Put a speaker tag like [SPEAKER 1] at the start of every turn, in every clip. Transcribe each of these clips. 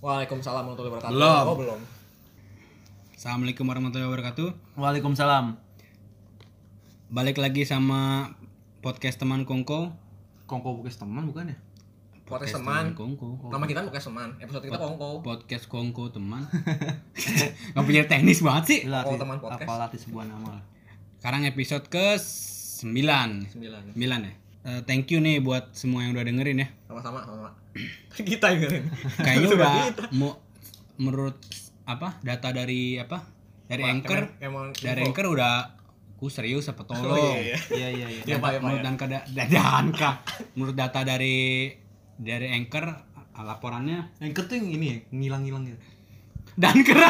[SPEAKER 1] Waalaikumsalam warahmatullahi wabarakatuh.
[SPEAKER 2] Belum.
[SPEAKER 1] Oh, belum.
[SPEAKER 2] Assalamualaikum warahmatullahi wabarakatuh.
[SPEAKER 3] Waalaikumsalam.
[SPEAKER 2] Balik lagi sama podcast teman Kongko.
[SPEAKER 3] Kongko bukan teman bukan ya?
[SPEAKER 1] Podcast teman.
[SPEAKER 2] Kongko.
[SPEAKER 1] Nama kita podcast teman. Episode kita kongko.
[SPEAKER 2] Podcast Kongko teman. Gak punya teknis banget sih.
[SPEAKER 3] Gila,
[SPEAKER 1] Oh,
[SPEAKER 3] Ri.
[SPEAKER 1] teman podcast.
[SPEAKER 3] Apalah arti sebuah nama. lah.
[SPEAKER 2] Sekarang episode ke 9. 9
[SPEAKER 1] Sembilan.
[SPEAKER 2] ya. Eh, thank you nih buat semua yang udah dengerin ya.
[SPEAKER 1] Sama-sama, sama. kita yang dengerin.
[SPEAKER 2] Kayaknya
[SPEAKER 1] Cuma
[SPEAKER 2] udah
[SPEAKER 1] kita.
[SPEAKER 2] mu- menurut apa data dari apa dari
[SPEAKER 1] Wah, emang,
[SPEAKER 2] anchor
[SPEAKER 1] emang
[SPEAKER 2] dari
[SPEAKER 1] info.
[SPEAKER 2] anchor udah ku serius apa tolong.
[SPEAKER 1] Oh, iya, iya.
[SPEAKER 3] Iya iya iya.
[SPEAKER 1] Iya, Pak, iya, Pak,
[SPEAKER 2] menurut
[SPEAKER 1] iya.
[SPEAKER 2] dan kada- da- dan Kak. menurut data dari dari anchor ah, laporannya
[SPEAKER 3] Anchor tuh yang ini ya, ngilang-ngilang gitu.
[SPEAKER 2] dan kera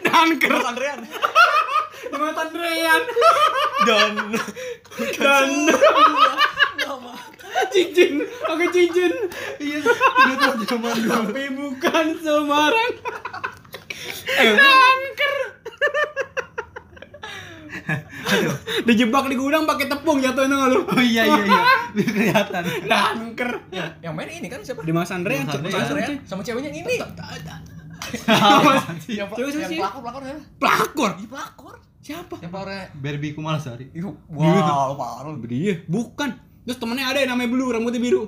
[SPEAKER 2] dan kera
[SPEAKER 1] Mas Andrean.
[SPEAKER 2] menurut Andrean
[SPEAKER 1] Dan
[SPEAKER 2] dan cincin pakai cincin
[SPEAKER 3] Iya, itu tuh zaman dulu.
[SPEAKER 2] tapi bukan Semarang dan kera dijebak di gudang pakai tepung jatuhin nggak lu
[SPEAKER 3] Oh iya iya iya. Kelihatan.
[SPEAKER 2] dan kera
[SPEAKER 1] ya, yang main ini kan siapa?
[SPEAKER 2] di Iya, Mas Andrean
[SPEAKER 3] Mas
[SPEAKER 1] Mas
[SPEAKER 2] Mas
[SPEAKER 1] iya.
[SPEAKER 3] Andrean.
[SPEAKER 2] Andrean
[SPEAKER 1] Andrean sama ceweknya yang ini. Yang
[SPEAKER 2] Cewek siapa sih?
[SPEAKER 1] pelakor-pelakor ya.
[SPEAKER 2] pelakor
[SPEAKER 1] Ih, pelakor.
[SPEAKER 2] siapa
[SPEAKER 1] Yang pelakor
[SPEAKER 3] Barbie Kumalasari.
[SPEAKER 1] Wow, parah.
[SPEAKER 2] Dia. Bukan. Terus temennya ada yang namanya Blue, rambutnya biru.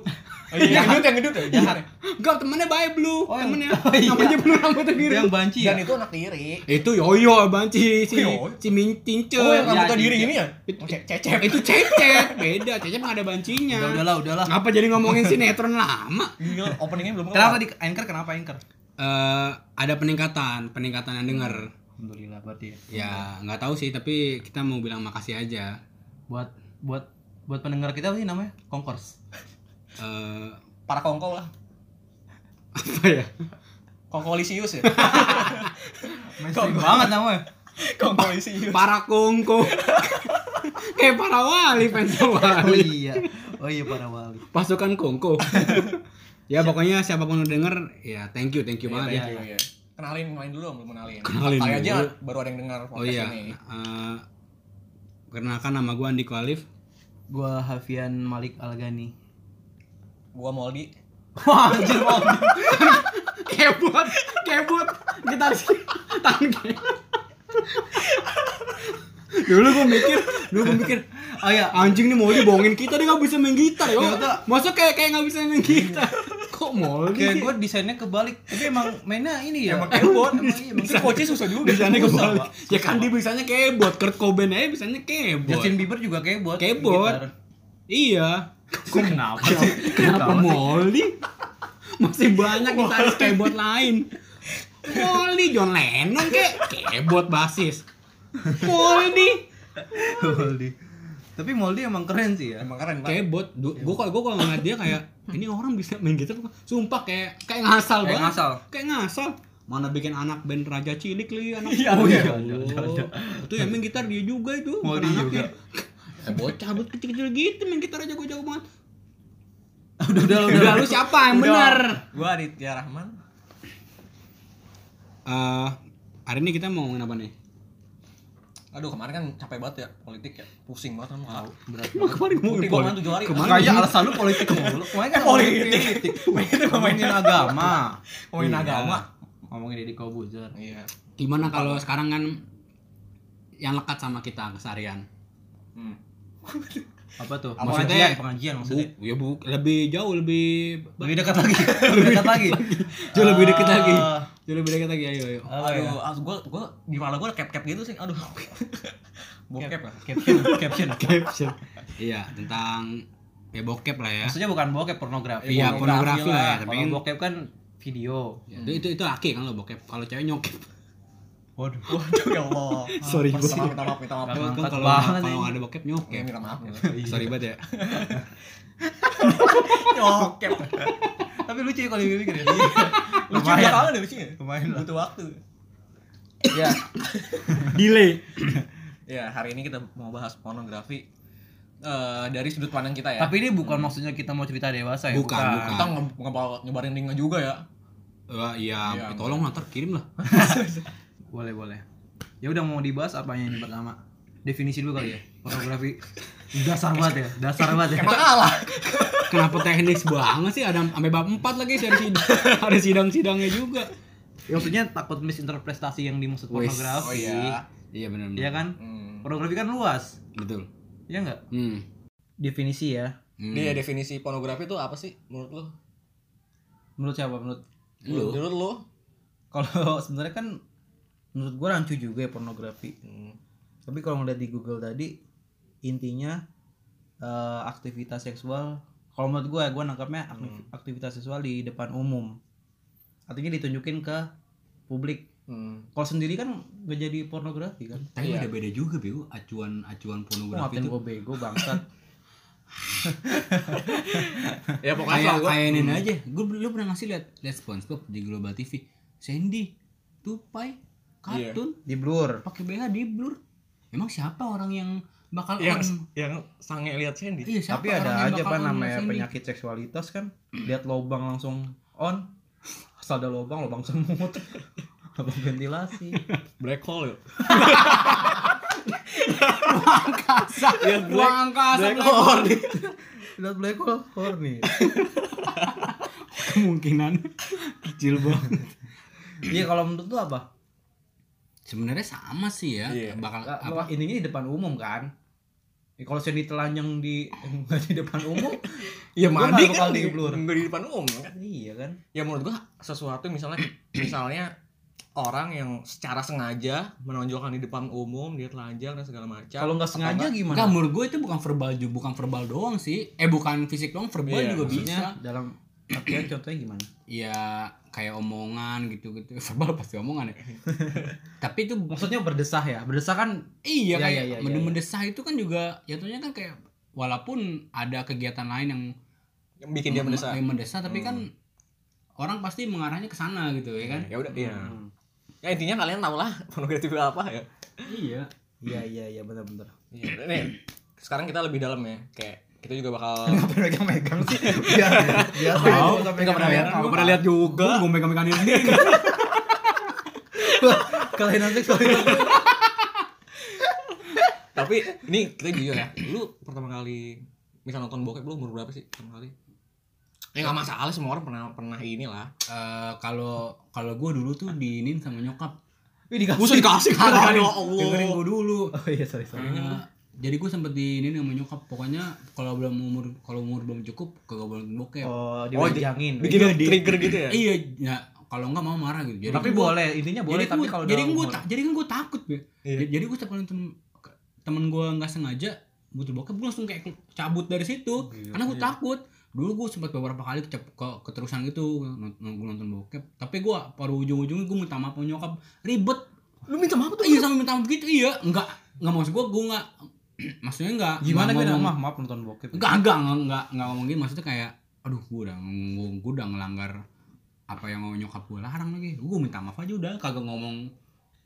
[SPEAKER 1] Yang gendut, yang gendut. ya? Jahat.
[SPEAKER 2] Enggak, temennya baik Blue.
[SPEAKER 3] Oh, yang-
[SPEAKER 2] temennya
[SPEAKER 3] oh, iya.
[SPEAKER 2] namanya Blue, rambutnya biru.
[SPEAKER 3] Yang banci ya.
[SPEAKER 1] Dan itu anak tiri.
[SPEAKER 2] Itu Yoyo banci si
[SPEAKER 1] Yoyo?
[SPEAKER 2] si Min Cince.
[SPEAKER 1] Oh, yang
[SPEAKER 3] Ya,
[SPEAKER 1] rambutnya
[SPEAKER 3] iya,
[SPEAKER 1] diri
[SPEAKER 3] iya.
[SPEAKER 1] ini ya?
[SPEAKER 2] Itu-
[SPEAKER 1] Oke, cecep.
[SPEAKER 2] Itu Cecep, beda. Cecep nggak ada bancinya.
[SPEAKER 3] Udah udahlah udahlah.
[SPEAKER 2] Apa jadi ngomongin sinetron lama?
[SPEAKER 1] Gila, Iya, openingnya belum
[SPEAKER 3] Kenapa di Anchor kenapa Anchor?
[SPEAKER 2] Eh, ada peningkatan, peningkatan yang denger.
[SPEAKER 3] Alhamdulillah berarti ya.
[SPEAKER 2] Ya, nggak tahu sih, tapi kita mau bilang makasih aja.
[SPEAKER 3] Buat buat buat pendengar kita apa sih namanya? Konkurs.
[SPEAKER 2] Eh,
[SPEAKER 1] Para kongko lah.
[SPEAKER 2] apa ya?
[SPEAKER 1] Kongkolisius ya?
[SPEAKER 3] Mainstream banget namanya.
[SPEAKER 1] Kongkolisius.
[SPEAKER 2] Para kongko. Kayak para wali fans
[SPEAKER 3] Oh
[SPEAKER 2] wali.
[SPEAKER 3] iya. Oh iya para wali.
[SPEAKER 2] pasukan kongko ya pokoknya siapapun yang denger ya thank you thank you banget ya
[SPEAKER 3] thank
[SPEAKER 1] Iya, iya. Kenalin main dulu belum kenalin.
[SPEAKER 2] Kenalin
[SPEAKER 1] Kayak aja
[SPEAKER 2] dulu.
[SPEAKER 1] baru ada yang dengar
[SPEAKER 2] oh
[SPEAKER 1] podcast
[SPEAKER 2] iya
[SPEAKER 1] ini.
[SPEAKER 2] eh, kenalkan nama gue Andi Kualif
[SPEAKER 3] Gua Hafian Malik Algani.
[SPEAKER 1] Gua Moldi.
[SPEAKER 3] Wah, anjir Bang.
[SPEAKER 2] kebut kebut kita harus tangke dulu gue mikir dulu gue mikir
[SPEAKER 3] Oh iya,
[SPEAKER 2] anjing nih mau dibohongin kita dia nggak bisa main gitar yo
[SPEAKER 3] Ternyata-
[SPEAKER 2] masa kayak kayak nggak bisa main gitar kok mau
[SPEAKER 3] Kayak
[SPEAKER 2] sih
[SPEAKER 3] gue desainnya kebalik, tapi emang mainnya ini ya.
[SPEAKER 1] Emang keyboard.
[SPEAKER 3] Emang iya, emang
[SPEAKER 1] Mesti coachnya susah juga.
[SPEAKER 2] bisanya
[SPEAKER 3] Susah,
[SPEAKER 2] kebalik
[SPEAKER 3] Pak.
[SPEAKER 2] ya kan dia bisanya kebot Kurt Cobain aja bisanya
[SPEAKER 3] keyboard.
[SPEAKER 2] kebot
[SPEAKER 3] Justin Bieber juga keyboard.
[SPEAKER 2] Keyboard.
[SPEAKER 3] Gitar.
[SPEAKER 2] iya
[SPEAKER 3] Kenapa sih?
[SPEAKER 2] Kenapa Molly? Masih banyak gitaris keyboard lain. Molly John Lennon kek keyboard basis. Molly
[SPEAKER 3] Moldy. Tapi Moldy emang keren sih ya.
[SPEAKER 1] Emang keren, Pak.
[SPEAKER 2] keyboard. Gue kalau gue kalau ngeliat dia kayak ini orang bisa main gitar apa?" sumpah kayak kayak ngasal
[SPEAKER 3] Kayak
[SPEAKER 2] banget.
[SPEAKER 3] ngasal.
[SPEAKER 2] Kayak ngasal. Mana bikin anak band Raja Cilik li anak.
[SPEAKER 1] Iya,
[SPEAKER 2] Oh,
[SPEAKER 1] iya,
[SPEAKER 2] Allah. Itu yang main gitar dia juga itu. bukan
[SPEAKER 3] Moldy
[SPEAKER 2] anaknya.
[SPEAKER 3] juga.
[SPEAKER 2] Eh, bocah bocah kecil-kecil gitu main gitar aja gue jago banget.
[SPEAKER 3] Udah udah udah.
[SPEAKER 2] Udah lu siapa yang
[SPEAKER 1] Udah.
[SPEAKER 2] benar?
[SPEAKER 1] Gua Aditya Rahman.
[SPEAKER 2] Eh, hari ini kita mau ngomongin apa nih?
[SPEAKER 1] Aduh, kemarin kan capek banget ya politik ya. Pusing banget kan mau.
[SPEAKER 3] Berat.
[SPEAKER 2] Emang kemarin
[SPEAKER 1] Mudik kemarin 7 hari.
[SPEAKER 2] Kemarin
[SPEAKER 3] Kayak alasan lu politik mulu. Kemarin kan
[SPEAKER 1] Eh, politik.
[SPEAKER 3] Kemarin ngomongin agama.
[SPEAKER 1] Ngomongin
[SPEAKER 3] Iya.
[SPEAKER 1] agama.
[SPEAKER 3] Ngomongin Deddy Kobuzer.
[SPEAKER 1] Iya.
[SPEAKER 2] gimana kalau sekarang kan yang lekat sama kita keseharian?
[SPEAKER 1] Hmm.
[SPEAKER 3] Apa tuh?
[SPEAKER 1] Apa
[SPEAKER 3] Maksudnya pengajian maksudnya.
[SPEAKER 2] Bu, ya bu, lebih jauh lebih
[SPEAKER 3] Lebih dekat lagi. Lebih dekat lagi.
[SPEAKER 2] jauh lebih dekat lagi.
[SPEAKER 3] Eh,
[SPEAKER 2] Jauh lebih dekat lagi ayo ayo.
[SPEAKER 3] apa ya?
[SPEAKER 1] Aduh, as- gua gua di kepala gua ada cap-cap gitu sih. Aduh. Bokep lah.
[SPEAKER 3] Caption, caption.
[SPEAKER 2] Caption. iya, tentang ya bokep lah ya.
[SPEAKER 3] Maksudnya bukan bokep pornografi.
[SPEAKER 2] Iya, pornografi lah ya,
[SPEAKER 3] Kalau
[SPEAKER 2] tapi kan-
[SPEAKER 3] bokep kan video.
[SPEAKER 2] Ya, itu itu itu laki kan lo bokep. Kalau cewek nyokep.
[SPEAKER 3] Waduh.
[SPEAKER 1] Waduh, ya Allah.
[SPEAKER 2] Sorry,
[SPEAKER 1] Pas,
[SPEAKER 2] gua.
[SPEAKER 1] Minta maaf, minta maaf, minta maaf.
[SPEAKER 3] Gak
[SPEAKER 2] Kan
[SPEAKER 3] ngangkat
[SPEAKER 2] kalau
[SPEAKER 3] banget
[SPEAKER 2] kalau
[SPEAKER 3] ini.
[SPEAKER 2] ada bokep nyokep.
[SPEAKER 1] Minta maaf.
[SPEAKER 2] Sorry banget ya.
[SPEAKER 1] Bokep.
[SPEAKER 3] Tapi lucu ya kalau dipikir ya.
[SPEAKER 1] Lucu
[SPEAKER 3] Lumayan.
[SPEAKER 1] juga kangen ya lucunya.
[SPEAKER 3] Lumayan lah.
[SPEAKER 1] Butuh waktu.
[SPEAKER 3] Iya.
[SPEAKER 2] Delay.
[SPEAKER 1] Ya, hari ini kita mau bahas pornografi eh, dari sudut pandang kita ya.
[SPEAKER 3] Tapi ini bukan maksudnya kita mau cerita dewasa ya.
[SPEAKER 2] Bukan, bukan.
[SPEAKER 1] kita nge nge- nyebarin linknya juga ya.
[SPEAKER 2] Wah,
[SPEAKER 1] Iya.
[SPEAKER 2] iya, tolong lah terkirim lah.
[SPEAKER 3] Boleh, boleh. Ya udah mau dibahas apanya ini pertama? Definisi dulu kali ya. Pornografi. Dasar banget ya. Dasar banget ya.
[SPEAKER 1] Emang kalah.
[SPEAKER 2] Kenapa teknis banget sih? Ada sampai bab 4 lagi sih ada sidang. Ada sidang-sidangnya juga.
[SPEAKER 3] Ya, maksudnya takut misinterpretasi yang dimaksud
[SPEAKER 2] Wis.
[SPEAKER 3] pornografi.
[SPEAKER 1] Oh iya.
[SPEAKER 2] Iya benar
[SPEAKER 3] Iya kan?
[SPEAKER 1] Hmm.
[SPEAKER 3] Pornografi kan luas.
[SPEAKER 2] Betul.
[SPEAKER 3] Iya enggak?
[SPEAKER 2] Hmm.
[SPEAKER 3] Definisi ya.
[SPEAKER 2] Hmm.
[SPEAKER 1] Dia definisi pornografi itu apa sih menurut lu?
[SPEAKER 3] Menurut siapa? Menurut
[SPEAKER 2] Hmm. Lu.
[SPEAKER 1] Menurut lu?
[SPEAKER 3] kalau sebenarnya kan menurut gua rancu juga ya pornografi.
[SPEAKER 1] Hmm.
[SPEAKER 3] Tapi kalau ngeliat di Google tadi intinya eh, aktivitas seksual kalau menurut gua gua nangkapnya aktif- aktivitas seksual di depan umum. Artinya ditunjukin ke publik.
[SPEAKER 1] Hmm.
[SPEAKER 3] Kalau sendiri kan gak jadi pornografi kan.
[SPEAKER 2] Tapi
[SPEAKER 1] Iya.
[SPEAKER 2] ada beda juga, Bego. Acuan-acuan pornografi
[SPEAKER 3] Ngapain
[SPEAKER 2] itu
[SPEAKER 3] gua bego bangsat.
[SPEAKER 1] Ya pokoknya
[SPEAKER 2] kayak
[SPEAKER 1] soal gua.
[SPEAKER 2] kayak ini aja gue lu pernah ngasih lihat lihat SpongeBob di Global TV Sandy tupai kartun
[SPEAKER 3] di blur.
[SPEAKER 2] pakai BH di blur emang siapa orang yang bakal
[SPEAKER 1] yang
[SPEAKER 2] on-
[SPEAKER 1] yang sange lihat Sandy.
[SPEAKER 2] iya
[SPEAKER 3] Tapi
[SPEAKER 2] siapa orang
[SPEAKER 3] ada
[SPEAKER 2] yang
[SPEAKER 3] aja
[SPEAKER 2] bakal
[SPEAKER 3] pak
[SPEAKER 2] on
[SPEAKER 3] namanya
[SPEAKER 2] Sandy?
[SPEAKER 3] penyakit seksualitas kan lihat lobang langsung on asal ada lobang lobang semut lobang ventilasi
[SPEAKER 1] Black hole yuk.
[SPEAKER 2] angkasa
[SPEAKER 1] Iya,
[SPEAKER 2] buang
[SPEAKER 1] black-
[SPEAKER 2] angkasa
[SPEAKER 1] black
[SPEAKER 2] Black Hole.
[SPEAKER 3] lihat black hole horny
[SPEAKER 2] kemungkinan kecil banget
[SPEAKER 3] iya kalau menurut lu apa
[SPEAKER 2] sebenarnya sama sih ya
[SPEAKER 1] Iya.
[SPEAKER 2] bakal apa
[SPEAKER 3] apa intinya di depan umum kan Ya, kalau saya ditelanjang di enggak di depan umum
[SPEAKER 1] Ya
[SPEAKER 2] Iya,
[SPEAKER 3] Gua
[SPEAKER 1] mandi
[SPEAKER 3] nggak bakal
[SPEAKER 1] kan di,
[SPEAKER 3] di blur.
[SPEAKER 1] di depan umum kan.
[SPEAKER 3] iya kan
[SPEAKER 1] Ya menurut gua sesuatu misalnya misalnya orang yang secara sengaja menonjolkan di depan umum dia telanjang dan segala macam.
[SPEAKER 3] kalau
[SPEAKER 1] Ya,
[SPEAKER 3] nggak
[SPEAKER 1] Apa
[SPEAKER 3] sengaja
[SPEAKER 2] Enggak,
[SPEAKER 3] gimana
[SPEAKER 2] menurut gue itu bukan verbal juga, bukan verbal doang sih. Eh, bukan fisik doang, verbal
[SPEAKER 1] Iya,
[SPEAKER 2] juga
[SPEAKER 3] maksudnya
[SPEAKER 2] bisa.
[SPEAKER 3] dalam artian contohnya gimana
[SPEAKER 2] ya kayak omongan gitu-gitu verbal pasti omongan ya tapi itu
[SPEAKER 3] maksudnya berdesah ya berdesah kan
[SPEAKER 2] iya
[SPEAKER 3] Ya,
[SPEAKER 2] kayak
[SPEAKER 3] ya, ya, ya,
[SPEAKER 2] mende-
[SPEAKER 3] ya.
[SPEAKER 2] mendesah itu kan juga jatuhnya kan kayak walaupun ada kegiatan lain yang
[SPEAKER 1] Yang bikin dia
[SPEAKER 2] mem-
[SPEAKER 1] mendesak.
[SPEAKER 2] yang mendesah tapi
[SPEAKER 1] Hmm.
[SPEAKER 2] kan orang pasti mengarahnya ke sana gitu ya kan
[SPEAKER 1] Ya udah iya.
[SPEAKER 3] Hmm.
[SPEAKER 1] Ya intinya kalian tau lah pornografi itu apa ya.
[SPEAKER 2] iya
[SPEAKER 3] iya iya iya benar-benar
[SPEAKER 1] Iya. Nih, sekarang kita lebih dalam ya. Kayak kita juga bakal
[SPEAKER 3] ngapain megang-megang sih biar biar
[SPEAKER 2] Tahu,
[SPEAKER 3] tahu sampai
[SPEAKER 1] nggak pernah lihat,
[SPEAKER 3] megang-megang.
[SPEAKER 1] nggak pernah lihat juga.
[SPEAKER 2] gue megang-megangin sendiri
[SPEAKER 3] kelainan seksualitas
[SPEAKER 1] Tapi ini kita jujur ya. Lu pertama kali misal nonton bokep lu umur berapa sih pertama kali? Ya nggak masalah semua orang pernah pernah inilah.
[SPEAKER 2] Eh, kalau kalau gue dulu tuh diinin sama nyokap
[SPEAKER 3] Wih dikasih.
[SPEAKER 1] Buset dikasih kagak ya
[SPEAKER 2] dengerin
[SPEAKER 1] Allah.
[SPEAKER 2] gue dulu
[SPEAKER 3] Oh iya sorry sorry.
[SPEAKER 2] Eh, jadi gue sempet diinin sama nyokap pokoknya kalau belum umur kalau umur belum cukup kagak boleh nonton bokep
[SPEAKER 1] Oh,
[SPEAKER 3] Oh diwejangin.
[SPEAKER 1] Bikin
[SPEAKER 2] Iya, di-
[SPEAKER 1] trigger gitu ya.
[SPEAKER 2] Iya, ya kalau enggak mau marah gitu. Jadi
[SPEAKER 3] tapi
[SPEAKER 2] gua-
[SPEAKER 3] boleh intinya boleh
[SPEAKER 2] jadi
[SPEAKER 3] tapi
[SPEAKER 2] gua-
[SPEAKER 3] kalau
[SPEAKER 2] jadi
[SPEAKER 3] dalam
[SPEAKER 2] gua
[SPEAKER 3] umur.
[SPEAKER 2] ta- jadi kan gue takut, Be.
[SPEAKER 1] Iya.
[SPEAKER 2] Jadi gue setiap kali nonton ke- temen gue nggak sengaja butuh bokep, gue langsung kayak cabut dari situ
[SPEAKER 3] Gila,
[SPEAKER 2] karena gue
[SPEAKER 1] iya.
[SPEAKER 2] takut. Dulu gue sempat beberapa kali kecep, ke, keterusan gitu nonton, nonton bokep, tapi gue pada ujung-ujungnya gue minta maaf sama nyokap ribet.
[SPEAKER 1] Lu minta maaf tuh.
[SPEAKER 2] Iya sama minta maaf gitu, iya enggak enggak maksud gue gue enggak maksudnya enggak
[SPEAKER 3] Gimana
[SPEAKER 2] enggak
[SPEAKER 3] gue
[SPEAKER 2] ngomong-
[SPEAKER 3] maaf maaf nonton bokep.
[SPEAKER 2] Enggak, enggak, enggak, enggak, enggak ngomong gitu. Maksudnya kayak, aduh gue udah, ng- gua udah ngelanggar apa yang mau nyokap gue larang lagi. Gue minta maaf aja udah, kagak ngomong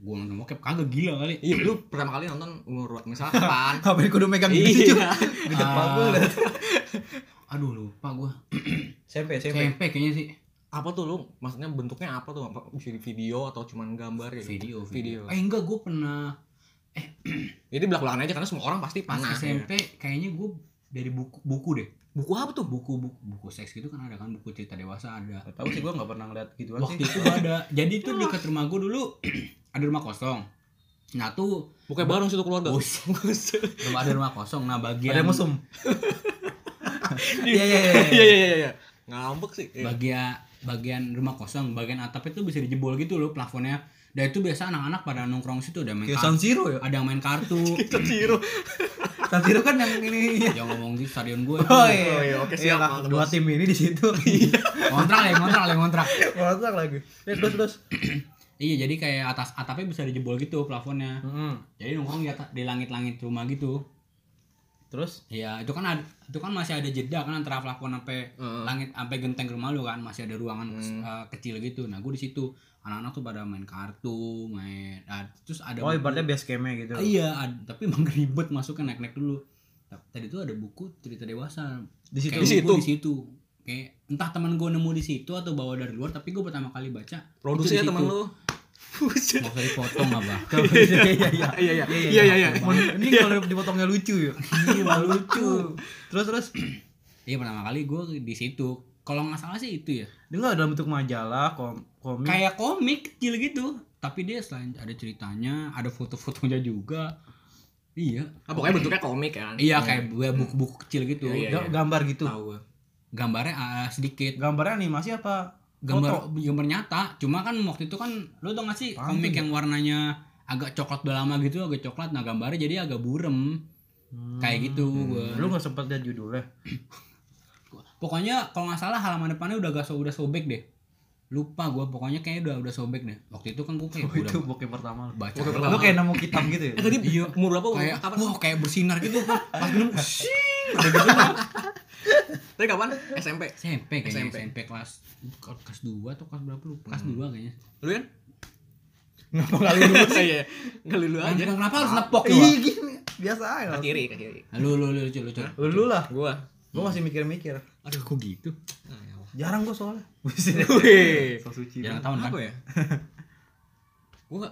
[SPEAKER 2] gue nonton bokep, kagak gila kali.
[SPEAKER 1] Iya, lu pertama kali nonton umur misalnya kapan?
[SPEAKER 3] Kapan kudu megang gitu cuy.
[SPEAKER 1] iya.
[SPEAKER 3] Gede
[SPEAKER 2] Ah.
[SPEAKER 3] banget gue.
[SPEAKER 2] Aduh lupa gue,
[SPEAKER 3] SMP SMP.
[SPEAKER 2] SMP kayaknya sih.
[SPEAKER 1] Apa tuh lu? Maksudnya bentuknya apa tuh? Apa Bisa di video atau cuman gambar ya?
[SPEAKER 2] Video,
[SPEAKER 1] Video.
[SPEAKER 2] video. Eh enggak, gue pernah
[SPEAKER 1] Jadi belak-belakan aja karena semua orang pasti
[SPEAKER 2] pas
[SPEAKER 1] pernah.
[SPEAKER 2] SMP, kayaknya gue dari buku buku deh
[SPEAKER 1] Buku apa tuh?
[SPEAKER 2] buku buku buku seks gitu kan ada kan buku cerita dewasa ada
[SPEAKER 3] Tahu sih gue nggak pernah ngeliat gituan
[SPEAKER 2] waktu
[SPEAKER 3] sih.
[SPEAKER 2] itu ada jadi tuh dekat rumah gue dulu ada rumah kosong nah tuh
[SPEAKER 1] Bukunya bareng situ keluarga.
[SPEAKER 2] Bus. rumah ada rumah kosong nah bagian
[SPEAKER 3] Ada mesum. Iya iya
[SPEAKER 1] Iya
[SPEAKER 3] iya.
[SPEAKER 1] iya iya iya. Ngambek sih. Iya.
[SPEAKER 2] bagian bagian rumah kosong bagian atap itu bisa dijebol gitu loh plafonnya dan itu biasa anak-anak pada nongkrong situ ada main
[SPEAKER 3] Kayak
[SPEAKER 2] kartu
[SPEAKER 3] San Siro ya.
[SPEAKER 2] ada yang main kartu
[SPEAKER 1] Kita tiru.
[SPEAKER 3] San Siro kan yang ini.
[SPEAKER 2] jangan ngomong gitu stadion gue
[SPEAKER 3] Oh
[SPEAKER 1] Oh, iya,
[SPEAKER 3] iya.
[SPEAKER 1] oke,
[SPEAKER 3] Iya
[SPEAKER 1] siap,
[SPEAKER 3] lah,
[SPEAKER 1] mantap,
[SPEAKER 3] dua
[SPEAKER 1] Bos.
[SPEAKER 3] tim ini di situ.
[SPEAKER 2] kontrak ya kontrak ya kontrak
[SPEAKER 3] Masak lagi. Ya terus terus.
[SPEAKER 2] iya jadi kayak atas atapnya bisa dijebol gitu plafonnya
[SPEAKER 3] Mm-mm.
[SPEAKER 2] jadi nongkrong di, atas- di langit-langit rumah gitu
[SPEAKER 3] Terus
[SPEAKER 2] Iya, itu kan ada, itu kan masih ada jeda kan antara plafon sampai
[SPEAKER 1] Heeh.
[SPEAKER 2] langit sampai genteng rumah lu kan masih ada ruangan
[SPEAKER 3] Hmm.
[SPEAKER 2] kes- eh, kecil gitu. Nah, gue di situ anak-anak tuh pada main kartu, main ah, terus ada
[SPEAKER 3] oh
[SPEAKER 2] buku.
[SPEAKER 3] ibaratnya base game-nya gitu.
[SPEAKER 2] Ah, Iya, ad- tapi emang ribet masuknya naik-naik dulu. Ta- Tadi tuh ada buku cerita dewasa.
[SPEAKER 3] Di situ.
[SPEAKER 2] Kayak
[SPEAKER 1] Di
[SPEAKER 2] gua Di situ. Kayak entah teman gue nemu di situ atau bawa dari luar, tapi gue pertama kali baca
[SPEAKER 1] Produksi ya
[SPEAKER 2] itu gitu. di
[SPEAKER 1] teman
[SPEAKER 2] situ.
[SPEAKER 1] lu. Buset.
[SPEAKER 2] Nggak usah dipotong apa?
[SPEAKER 3] Iya iya
[SPEAKER 1] Iya iya.
[SPEAKER 3] Iya,
[SPEAKER 1] Iya iya iya.
[SPEAKER 3] Mon- Ini kalau dipotongnya lucu ya.
[SPEAKER 2] Iya, lucu.
[SPEAKER 3] Terus terus
[SPEAKER 2] Iya pertama kali gue di situ. Kalau nggak salah sih itu ya.
[SPEAKER 3] Dengar dalam bentuk majalah, kom komik.
[SPEAKER 2] Kayak komik kecil gitu. Tapi dia selain ada ceritanya, ada foto-fotonya juga. Iya.
[SPEAKER 1] Ah, pokoknya bentuknya komik kan.
[SPEAKER 2] Iya kayak bu- buku-buku kecil gitu.
[SPEAKER 1] Iya, iya.
[SPEAKER 3] ga- gambar gitu.
[SPEAKER 1] Tahu gua.
[SPEAKER 2] Gambarnya ah, sedikit.
[SPEAKER 3] Gambarnya animasi apa?
[SPEAKER 2] Gambar gambar nyata. Cuma kan waktu itu kan lu tau gak sih
[SPEAKER 3] Paham
[SPEAKER 2] komik
[SPEAKER 3] tuh.
[SPEAKER 2] yang warnanya agak coklat udah lama gitu, agak coklat. Nah gambarnya jadi agak burem. Kayak gitu gua.
[SPEAKER 3] Lu nggak sempet lihat judulnya?
[SPEAKER 2] Pokoknya kalau nggak salah halaman depannya udah gak so, udah sobek deh. Lupa gua pokoknya kayaknya udah udah sobek deh. Waktu itu kan gua kayak
[SPEAKER 3] Oh,
[SPEAKER 2] udah
[SPEAKER 3] itu bokeh pertama lu.
[SPEAKER 2] baca.
[SPEAKER 1] Bukan
[SPEAKER 3] Lu kayak nemu kitab gitu ya?
[SPEAKER 1] Eh tadi
[SPEAKER 2] Iya.
[SPEAKER 1] umur berapa? Umur
[SPEAKER 2] kayak
[SPEAKER 1] kapan?
[SPEAKER 2] wah kayak bersinar gitu pas minum shing
[SPEAKER 1] Tadi kapan? SMP.
[SPEAKER 2] SMP kayaknya SMP,
[SPEAKER 1] SMP.
[SPEAKER 2] kelas kelas 2 atau kelas berapa lu kelas 2 kayaknya
[SPEAKER 1] Lu kan?
[SPEAKER 3] Kenapa kali lu?
[SPEAKER 1] Iya. Enggak lu dulu aja.
[SPEAKER 2] Anjing, kenapa harus nepok lu
[SPEAKER 3] Ih Iya, gini, biasa aja.
[SPEAKER 1] Ke kiri, ke kiri.
[SPEAKER 2] Wak? lu lu lu lucu lucu
[SPEAKER 3] Lu Lu lah,
[SPEAKER 1] Gua.
[SPEAKER 3] gua masih mikir-mikir.
[SPEAKER 2] aduh kok gitu
[SPEAKER 1] Ah, ya Allah.
[SPEAKER 3] Jarang gua soalnya.
[SPEAKER 1] Wih.
[SPEAKER 3] So suci.
[SPEAKER 2] jarang
[SPEAKER 3] banget.
[SPEAKER 2] tahun kan
[SPEAKER 1] Apa ya? Gua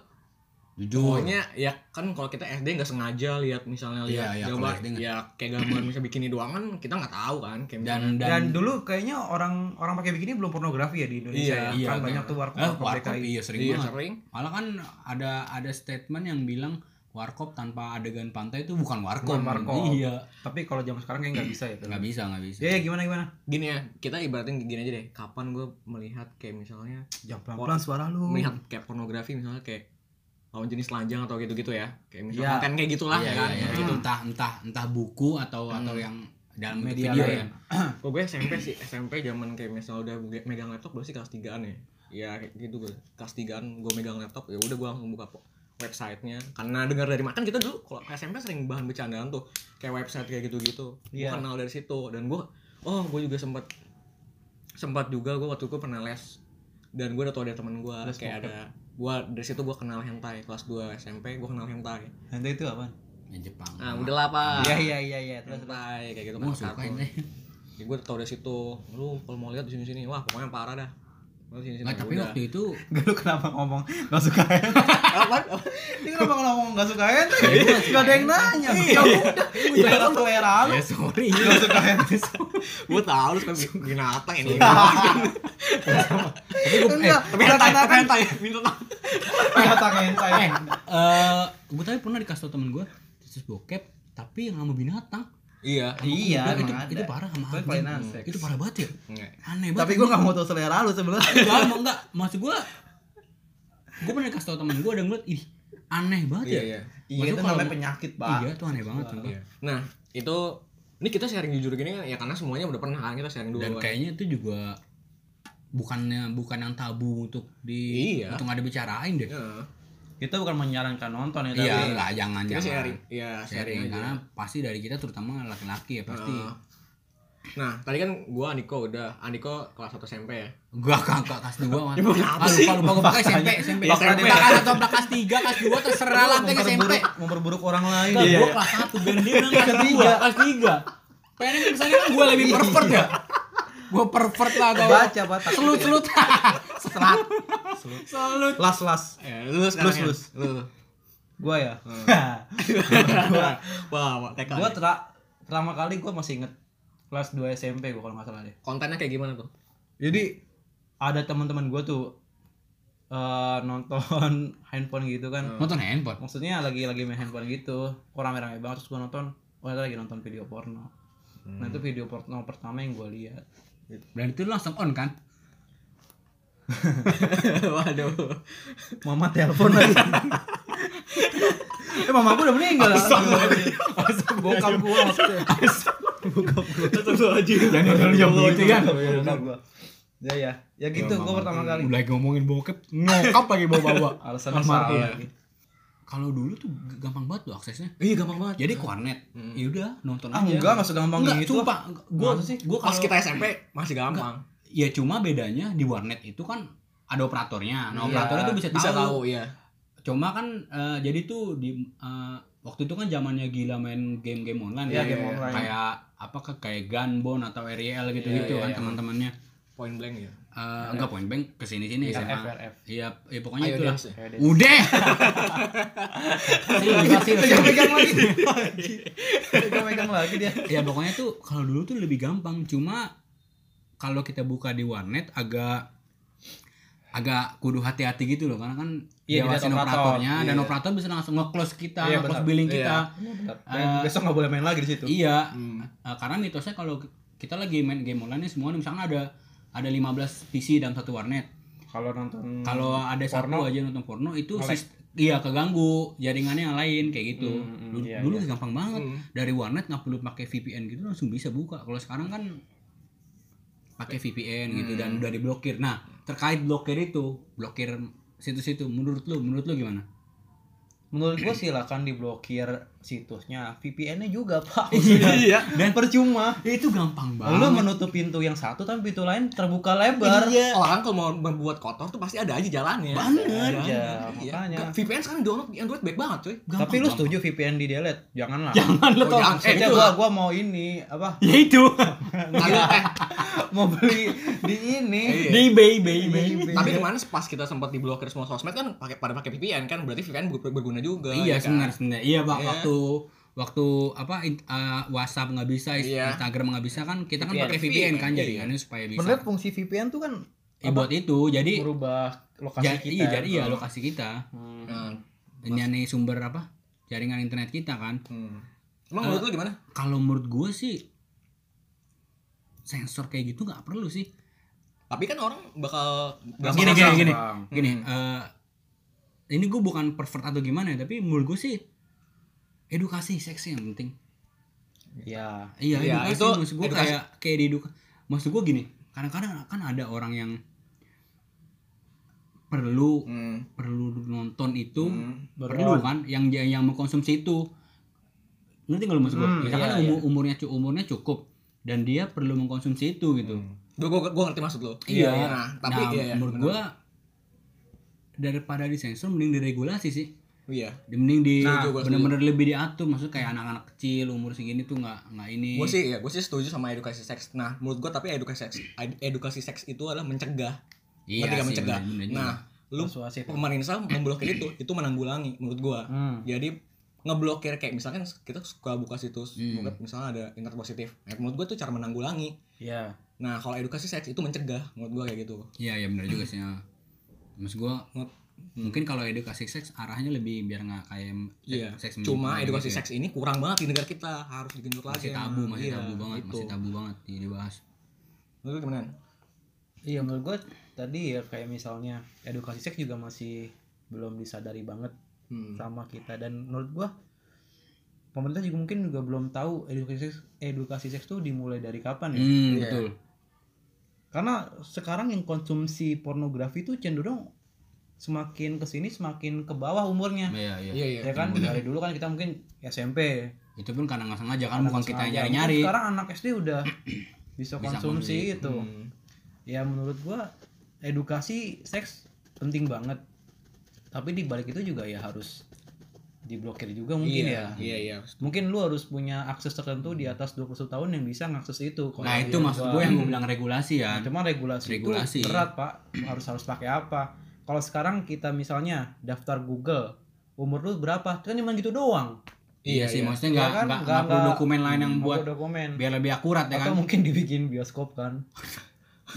[SPEAKER 2] jujur
[SPEAKER 1] Pokoknya ya kan kalau kita SD nggak sengaja lihat misalnya lihat
[SPEAKER 2] Iya, iya,
[SPEAKER 1] gambar
[SPEAKER 2] kalau SD nggak.
[SPEAKER 1] ya kayak gambar misalnya bikini doang kan kita nggak tahu kan kayak
[SPEAKER 2] dan
[SPEAKER 1] misalnya-
[SPEAKER 3] Dan
[SPEAKER 2] dan
[SPEAKER 3] dulu kayaknya orang orang pakai bikini belum pornografi ya di Indonesia.
[SPEAKER 1] Iya,
[SPEAKER 3] ya?
[SPEAKER 2] iya,
[SPEAKER 3] kan
[SPEAKER 2] iya.
[SPEAKER 3] banyak tuh warkop
[SPEAKER 2] eh,
[SPEAKER 3] warkop
[SPEAKER 2] warkop
[SPEAKER 3] DKI.
[SPEAKER 2] iya sering
[SPEAKER 1] iya
[SPEAKER 2] banget
[SPEAKER 1] sering
[SPEAKER 2] malah kan ada ada statement yang bilang warkop tanpa adegan pantai itu bukan warkop
[SPEAKER 3] Bukan warkop.
[SPEAKER 2] iya
[SPEAKER 3] Tapi kalau zaman sekarang kayak nggak bisa ya.
[SPEAKER 2] nggak bisa nggak bisa
[SPEAKER 3] Ya, ya gimana gimana?
[SPEAKER 1] gini ya kita ibaratin gini aja deh kapan gue melihat kayak misalnya
[SPEAKER 3] Jangan pelan-pelan suara lu.
[SPEAKER 1] melihat kayak pornografi misalnya kayak lawan jenis telanjang atau gitu-gitu ya kayak misalnya
[SPEAKER 3] Iya.
[SPEAKER 1] konten kayak gitulah
[SPEAKER 2] iya,
[SPEAKER 1] ya kan
[SPEAKER 2] iya,
[SPEAKER 3] Hmm.
[SPEAKER 2] iya.
[SPEAKER 1] gitu
[SPEAKER 2] entah entah entah buku atau atau yang dalam bentuk
[SPEAKER 3] Media
[SPEAKER 2] video
[SPEAKER 3] lain.
[SPEAKER 2] ya.
[SPEAKER 1] Kok gue SMP sih SMP zaman kayak misalnya udah gue megang laptop gue sih kelas 3an ya ya kayak gitu gue kelas 3an gue megang laptop ya udah gue langsung buka po- websitenya karena dengar dari makan kita dulu kalau SMP sering bahan bercandaan tuh kayak website kayak gitu-gitu
[SPEAKER 3] Iya.
[SPEAKER 1] gue kenal dari situ dan gue oh gue juga sempat sempat juga gue waktu itu pernah les dan gue udah tau dari temen gue
[SPEAKER 3] Les
[SPEAKER 1] kayak
[SPEAKER 3] bokep.
[SPEAKER 1] ada gue dari situ gue kenal hentai kelas 2 SMP gue kenal hentai
[SPEAKER 3] Hentai itu apa?
[SPEAKER 2] yang Ya, Jepang
[SPEAKER 1] nah udahlah pak
[SPEAKER 3] Iya iya iya iya. Terus terus.
[SPEAKER 1] hentai kayak gitu
[SPEAKER 2] Ah, Gua
[SPEAKER 1] kan
[SPEAKER 2] suka
[SPEAKER 1] kartun.
[SPEAKER 2] ini.
[SPEAKER 1] ya, gue tau dari situ lu kalau mau lihat di sini sini wah pokoknya parah dah Lu sini sini
[SPEAKER 3] Iya,
[SPEAKER 2] Nggak, tapi waktu itu
[SPEAKER 3] Gak lu kenapa ngomong gak suka hentai?
[SPEAKER 1] apa
[SPEAKER 3] Ini kenapa kalau ngomong gak suka hentai?
[SPEAKER 2] Ya, gua suka
[SPEAKER 3] Gak ada yang nanya. Ya udah,
[SPEAKER 2] Iya.
[SPEAKER 3] itu selera lu.
[SPEAKER 2] ya sorry
[SPEAKER 3] Gak suka hentai.
[SPEAKER 1] gue tau lu suka binatang ini
[SPEAKER 2] Eh,
[SPEAKER 3] Enggak,
[SPEAKER 1] tapi hentai tapi
[SPEAKER 3] katakan
[SPEAKER 1] hentai binatang
[SPEAKER 3] kata hentai.
[SPEAKER 2] eh eh, gua tapi pernah dikasih tau temen gua terus bokep tapi yang sama binatang
[SPEAKER 1] iya
[SPEAKER 2] Sama
[SPEAKER 3] Iya,
[SPEAKER 2] kuda,
[SPEAKER 3] emang
[SPEAKER 2] itu,
[SPEAKER 3] ada.
[SPEAKER 2] itu parah sama
[SPEAKER 3] Tapi
[SPEAKER 2] anjing.
[SPEAKER 3] paling
[SPEAKER 2] Hmm.
[SPEAKER 3] asik.
[SPEAKER 2] itu parah banget ya
[SPEAKER 1] Enggak.
[SPEAKER 2] aneh banget Iya,
[SPEAKER 3] Tapi gue gak mau tau selera lu sebenarnya.
[SPEAKER 2] enggak mau enggak maksud gua gua pernah dikasih tau temen gua ada ngeliat ih aneh banget
[SPEAKER 1] iya
[SPEAKER 2] ya
[SPEAKER 1] iya
[SPEAKER 2] Maksud
[SPEAKER 3] itu
[SPEAKER 2] kalau-
[SPEAKER 3] namanya penyakit,
[SPEAKER 2] iya
[SPEAKER 3] Pak.
[SPEAKER 2] tuh aneh banget sumpah.
[SPEAKER 1] Iya. nah itu ini kita sharing jujur gini kan ya karena semuanya udah pernah kan kita sharing dulu
[SPEAKER 2] dan kayaknya itu juga bukannya bukan yang tabu untuk di
[SPEAKER 1] Iya.
[SPEAKER 2] untuk nggak dibicarain deh
[SPEAKER 1] Iya.
[SPEAKER 3] Kita bukan menyarankan nonton ya,
[SPEAKER 2] iya
[SPEAKER 3] tapi
[SPEAKER 2] nggak jangan
[SPEAKER 1] kita
[SPEAKER 2] jangan
[SPEAKER 1] sharing iya sharing,
[SPEAKER 2] sharing karena
[SPEAKER 1] aja
[SPEAKER 2] pasti dari kita terutama laki-laki ya pasti
[SPEAKER 1] Heeh. nah tadi kan gue Aniko udah Aniko kelas 1 SMP ya
[SPEAKER 2] Gua kakak kelas 2 Mas.
[SPEAKER 1] Ya,
[SPEAKER 2] Lupa
[SPEAKER 1] bukan apa sih? Iya,
[SPEAKER 2] lupa lupa gua SMP SMP.
[SPEAKER 1] Fakta
[SPEAKER 2] SMP.
[SPEAKER 1] dia.
[SPEAKER 2] Kelas atau kelas 3, kelas 2 terserah lah sampai ke SMP.
[SPEAKER 3] memperburuk, memperburuk orang lain.
[SPEAKER 2] Enggak,
[SPEAKER 1] Iya,
[SPEAKER 2] gua
[SPEAKER 1] iya.
[SPEAKER 2] kelas 1 dan dia bilang kelas 3, kelas 3. Pengen kesannya kan gua lebih pervert ya. Gua pervert lah gua.
[SPEAKER 3] Iya. Baca, Pak.
[SPEAKER 2] Selut-selut. Selat. Selut.
[SPEAKER 3] Las las.
[SPEAKER 1] eh, lu
[SPEAKER 3] Lulus,
[SPEAKER 1] sekarang ya?
[SPEAKER 3] lulus.
[SPEAKER 1] lu
[SPEAKER 3] Gua ya.
[SPEAKER 1] wah TK
[SPEAKER 3] gua tra- pertama kali gua masih inget kelas 2 SMP gua kalau nggak salah deh.
[SPEAKER 1] kontennya kayak gimana tuh
[SPEAKER 3] Jadi ada teman-teman gua tuh eh, nonton handphone gitu kan.
[SPEAKER 2] Nonton handphone.
[SPEAKER 3] Maksudnya lagi lagi main handphone gitu. Kok rame-rame banget terus gua nonton. Oh, ternyata lagi nonton video porno. Nah, itu video porno pertama yang gua lihat.
[SPEAKER 2] Dan itu langsung on kan?
[SPEAKER 1] waduh
[SPEAKER 3] Mama telepon lagi. eh mama gua udah meninggal. Bokap gua maksudnya. Bokap gua.
[SPEAKER 2] Jangan jangan jam gitu
[SPEAKER 3] Iya,
[SPEAKER 2] kan.
[SPEAKER 3] Bokap gua. Ya ya. Ya gitu gua pertama kali.
[SPEAKER 2] Mulai ngomongin bokep, ngokap lagi bawa-bawa.
[SPEAKER 3] Alasannya salah gitu.
[SPEAKER 1] iya.
[SPEAKER 3] lagi.
[SPEAKER 2] Kalau dulu tuh gampang banget tuh aksesnya.
[SPEAKER 1] iya gampang banget
[SPEAKER 2] Jadi kornet, ya udah nonton
[SPEAKER 3] Ah
[SPEAKER 2] aja.
[SPEAKER 3] enggak, enggak segampang
[SPEAKER 2] Enggak,
[SPEAKER 3] gitu.
[SPEAKER 2] sumpah. Gua
[SPEAKER 3] Masa sih?
[SPEAKER 2] gua
[SPEAKER 1] pas
[SPEAKER 2] kalau
[SPEAKER 1] kita SMP masih gampang
[SPEAKER 2] ya cuma bedanya di warnet itu kan ada operatornya.
[SPEAKER 3] Iya,
[SPEAKER 2] Nah, operatornya tuh bisa,
[SPEAKER 1] bisa
[SPEAKER 2] tahu.
[SPEAKER 1] tahu ya
[SPEAKER 2] Cuma kan eh, jadi tuh di eh, waktu itu kan zamannya gila main game-game online
[SPEAKER 3] Iya,
[SPEAKER 2] kan.
[SPEAKER 3] game online.
[SPEAKER 2] Kayak apa kayak Gunbone atau RL gitu-gitu
[SPEAKER 1] Iya, iya,
[SPEAKER 2] kan
[SPEAKER 1] iya.
[SPEAKER 2] teman-temannya.
[SPEAKER 1] point blank ya
[SPEAKER 2] eh, enggak point bank ke sini sini
[SPEAKER 3] Iya,
[SPEAKER 2] SMA.
[SPEAKER 3] FRF.
[SPEAKER 2] Iya, ya pokoknya
[SPEAKER 1] Ayo
[SPEAKER 2] itulah.
[SPEAKER 1] dance ya.
[SPEAKER 3] Kayak dia.
[SPEAKER 2] Udah. Serius,
[SPEAKER 3] Pegang
[SPEAKER 2] serius.
[SPEAKER 3] pegang lagi. Pegang pegang lagi dia.
[SPEAKER 2] ya pokoknya tuh kalau dulu tuh lebih gampang cuma kalau kita buka di warnet agak agak kudu hati-hati gitu loh karena kan
[SPEAKER 3] Iya,
[SPEAKER 2] diawasin
[SPEAKER 3] dilihat operator.
[SPEAKER 2] operatornya dan
[SPEAKER 1] Iya.
[SPEAKER 2] operator bisa langsung nge-close kita,
[SPEAKER 3] Iya,
[SPEAKER 2] nge-close
[SPEAKER 3] benar.
[SPEAKER 2] billing
[SPEAKER 1] Iya.
[SPEAKER 2] kita.
[SPEAKER 3] Dan
[SPEAKER 2] Eh,
[SPEAKER 3] besok nggak boleh main lagi di situ.
[SPEAKER 2] Iya.
[SPEAKER 1] Hmm.
[SPEAKER 2] Eh, karena mitosnya kalau kita lagi main game online nih semuanya misalnya ada ada 15 PC dalam satu warnet.
[SPEAKER 3] Kalau nonton
[SPEAKER 2] Kalau ada
[SPEAKER 3] Hmm, porno.
[SPEAKER 2] satu aja nonton porno itu
[SPEAKER 3] Nge-lag.
[SPEAKER 2] sis- iya keganggu jaringannya yang lain kayak gitu.
[SPEAKER 3] Hmm,
[SPEAKER 2] dulu
[SPEAKER 3] iya,
[SPEAKER 2] dulu
[SPEAKER 3] iya.
[SPEAKER 2] gampang banget
[SPEAKER 1] Hmm.
[SPEAKER 2] dari warnet nggak perlu pakai VPN gitu langsung bisa buka. Kalau sekarang kan pakai VPN gitu dan
[SPEAKER 3] Hmm.
[SPEAKER 2] udah diblokir. Nah, terkait blokir itu, blokir situs-situ menurut lu menurut lu gimana?
[SPEAKER 3] menurut gua silakan diblokir situsnya, VPN-nya juga pak.
[SPEAKER 1] Iya.
[SPEAKER 3] Dan percuma.
[SPEAKER 2] Itu gampang
[SPEAKER 3] Lu menutup pintu yang satu tapi pintu lain terbuka lebar.
[SPEAKER 1] Iya. Orang kalau mau membuat kotor tuh pasti ada aja jalannya.
[SPEAKER 2] Banget.
[SPEAKER 1] Jalannya.
[SPEAKER 3] Iya,
[SPEAKER 1] Iya.
[SPEAKER 3] makanya.
[SPEAKER 1] Nggak, VPN sekarang download di Android baik banget coy.
[SPEAKER 2] Gampang,
[SPEAKER 3] tapi lu
[SPEAKER 2] gampang.
[SPEAKER 3] setuju VPN di delete? Janganlah.
[SPEAKER 2] Jangan lu
[SPEAKER 1] Oh,
[SPEAKER 2] tau.
[SPEAKER 1] jangan.
[SPEAKER 2] Eh,
[SPEAKER 3] Maksudnya
[SPEAKER 2] itu.
[SPEAKER 3] gua gua mau ini apa?
[SPEAKER 2] Ya itu.
[SPEAKER 1] Lalu, eh,
[SPEAKER 3] Mau beli di ini.
[SPEAKER 1] Iya.
[SPEAKER 2] Di eBay, eBay, eBay.
[SPEAKER 1] tapi kemarin pas kita sempat diblokir semua sosmed kan pakai pada pakai VPN kan berarti VPN ber- berguna juga. ya
[SPEAKER 2] Iya,
[SPEAKER 1] kan?
[SPEAKER 2] sebenarnya sebenarnya. Iya, Pak,
[SPEAKER 1] Iya.
[SPEAKER 2] waktu waktu apa in- eh, WhatsApp nggak bisa,
[SPEAKER 1] Iya.
[SPEAKER 2] Instagram nggak bisa kan kita kan
[SPEAKER 3] VPN.
[SPEAKER 2] pakai VPN kan
[SPEAKER 1] Iya.
[SPEAKER 2] jaringannya supaya bisa.
[SPEAKER 3] Bener fungsi VPN tuh kan
[SPEAKER 2] Ya, buat itu. Jadi
[SPEAKER 3] merubah lokasi
[SPEAKER 2] jadi
[SPEAKER 3] kita.
[SPEAKER 2] iya, jadi iya
[SPEAKER 3] Oh.
[SPEAKER 2] lokasi kita.
[SPEAKER 3] Hmm.
[SPEAKER 1] Nah,
[SPEAKER 2] Ini sumber apa? Jaringan internet kita kan.
[SPEAKER 1] hmm. Emang
[SPEAKER 2] Eh.
[SPEAKER 1] menurut lu gimana?
[SPEAKER 2] Kalau menurut gue sih sensor kayak gitu nggak perlu sih.
[SPEAKER 1] Tapi kan orang bakal bakal
[SPEAKER 2] Gini, gini,
[SPEAKER 1] bakal-
[SPEAKER 2] gini.
[SPEAKER 3] Bang.
[SPEAKER 2] gini
[SPEAKER 1] Hmm.
[SPEAKER 2] eh, ini gue bukan pervert atau gimana ya tapi menurut gue sih edukasi seks yang penting
[SPEAKER 3] Iya.
[SPEAKER 2] iya
[SPEAKER 1] Iya,
[SPEAKER 2] edukasi
[SPEAKER 1] itu
[SPEAKER 2] maksud gue
[SPEAKER 1] edukasi.
[SPEAKER 2] kayak kayak dieduk maksud gue gini kadang-kadang kan ada orang yang perlu
[SPEAKER 1] Hmm.
[SPEAKER 2] perlu nonton itu
[SPEAKER 1] Hmm.
[SPEAKER 2] perlu
[SPEAKER 3] Beron.
[SPEAKER 2] kan yang yang mengkonsumsi itu ngerti nggak lu maksud gue
[SPEAKER 3] Hmm,
[SPEAKER 2] misalkan
[SPEAKER 3] iya, iya.
[SPEAKER 2] umur- umurnya cu- umurnya cukup dan dia perlu mengkonsumsi itu gitu
[SPEAKER 1] Gue gua, gua ngerti maksud lo.
[SPEAKER 2] Iya.
[SPEAKER 1] Nah, Hmm. tapi
[SPEAKER 2] nah,
[SPEAKER 1] iya, iya,
[SPEAKER 2] menurut
[SPEAKER 1] benar.
[SPEAKER 2] gue daripada disensor mending diregulasi sih
[SPEAKER 1] Iya.
[SPEAKER 2] Di- mending di
[SPEAKER 1] Nah, gua
[SPEAKER 2] bener-bener lebih diatur maksud kayak anak-anak kecil umur segini tuh nggak nggak ini
[SPEAKER 1] Gue sih ya, gue sih setuju sama edukasi seks. Nah, menurut gue tapi edukasi seks ed- edukasi seks itu adalah mencegah.
[SPEAKER 2] iya
[SPEAKER 1] ketika
[SPEAKER 2] sih,
[SPEAKER 1] mencegah.
[SPEAKER 2] bener-bener juga.
[SPEAKER 1] Nah, lu
[SPEAKER 3] Persuasif.
[SPEAKER 1] pemerintah memblokir itu, itu menanggulangi menurut gue.
[SPEAKER 3] Hmm.
[SPEAKER 1] Jadi ngeblokir kayak misalkan kita suka buka situs,
[SPEAKER 2] Hmm.
[SPEAKER 1] buka- misalnya ada internet positif. Nah, menurut gue itu cara menanggulangi.
[SPEAKER 3] Iya.
[SPEAKER 1] Nah, kalau edukasi seks itu mencegah menurut gue kayak gitu.
[SPEAKER 2] iya iya bener juga sih ya. maksud gue
[SPEAKER 1] Nge-
[SPEAKER 2] mungkin kalau edukasi seks arahnya lebih biar nggak kayak eh,
[SPEAKER 1] Iya.
[SPEAKER 2] seks
[SPEAKER 1] Cuma
[SPEAKER 2] menyimpang
[SPEAKER 1] edukasi
[SPEAKER 2] gitu ya.
[SPEAKER 1] seks ini kurang banget di negara kita, harus digenjot lagi.
[SPEAKER 2] masih
[SPEAKER 1] emang.
[SPEAKER 2] tabu masih
[SPEAKER 1] Iya,
[SPEAKER 2] tabu banget
[SPEAKER 1] gitu.
[SPEAKER 2] masih tabu banget ini dibahas
[SPEAKER 1] Menurut lu gimana?
[SPEAKER 3] Iya menurut gue tadi ya kayak misalnya edukasi seks juga masih belum disadari banget
[SPEAKER 1] Hmm.
[SPEAKER 3] sama kita dan menurut gue pemerintah juga mungkin juga belum tahu edukasi seks edukasi seks tuh dimulai dari kapan ya
[SPEAKER 2] hmm,
[SPEAKER 1] Iya.
[SPEAKER 2] betul
[SPEAKER 3] karena sekarang yang konsumsi pornografi tuh cenderung semakin kesini semakin ke bawah umurnya
[SPEAKER 2] iya iya
[SPEAKER 1] Iya, iya.
[SPEAKER 3] ya kan dari dulu kan kita mungkin SMP
[SPEAKER 2] itu pun karena nggak sengaja kan
[SPEAKER 3] anak
[SPEAKER 2] bukan kita
[SPEAKER 3] sengaja.
[SPEAKER 2] nyari
[SPEAKER 3] Mungkin
[SPEAKER 2] nyari
[SPEAKER 3] sekarang anak SD udah bisa
[SPEAKER 2] Bisa
[SPEAKER 3] konsumsi
[SPEAKER 2] konsumsi.
[SPEAKER 3] itu
[SPEAKER 1] Hmm.
[SPEAKER 3] ya menurut gua edukasi seks penting banget tapi di balik itu juga ya harus diblokir juga mungkin
[SPEAKER 1] iya,
[SPEAKER 3] ya
[SPEAKER 1] Iya, iya.
[SPEAKER 3] mungkin lu harus punya akses tertentu di atas 21 tahun yang bisa ngakses itu Kalau
[SPEAKER 2] nah
[SPEAKER 3] yang
[SPEAKER 2] itu
[SPEAKER 3] iya, gua-
[SPEAKER 2] maksud gue yang gue bilang regulasi
[SPEAKER 3] Nah,
[SPEAKER 2] ya
[SPEAKER 3] cuma regulasi,
[SPEAKER 2] Regulasi.
[SPEAKER 3] itu berat pak harus harus pakai apa kalau sekarang kita misalnya daftar Google umur lu berapa kan cuma gitu doang
[SPEAKER 2] iya sih maksudnya
[SPEAKER 3] Ya kan,
[SPEAKER 2] nggak nggak
[SPEAKER 3] nggak-
[SPEAKER 2] nggak perlu
[SPEAKER 3] nggak-
[SPEAKER 2] dokumen lain yang
[SPEAKER 3] Nggak
[SPEAKER 2] buat
[SPEAKER 3] perlu dokumen
[SPEAKER 2] biar lebih akurat ya
[SPEAKER 3] atau
[SPEAKER 2] kan
[SPEAKER 3] mungkin dibikin bioskop kan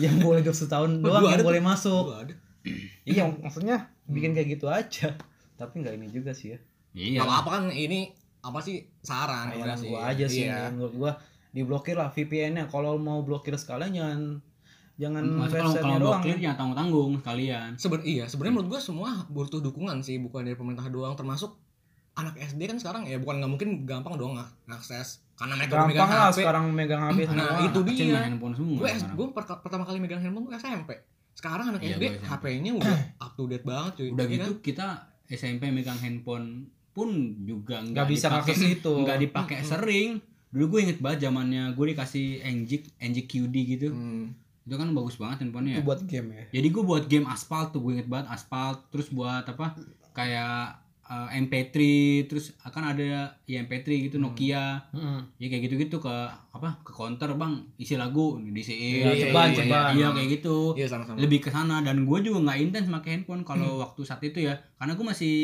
[SPEAKER 3] yang boleh 21 tahun doang
[SPEAKER 1] Gua
[SPEAKER 3] yang
[SPEAKER 1] ada
[SPEAKER 3] boleh masuk
[SPEAKER 1] Gua ada.
[SPEAKER 3] Iya, maksudnya
[SPEAKER 2] Hmm.
[SPEAKER 3] bikin kayak gitu aja. Tapi nggak ini juga sih ya.
[SPEAKER 2] iya
[SPEAKER 1] Kalau apa kan ini apa sih saran
[SPEAKER 3] Bayangan
[SPEAKER 1] rekomendasi.
[SPEAKER 3] gua aja sih,
[SPEAKER 1] Iya.
[SPEAKER 3] menurut gua diblokir lah VPN-nya. Kalau mau blokir sekalian jangan jangan
[SPEAKER 2] Maksudnya kalau
[SPEAKER 3] website-nya
[SPEAKER 2] kalau
[SPEAKER 3] doang. ya.
[SPEAKER 2] blokir jangan tanggung tanggung sekalian
[SPEAKER 1] Seben- iya, sebenarnya menurut gua semua butuh dukungan sih, bukan dari pemerintah doang termasuk anak SD kan sekarang ya bukan nggak mungkin gampang dong ng- ngakses karena mereka udah megang
[SPEAKER 3] Gampang lah
[SPEAKER 1] HP.
[SPEAKER 3] sekarang megang HP
[SPEAKER 1] Nah,
[SPEAKER 3] semua.
[SPEAKER 1] itu
[SPEAKER 2] Kecil
[SPEAKER 1] dia.
[SPEAKER 2] main handphone semua
[SPEAKER 1] Gue
[SPEAKER 2] sekarang.
[SPEAKER 1] pertama kali megang handphone tuh SMP. Sekarang anak
[SPEAKER 2] Iya,
[SPEAKER 1] SD
[SPEAKER 2] gua SMP.
[SPEAKER 1] HP-nya udah up to date banget cuy.
[SPEAKER 2] udah
[SPEAKER 1] Iya
[SPEAKER 2] gitu
[SPEAKER 1] kan?
[SPEAKER 2] kita SMP megang handphone pun juga nggak
[SPEAKER 3] Nggak bisa
[SPEAKER 2] dipakai
[SPEAKER 3] ngakses itu.
[SPEAKER 2] nggak dipakai sering dulu gue inget banget zamannya gue dikasih Enjik Enjik QD gitu
[SPEAKER 1] Hmm.
[SPEAKER 2] itu kan bagus banget handphonenya
[SPEAKER 3] Itu buat game ya.
[SPEAKER 2] jadi gue buat game aspal tuh gue inget banget aspal terus buat apa kayak eh, MP3 terus akan ada ya MP3 gitu Nokia ya kayak gitu-gitu ke apa ke counter bang isi lagu diisiin
[SPEAKER 1] Iya, ceban,
[SPEAKER 2] iya,
[SPEAKER 3] ceban.
[SPEAKER 2] iya, kayak gitu
[SPEAKER 1] Iya sama-sama.
[SPEAKER 2] lebih ke sana dan gue juga nggak intens pakai handphone kalau
[SPEAKER 1] Hmm.
[SPEAKER 2] waktu saat itu ya karena gue masih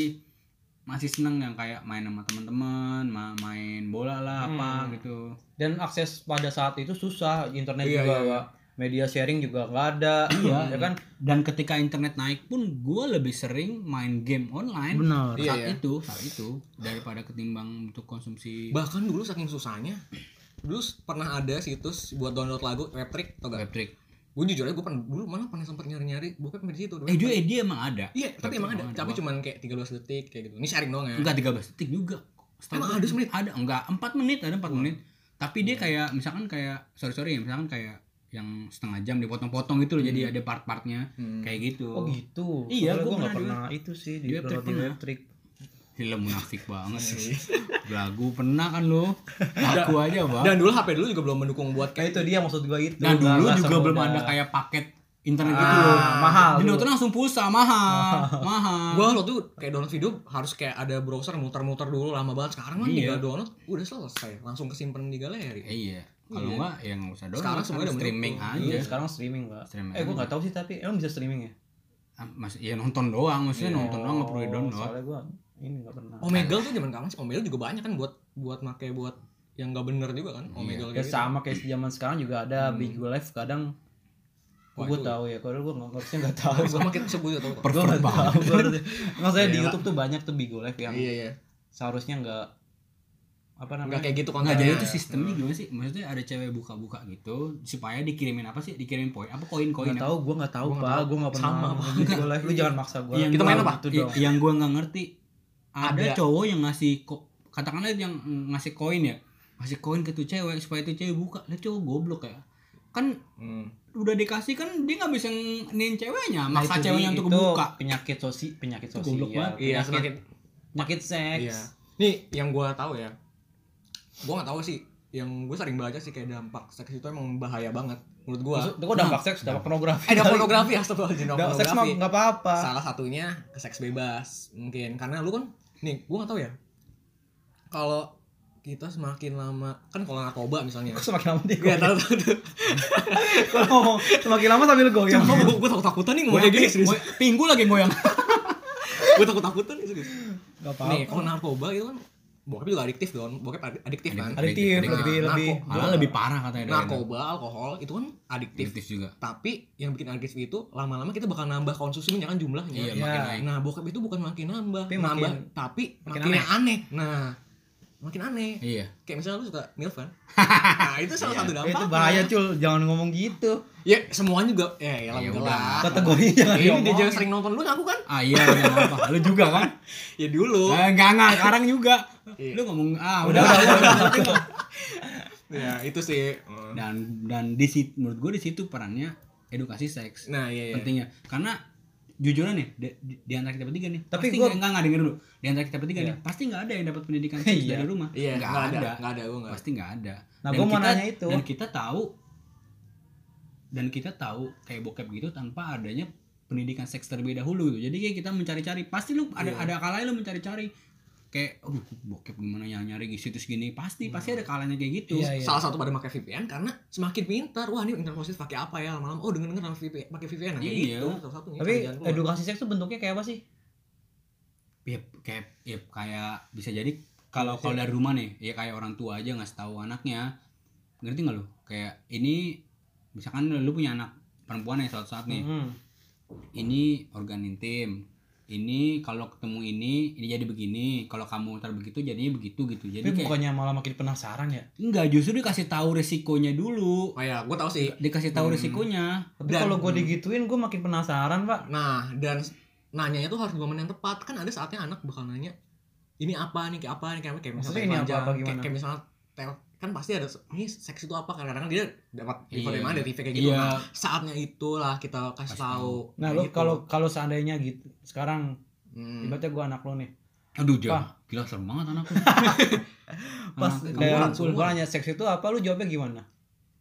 [SPEAKER 2] masih seneng yang kayak main sama teman-teman ma- main bola lah apa
[SPEAKER 1] Hmm.
[SPEAKER 2] gitu
[SPEAKER 3] dan akses pada saat itu susah internet
[SPEAKER 1] Iya, iya,
[SPEAKER 3] juga
[SPEAKER 1] iya.
[SPEAKER 3] nggak- media sharing juga nggak ada
[SPEAKER 2] Iya.
[SPEAKER 3] ya kan
[SPEAKER 2] dan ketika internet naik pun gue lebih sering main game online
[SPEAKER 3] benar
[SPEAKER 1] Iya,
[SPEAKER 2] saat
[SPEAKER 1] iya.
[SPEAKER 2] itu saat itu daripada ketimbang untuk konsumsi
[SPEAKER 1] Bahkan dulu saking susahnya, dulu s- pernah ada situs buat download lagu Reptrick atau enggak?
[SPEAKER 2] web trick
[SPEAKER 1] Gue jujur aja gue pernah dulu malah pernah sempat nyari-nyari bokep di situ.
[SPEAKER 2] eh dia eh, dia emang ada
[SPEAKER 1] Iya, tapi emang ada.
[SPEAKER 2] Web trick emang ada,
[SPEAKER 1] Tapi
[SPEAKER 2] Bang.
[SPEAKER 1] cuman kayak 13 detik kayak gitu. Ini sharing doang ya.
[SPEAKER 2] enggak 13 detik juga Setahu
[SPEAKER 1] Emang
[SPEAKER 2] gua
[SPEAKER 1] ada semenit? Iya.
[SPEAKER 2] ada enggak 4 menit ada 4 menit tapi dia kayak misalkan kayak sorry sorry ya misalkan kayak yang setengah jam dipotong-potong gitu loh jadi ada part-partnya
[SPEAKER 1] Hmm.
[SPEAKER 2] kayak gitu
[SPEAKER 3] oh gitu
[SPEAKER 2] Iya,
[SPEAKER 3] Soalnya
[SPEAKER 2] gua
[SPEAKER 3] gua nggak
[SPEAKER 2] pernah
[SPEAKER 3] pernah itu sih di
[SPEAKER 2] Di web
[SPEAKER 3] download
[SPEAKER 2] trick
[SPEAKER 3] di
[SPEAKER 2] pernah.
[SPEAKER 3] web trick
[SPEAKER 2] film munafik banget
[SPEAKER 3] Iya.
[SPEAKER 2] sih lagu pernah kan lo aku aja bang dan,
[SPEAKER 1] Dan dulu HP dulu juga belum mendukung buat
[SPEAKER 3] Nah,
[SPEAKER 1] kayak gitu.
[SPEAKER 3] itu dia maksud gua itu Nggak-
[SPEAKER 2] Nah, dulu
[SPEAKER 3] nggak
[SPEAKER 2] juga
[SPEAKER 3] semudah-
[SPEAKER 2] belum ada kayak paket internet
[SPEAKER 1] Ah,
[SPEAKER 2] gitu loh
[SPEAKER 3] mahal
[SPEAKER 2] di dokter langsung pulsa mahal mahal
[SPEAKER 1] gua lo tuh kayak download video harus kayak ada browser muter-muter dulu lama banget sekarang kan
[SPEAKER 2] Iya.
[SPEAKER 1] tinggal download udah selesai langsung kesimpan di galeri
[SPEAKER 2] Eh, iya kalau
[SPEAKER 1] Iya.
[SPEAKER 2] enggak ya nggak usah download
[SPEAKER 1] Sekarang semuanya udah
[SPEAKER 2] streaming
[SPEAKER 1] mendukung.
[SPEAKER 2] aja
[SPEAKER 3] Iya, sekarang streaming pak
[SPEAKER 2] Streaming
[SPEAKER 3] eh gua
[SPEAKER 2] aja.
[SPEAKER 3] nggak tahu sih tapi emang bisa streaming ya
[SPEAKER 2] Ah, Mas, ya nonton doang, maksudnya
[SPEAKER 1] Iya.
[SPEAKER 2] nonton doang nggak perlu di download.
[SPEAKER 3] soalnya gua ini nggak pernah
[SPEAKER 1] Omegle tuh zaman kapan sih Omegle juga banyak kan buat buat make buat yang gak bener juga kan
[SPEAKER 2] Iya.
[SPEAKER 1] Omegle
[SPEAKER 3] ya
[SPEAKER 1] kayak gitu.
[SPEAKER 3] sama kayak zaman sekarang juga ada
[SPEAKER 1] Hmm.
[SPEAKER 3] Big Live kadang
[SPEAKER 1] Wah,
[SPEAKER 3] gue
[SPEAKER 1] itu-
[SPEAKER 3] tahu ya kalau gue nggak harusnya nggak tahu gue
[SPEAKER 1] sama kita sebut ya, itu
[SPEAKER 2] Per-
[SPEAKER 3] gue nggak
[SPEAKER 2] banget.
[SPEAKER 3] tahu gua harusnya- maksudnya di
[SPEAKER 2] Gila.
[SPEAKER 3] YouTube tuh banyak tuh Big Live yang
[SPEAKER 1] kan? iya iya
[SPEAKER 3] seharusnya nggak apa
[SPEAKER 1] nggak
[SPEAKER 3] namanya
[SPEAKER 1] kayak gitu
[SPEAKER 2] Enggak
[SPEAKER 1] kontennya
[SPEAKER 2] jadi itu sistemnya
[SPEAKER 3] Iya.
[SPEAKER 2] gimana sih? Maksudnya ada cewek buka-buka gitu supaya dikirimin apa sih? Dikirimin poin apa
[SPEAKER 3] nggak
[SPEAKER 2] koin-koin? apa?
[SPEAKER 3] tahu gue nggak tahu
[SPEAKER 1] ya? Gua nggak
[SPEAKER 3] pak
[SPEAKER 1] tahu.
[SPEAKER 3] gue nggak pernah
[SPEAKER 1] Sama, Pak.
[SPEAKER 3] Big Live lu jangan maksa gue
[SPEAKER 2] Yang
[SPEAKER 1] Kita main apa? Iya.
[SPEAKER 3] itu
[SPEAKER 2] I-
[SPEAKER 3] dong
[SPEAKER 2] yang gua nggak ngerti ada,
[SPEAKER 1] Ada.
[SPEAKER 2] cowok yang ngasih ko- katakanlah yang ngasih koin ya. Ngasih koin ke tuh cewek supaya tuh cewek buka. Lah cowok goblok ya. Kan
[SPEAKER 1] Hmm.
[SPEAKER 2] udah dikasih kan dia nggak bisa nin ceweknya,
[SPEAKER 3] Nah,
[SPEAKER 2] maksa
[SPEAKER 3] itu
[SPEAKER 2] ceweknya
[SPEAKER 3] dia,
[SPEAKER 2] untuk
[SPEAKER 3] itu
[SPEAKER 2] buka.
[SPEAKER 3] penyakit sosi penyakit
[SPEAKER 2] Itu goblok banget.
[SPEAKER 3] sosial
[SPEAKER 1] iya
[SPEAKER 3] penyakit
[SPEAKER 1] semakin
[SPEAKER 3] penyakit
[SPEAKER 1] iya
[SPEAKER 3] seks
[SPEAKER 1] nih yang gua tahu ya gua nggak tahu sih yang gue sering baca sih kayak dampak seks itu emang bahaya banget menurut gua
[SPEAKER 3] Maksud- itu gue dampak seks dampak pornografi
[SPEAKER 1] eh dampak pornografi ya dampak
[SPEAKER 3] dampak seks mah
[SPEAKER 1] pornografi
[SPEAKER 3] nggak apa-apa
[SPEAKER 1] salah satunya ke seks bebas mungkin karena lu kan nih gua nggak tahu ya kalau kita semakin lama kan kalau narkoba misalnya
[SPEAKER 3] Kok semakin lama dia
[SPEAKER 1] gue tahu tahu tahu.
[SPEAKER 3] Kalau ngomong semakin lama sambil goyang.
[SPEAKER 1] Cuma gue, takut takutan nih ngomongnya gini serius
[SPEAKER 2] Ngoy- pinggu lagi ngoyang.
[SPEAKER 1] gue takut takutan nih serius
[SPEAKER 3] Enggak
[SPEAKER 1] nih kalau narkoba itu kan bokep juga adiktif don bokep ad- adiktif kan
[SPEAKER 3] Adiktif Iya,
[SPEAKER 2] Adiktif. Nah,
[SPEAKER 3] lebih
[SPEAKER 1] narko-
[SPEAKER 3] lebih.
[SPEAKER 2] Malah lebih parah katanya. dari-
[SPEAKER 1] narkoba alkohol itu kan adiktif
[SPEAKER 2] Aktif juga.
[SPEAKER 1] tapi yang bikin adiktif itu lama-lama kita bakal nambah konsumsinya kan
[SPEAKER 2] Iya,
[SPEAKER 1] jumlahnya
[SPEAKER 2] makin
[SPEAKER 3] Ya.
[SPEAKER 2] naik.
[SPEAKER 1] nah bokep itu bukan makin nambah
[SPEAKER 3] Tapi makin-
[SPEAKER 1] nambah tapi
[SPEAKER 3] makin
[SPEAKER 1] makin, yang aneh nah makin aneh
[SPEAKER 2] Iya.
[SPEAKER 1] kayak misalnya lu suka milf kan nah itu salah satu
[SPEAKER 3] Eh,
[SPEAKER 1] dampak
[SPEAKER 3] Itu bahaya cul, jangan ngomong gitu.
[SPEAKER 1] ya semuanya juga ya ya
[SPEAKER 2] Ya
[SPEAKER 1] lah
[SPEAKER 3] Kategori jangan
[SPEAKER 1] ini dia
[SPEAKER 3] diomong.
[SPEAKER 1] jangan sering nonton lu ngaku kan
[SPEAKER 2] Ah iya, jangan apa. Lu juga kan?
[SPEAKER 1] ya dulu
[SPEAKER 2] Eh, enggak enggak, sekarang juga.
[SPEAKER 1] Iya.
[SPEAKER 2] Lu ngomong ah
[SPEAKER 3] Udah
[SPEAKER 2] udah.
[SPEAKER 3] udah udah. udah.
[SPEAKER 1] ya itu sih Hmm.
[SPEAKER 2] Dan dan di situ menurut gue di situ perannya edukasi seks
[SPEAKER 1] nah iya iya
[SPEAKER 2] pentingnya. Karena jujur nih di, di- di antara kita bertiga nih
[SPEAKER 3] Tapi
[SPEAKER 2] pasti
[SPEAKER 3] gua-
[SPEAKER 2] enggak enggak enggak, denger dulu di antara kita bertiga
[SPEAKER 3] Iya.
[SPEAKER 2] nih pasti enggak ada yang dapat pendidikan seks
[SPEAKER 3] Iya.
[SPEAKER 2] dari rumah
[SPEAKER 1] iya
[SPEAKER 2] Enggak
[SPEAKER 1] nggak
[SPEAKER 2] ada,
[SPEAKER 1] ada nggak ada gue nggak
[SPEAKER 2] pasti enggak ada
[SPEAKER 3] Nah,
[SPEAKER 2] Dan
[SPEAKER 3] gua mau
[SPEAKER 2] kita-
[SPEAKER 3] nanya itu.
[SPEAKER 2] dan kita tahu dan kita tahu kayak bokep gitu tanpa adanya pendidikan seks terlebih dahulu gitu. jadi kayak kita mencari-cari pasti lu ada
[SPEAKER 1] Iya.
[SPEAKER 2] ada kalanya lu mencari-cari kayak aduh bokep gimana yang nyari di situs gini pasti pasti ada kalanya kayak gitu
[SPEAKER 3] Iya, iya.
[SPEAKER 1] salah satu pada pakai VPN karena semakin pintar wah ini internet pakai apa ya malam oh denger denger sama VPN pakai VPN nah, kayak
[SPEAKER 2] Iya.
[SPEAKER 1] gitu salah satunya
[SPEAKER 3] Tapi
[SPEAKER 1] kerjaan gua.
[SPEAKER 3] edukasi seks tuh bentuknya kayak apa sih?
[SPEAKER 2] ya kayak ya kayak bisa jadi kalau kalau dari rumah nih ya kayak orang tua aja nggak tahu anaknya ngerti nggak lu kayak ini misalkan lu punya anak perempuan nih suatu saat nih
[SPEAKER 3] Hmm.
[SPEAKER 2] ini organ intim ini kalau ketemu ini ini jadi begini kalau kamu ntar begitu jadinya begitu gitu jadi
[SPEAKER 3] Tapi
[SPEAKER 2] kayak
[SPEAKER 3] bukannya malah makin penasaran ya?
[SPEAKER 2] enggak justru dikasih tahu resikonya dulu
[SPEAKER 1] oh ya gue tahu sih
[SPEAKER 2] dikasih tahu
[SPEAKER 1] Hmm.
[SPEAKER 2] resikonya
[SPEAKER 3] Tapi
[SPEAKER 1] Dan-
[SPEAKER 3] kalau gue digituin gue makin penasaran, Pak.
[SPEAKER 1] nah dan s- nanyanya tuh harus momen yang tepat kan ada saatnya anak bakal nanya ini apa nih kayak apa nih kayak kayak misalnya
[SPEAKER 3] Maksudnya ini apa,
[SPEAKER 1] panjang,
[SPEAKER 3] apa
[SPEAKER 1] kayak,
[SPEAKER 3] gimana?
[SPEAKER 1] kayak misalnya tel- kan pasti ada ini seks itu apa karena kadang dia dapat info dari
[SPEAKER 2] Iya.
[SPEAKER 1] mana dari TV kayak gitu
[SPEAKER 2] Iya.
[SPEAKER 1] nah saatnya itulah kita kasih
[SPEAKER 2] Kasih
[SPEAKER 1] tahu
[SPEAKER 3] Nah,
[SPEAKER 1] Kayak
[SPEAKER 3] lo
[SPEAKER 1] gitu.
[SPEAKER 3] kalau kalau seandainya gitu, sekarang
[SPEAKER 1] Hmm.
[SPEAKER 3] ibaratnya gue anak lo nih.
[SPEAKER 2] aduh jauh
[SPEAKER 3] Wah.
[SPEAKER 2] gila serem banget anakku
[SPEAKER 3] Pas
[SPEAKER 2] Anak-
[SPEAKER 3] kayak
[SPEAKER 1] semua.
[SPEAKER 3] gue Nah, nanya seks itu apa, lu jawabnya gimana?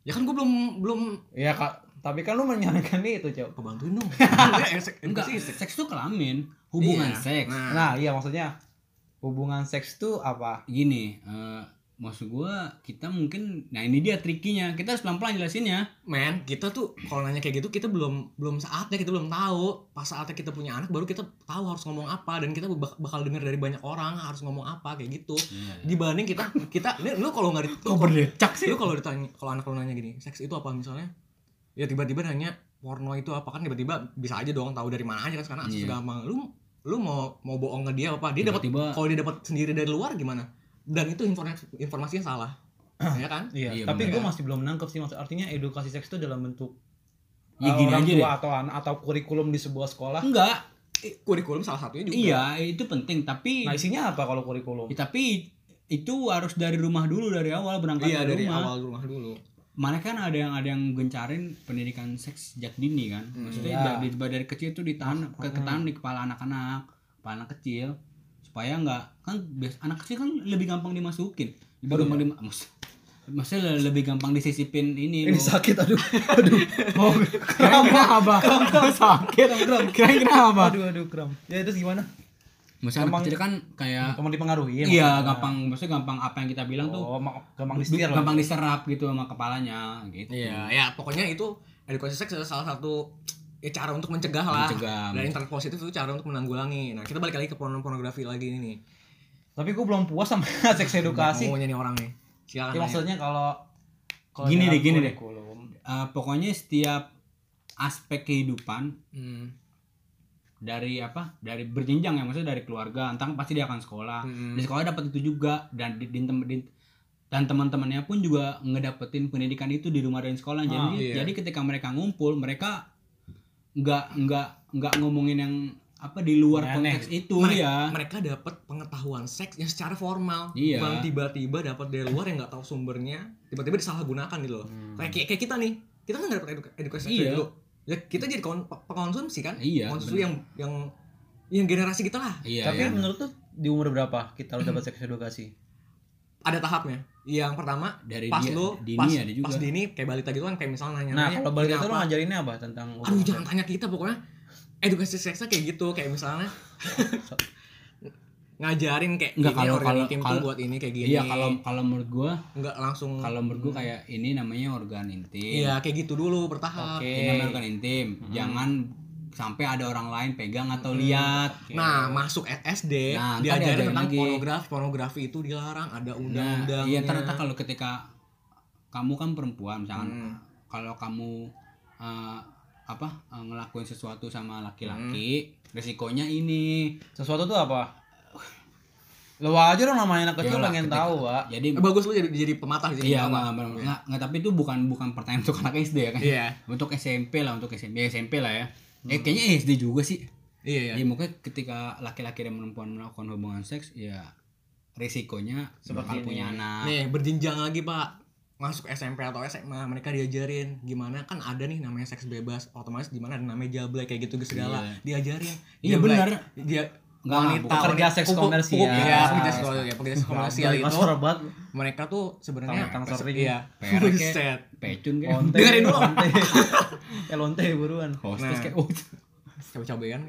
[SPEAKER 1] ya kan gue belum belum
[SPEAKER 3] Ya, Kak. Tapi kan lu menyarankan itu, Cok.
[SPEAKER 1] kebantuin dong
[SPEAKER 2] enggak
[SPEAKER 1] eh, sih
[SPEAKER 2] seks tuh kelamin hubungan
[SPEAKER 1] Iya.
[SPEAKER 2] seks
[SPEAKER 1] nah,
[SPEAKER 3] Nah, iya maksudnya hubungan seks tuh apa?
[SPEAKER 2] Gini, eh, maksud gua kita mungkin nah ini dia trikinya. Kita harus pelan-pelan jelasinnya.
[SPEAKER 1] men kita tuh kalau nanya kayak gitu kita belum belum saatnya kita belum tahu pas saatnya kita punya anak baru kita tahu harus ngomong apa dan kita bak- bakal dengar dari banyak orang harus ngomong apa kayak gitu dibanding kita kita ini lu kalau nggak di- lu kalau-
[SPEAKER 2] berdecak
[SPEAKER 1] lu kalau ditanya kalau anak lu nanya gini seks itu apa misalnya ya tiba-tiba nanya porno itu apa kan tiba-tiba bisa aja dong tahu dari mana aja kan sekarang akses
[SPEAKER 2] Iya.
[SPEAKER 1] gampang lu lu mau mau bohong ke dia apa dia dapat
[SPEAKER 2] Tiba-tiba-
[SPEAKER 1] kalau dia dapat sendiri dari luar gimana dan itu informasi informasinya salah ya kan
[SPEAKER 3] Iya,
[SPEAKER 2] Iya,
[SPEAKER 3] tapi
[SPEAKER 1] bener.
[SPEAKER 3] gue masih belum nangkep sih maksud artinya edukasi seks itu dalam bentuk uh,
[SPEAKER 2] Ya, gini
[SPEAKER 3] orang
[SPEAKER 2] aja
[SPEAKER 3] tua
[SPEAKER 2] deh.
[SPEAKER 3] atau anak atau kurikulum di sebuah sekolah.
[SPEAKER 2] Enggak,
[SPEAKER 1] Eh, kurikulum salah satunya juga
[SPEAKER 2] iya itu penting tapi
[SPEAKER 3] Nah, isinya apa kalau kurikulum?
[SPEAKER 2] Ya, tapi itu harus dari rumah dulu dari awal berangkat
[SPEAKER 1] Iya dari
[SPEAKER 2] dari, rumah.
[SPEAKER 1] awal rumah dulu.
[SPEAKER 2] Mana kan ada yang ada yang gencarin pendidikan seks sejak dini kan.
[SPEAKER 1] Hmm.
[SPEAKER 2] Maksudnya
[SPEAKER 3] Iya.
[SPEAKER 2] dari, dari kecil itu ditahan ke ketahan di kepala anak-anak, kepala anak kecil supaya nggak kan bias, anak kecil kan lebih gampang dimasukin. Lebih gampang dima- maksud- maksudnya le- lebih gampang disisipin ini
[SPEAKER 3] Ini
[SPEAKER 2] loh.
[SPEAKER 3] sakit aduh. Aduh.
[SPEAKER 2] Oh, kirain kenapa? Sakit. Kirain kenapa?
[SPEAKER 3] aduh aduh kram. Ya terus gimana?
[SPEAKER 2] Maksudnya anak
[SPEAKER 3] Gampang-
[SPEAKER 2] kecil kan kayak
[SPEAKER 3] Gampang dipengaruhi. ya,
[SPEAKER 2] iya
[SPEAKER 3] maksudnya.
[SPEAKER 2] gampang maksudnya gampang apa yang kita bilang tuh
[SPEAKER 3] Oh, ma- gampang
[SPEAKER 2] Du-
[SPEAKER 3] disetir.
[SPEAKER 2] gampang diserap gitu sama kepalanya gitu
[SPEAKER 1] Iya, ya pokoknya itu edukasi seks adalah salah satu ya, cara untuk mencegah lah.
[SPEAKER 2] Mencegah.
[SPEAKER 1] Dan internet positif itu cara untuk menanggulangi. Nah, kita balik lagi ke porno pornografi lagi ini nih.
[SPEAKER 3] Tapi gue belum puas sama seks edukasi.
[SPEAKER 1] Maunya nih orang nih. Silakan.
[SPEAKER 2] Iya,
[SPEAKER 3] Ya,
[SPEAKER 1] nanya.
[SPEAKER 3] maksudnya kalau kalau
[SPEAKER 2] Gini
[SPEAKER 3] dalam
[SPEAKER 2] deh, gini deh.
[SPEAKER 3] kurikulum,
[SPEAKER 2] Eh, pokoknya setiap aspek kehidupan
[SPEAKER 1] Hmm.
[SPEAKER 2] dari apa dari berjenjang ya maksudnya dari keluarga entah pasti dia akan sekolah
[SPEAKER 1] Hmm.
[SPEAKER 2] Ah, di sekolah dapat itu juga dan di, di, di- dan teman-temannya pun juga ngedapetin pendidikan itu di rumah dan sekolah jadi
[SPEAKER 3] Ah,
[SPEAKER 1] iya.
[SPEAKER 2] jadi ketika mereka ngumpul mereka nggak nggak nggak ngomongin yang apa di luar
[SPEAKER 3] Aneh.
[SPEAKER 2] konteks itu
[SPEAKER 1] Mereka-
[SPEAKER 2] ya
[SPEAKER 1] Mereka dapat pengetahuan seks yang secara formal.
[SPEAKER 2] Iya.
[SPEAKER 1] Bukan tiba-tiba dapat dari luar yang nggak tahu sumbernya, tiba-tiba disalahgunakan gitu loh. Kayak, kayak kayak kita nih. Kita kan nggak dapat eduka- edukasi seks
[SPEAKER 2] Hmm. Iya.
[SPEAKER 1] dulu. Ya, kita jadi kon- pengonsumsi kan?
[SPEAKER 2] Iya,
[SPEAKER 1] Konsumsi yang yang yang generasi kita lah.
[SPEAKER 2] iya
[SPEAKER 3] Tapi
[SPEAKER 2] iya.
[SPEAKER 3] menurut tuh di umur berapa kita harus dapat seks edukasi?
[SPEAKER 1] Ada tahapnya. Yang pertama
[SPEAKER 2] dari
[SPEAKER 1] pas
[SPEAKER 2] dia,
[SPEAKER 1] lu
[SPEAKER 2] dini
[SPEAKER 1] pas,
[SPEAKER 2] ada juga
[SPEAKER 1] pas dini kayak balita gitu kan kayak misalnya nanya
[SPEAKER 3] Nah,
[SPEAKER 1] nanya,
[SPEAKER 3] kalau balik
[SPEAKER 1] ini
[SPEAKER 3] itu lo
[SPEAKER 1] apa?
[SPEAKER 3] ngajarinnya apa tentang
[SPEAKER 1] aduh jangan tanya kita pokoknya edukasi seksnya kayak gitu kayak misalnya ngajarin kayak
[SPEAKER 2] Nggak, kalau-
[SPEAKER 1] organ
[SPEAKER 2] kalau-
[SPEAKER 1] intim tuh
[SPEAKER 2] kalau-
[SPEAKER 1] buat ini kayak gini
[SPEAKER 2] iya kalau kalau menurut gua
[SPEAKER 1] nggak langsung
[SPEAKER 2] kalau menurut gua kayak ini namanya organ intim
[SPEAKER 1] iya kayak gitu dulu bertahap
[SPEAKER 2] oke ini namanya organ intim jangan sampai ada orang lain pegang atau lihat
[SPEAKER 1] Nah, masuk SD
[SPEAKER 2] Nah, ntar diajarin
[SPEAKER 1] diajarin tentang
[SPEAKER 2] lagi.
[SPEAKER 1] pornografi. Pornografi itu dilarang, ada
[SPEAKER 2] Nah,
[SPEAKER 1] undang-undang. ya.
[SPEAKER 2] iya ternyata kalau ketika kamu kan perempuan misalkan kalau kamu eh, apa eh, ngelakuin sesuatu sama laki-laki resikonya ini
[SPEAKER 3] sesuatu tuh apa? Lo aja dong namanya anak kecil
[SPEAKER 2] Yalah,
[SPEAKER 3] pengen
[SPEAKER 2] Ya ketika-
[SPEAKER 3] tahu, Wak.
[SPEAKER 2] jadi
[SPEAKER 1] Eh, bagus lu jadi jadi pematah jadi
[SPEAKER 2] iya
[SPEAKER 1] pematah.
[SPEAKER 2] nggak nggak- nggak, tapi itu bukan bukan pertanyaan untuk anak SD ya kan
[SPEAKER 1] Iya.
[SPEAKER 2] untuk SMP lah untuk SMP ya, SMP lah ya eh kayaknya SD juga sih
[SPEAKER 1] Iya, iya.
[SPEAKER 2] ya mungkin ketika laki-laki dan perempuan melakukan hubungan seks ya risikonya
[SPEAKER 3] Seperti
[SPEAKER 2] bakal
[SPEAKER 3] ini.
[SPEAKER 2] punya anak
[SPEAKER 1] Nih, berjenjang lagi, Pak. Masuk SMP atau SMA, mereka diajarin gimana kan ada nih namanya seks bebas, otomatis di mana ada namanya jablay kayak gitu segala. Diajarin.
[SPEAKER 2] Iya,
[SPEAKER 1] Jablay.
[SPEAKER 2] benar.
[SPEAKER 1] Dia
[SPEAKER 2] Nggak,
[SPEAKER 1] wanita
[SPEAKER 2] bukan
[SPEAKER 3] kerja seks
[SPEAKER 1] pupuk-
[SPEAKER 3] komersial.
[SPEAKER 1] pupuk- Iya, pekerja seks komersial, pekerja seks komersial
[SPEAKER 3] Gampang,
[SPEAKER 1] itu.
[SPEAKER 3] Mas, orang banget.
[SPEAKER 1] Mereka tuh sebenarnya
[SPEAKER 3] Tang- tang sering.
[SPEAKER 1] Iya.
[SPEAKER 2] Perak, kayak.
[SPEAKER 1] Buset.
[SPEAKER 2] pecun kayak
[SPEAKER 3] Lonte.
[SPEAKER 1] Dengerin dulu.
[SPEAKER 3] lonte. Ya lonte buruan.
[SPEAKER 2] hostess
[SPEAKER 1] Nah.
[SPEAKER 2] kayak oh,
[SPEAKER 1] Cabe-cabean.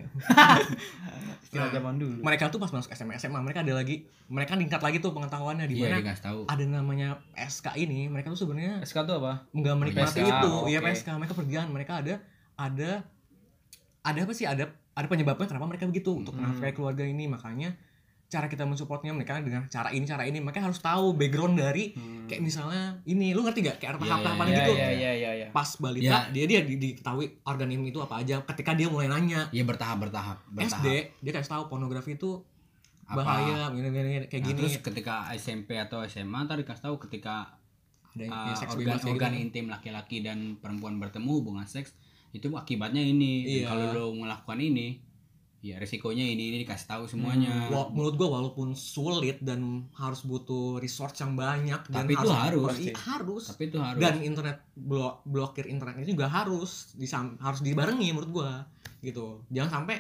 [SPEAKER 3] Istilah zaman dulu.
[SPEAKER 1] ya. mereka tuh pas masuk SMA SMA mereka ada lagi mereka tingkat lagi tuh pengetahuannya di
[SPEAKER 2] iya
[SPEAKER 1] mana
[SPEAKER 2] dikasih tahu
[SPEAKER 1] ada namanya SK ini mereka tuh sebenarnya
[SPEAKER 3] SK tuh apa?
[SPEAKER 1] nggak menikmati
[SPEAKER 3] PSK,
[SPEAKER 1] itu ya
[SPEAKER 3] oke.
[SPEAKER 1] PSK mereka pergian mereka ada ada ada apa sih ada ada penyebabnya kenapa mereka begitu untuk
[SPEAKER 2] Hmm.
[SPEAKER 1] menafkahi keluarga ini makanya cara kita mensupportnya mereka dengan cara ini cara ini mereka harus tahu background dari kayak misalnya ini lu ngerti gak Hmm. kayak
[SPEAKER 2] Iya,
[SPEAKER 1] tahap tahapan
[SPEAKER 2] iya,
[SPEAKER 1] gitu
[SPEAKER 3] Iya, iya, iya, iya.
[SPEAKER 1] pas balita
[SPEAKER 2] Iya.
[SPEAKER 1] dia dia di- diketahui organ ini itu apa aja ketika dia mulai nanya
[SPEAKER 2] iya bertahap bertahap bertahap
[SPEAKER 1] SD dia kasih tahu pornografi itu
[SPEAKER 2] Apa?
[SPEAKER 1] bahaya gini, gini, gini, kayak
[SPEAKER 2] nah,
[SPEAKER 1] gini
[SPEAKER 2] terus ketika SMP atau SMA ntar dikasih tahu ketika
[SPEAKER 1] ada yang-
[SPEAKER 2] uh,
[SPEAKER 1] ya, seks
[SPEAKER 2] organ
[SPEAKER 1] bebas kayak
[SPEAKER 2] organ
[SPEAKER 1] gitu.
[SPEAKER 2] intim laki-laki dan perempuan bertemu hubungan seks itu akibatnya ini Dan
[SPEAKER 1] Iya.
[SPEAKER 2] kalau lo melakukan ini ya resikonya ini ini dikasih tahu semuanya
[SPEAKER 1] Wa- menurut gua walaupun sulit dan harus butuh resource yang banyak dan
[SPEAKER 2] Tapi itu harus.
[SPEAKER 1] i- harus.
[SPEAKER 2] tapi itu harus
[SPEAKER 1] dan internet blo- blokir internet itu juga harus disam- harus dibarengi menurut gua gitu jangan sampai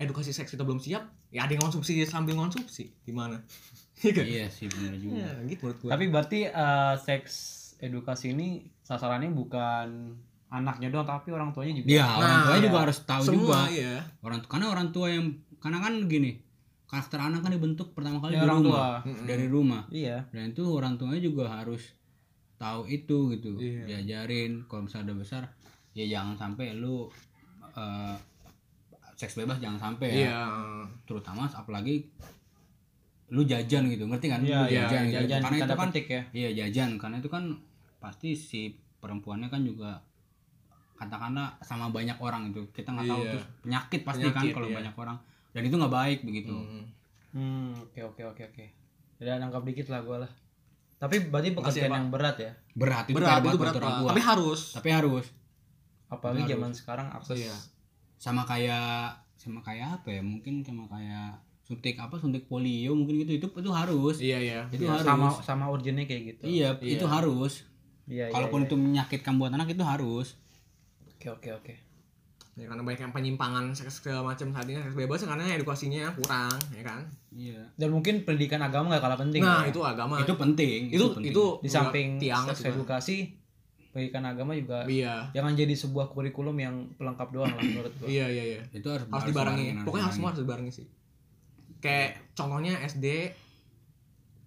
[SPEAKER 1] edukasi seks kita belum siap ya ada yang konsumsi sambil konsumsi gimana Iya kan?
[SPEAKER 2] iya sih benar juga
[SPEAKER 1] ya, gitu menurut gua
[SPEAKER 3] Tapi berarti eh, seks edukasi ini sasarannya bukan anaknya doang tapi orang tuanya juga.
[SPEAKER 2] Iya, orang
[SPEAKER 1] Nah,
[SPEAKER 2] tua
[SPEAKER 1] iya.
[SPEAKER 2] juga harus tahu juga.
[SPEAKER 1] semua ya
[SPEAKER 2] Orang karena orang tua yang karena kan gini, karakter anak kan dibentuk pertama kali
[SPEAKER 3] Ya,
[SPEAKER 2] di
[SPEAKER 3] orang
[SPEAKER 2] rumah
[SPEAKER 3] tua.
[SPEAKER 1] Mm-mm.
[SPEAKER 2] dari rumah
[SPEAKER 3] Iya.
[SPEAKER 2] dan itu orang tuanya juga harus tahu itu gitu
[SPEAKER 1] Iya.
[SPEAKER 2] diajarin kalau misalnya udah besar ya jangan sampai lu eh, seks bebas jangan sampai ya
[SPEAKER 1] Iya.
[SPEAKER 2] terutama apalagi lu jajan gitu ngerti kan
[SPEAKER 3] Iya,
[SPEAKER 2] lu
[SPEAKER 1] iya,
[SPEAKER 2] jajan, gitu.
[SPEAKER 3] Jajan
[SPEAKER 2] karena itu kan
[SPEAKER 3] petik ya.
[SPEAKER 2] iya jajan karena itu kan pasti si perempuannya kan juga katakanlah sama banyak orang gitu kita nggak tahu
[SPEAKER 1] Iya.
[SPEAKER 2] terus penyakit pasti kan
[SPEAKER 1] Penyakit,
[SPEAKER 2] kalau
[SPEAKER 1] iya.
[SPEAKER 2] banyak orang dan itu nggak baik begitu
[SPEAKER 1] Mm.
[SPEAKER 3] Hmm, oke oke oke oke. Udah nangkap dikit lah gua lah. Tapi berarti
[SPEAKER 1] Makasih ya,
[SPEAKER 3] pekerjaan
[SPEAKER 1] Pak.
[SPEAKER 3] yang berat ya.
[SPEAKER 2] berat itu
[SPEAKER 1] Berat itu
[SPEAKER 2] buat
[SPEAKER 1] berat.
[SPEAKER 2] orang
[SPEAKER 1] Pak.
[SPEAKER 2] tua.
[SPEAKER 1] Tapi harus.
[SPEAKER 2] tapi harus
[SPEAKER 3] Apalagi
[SPEAKER 2] Harus.
[SPEAKER 3] zaman sekarang akses
[SPEAKER 1] Iya.
[SPEAKER 2] sama kayak sama kayak apa ya mungkin sama kayak suntik apa suntik polio mungkin gitu itu itu harus
[SPEAKER 1] Iya iya.
[SPEAKER 2] itu harus
[SPEAKER 3] gitu, sama sama urgennya kayak gitu.
[SPEAKER 2] iya
[SPEAKER 1] Iya.
[SPEAKER 2] itu harus
[SPEAKER 3] Iya, iya,
[SPEAKER 2] kalaupun
[SPEAKER 3] iya.
[SPEAKER 2] itu menyakitkan buat anak itu harus
[SPEAKER 3] Oke oke oke.
[SPEAKER 1] Ya, karena banyak yang penyimpangan seks segala macam saat ini seks bebas karena edukasinya kurang ya kan.
[SPEAKER 2] iya
[SPEAKER 3] Dan mungkin pendidikan agama gak kalah penting.
[SPEAKER 1] Nah,
[SPEAKER 3] ya.
[SPEAKER 1] itu agama.
[SPEAKER 2] itu penting
[SPEAKER 1] itu
[SPEAKER 2] penting.
[SPEAKER 1] itu
[SPEAKER 3] di samping
[SPEAKER 1] tiang
[SPEAKER 3] seks
[SPEAKER 1] juga.
[SPEAKER 3] edukasi, pendidikan agama juga
[SPEAKER 1] Iya.
[SPEAKER 3] jangan jadi sebuah kurikulum yang pelengkap doang lah menurut gua.
[SPEAKER 1] Iya iya iya.
[SPEAKER 2] itu harus,
[SPEAKER 1] harus dibarengi
[SPEAKER 2] dibarengin,
[SPEAKER 1] pokoknya harus semua
[SPEAKER 2] dibarengin.
[SPEAKER 1] harus dibarengi sih kayak contohnya SD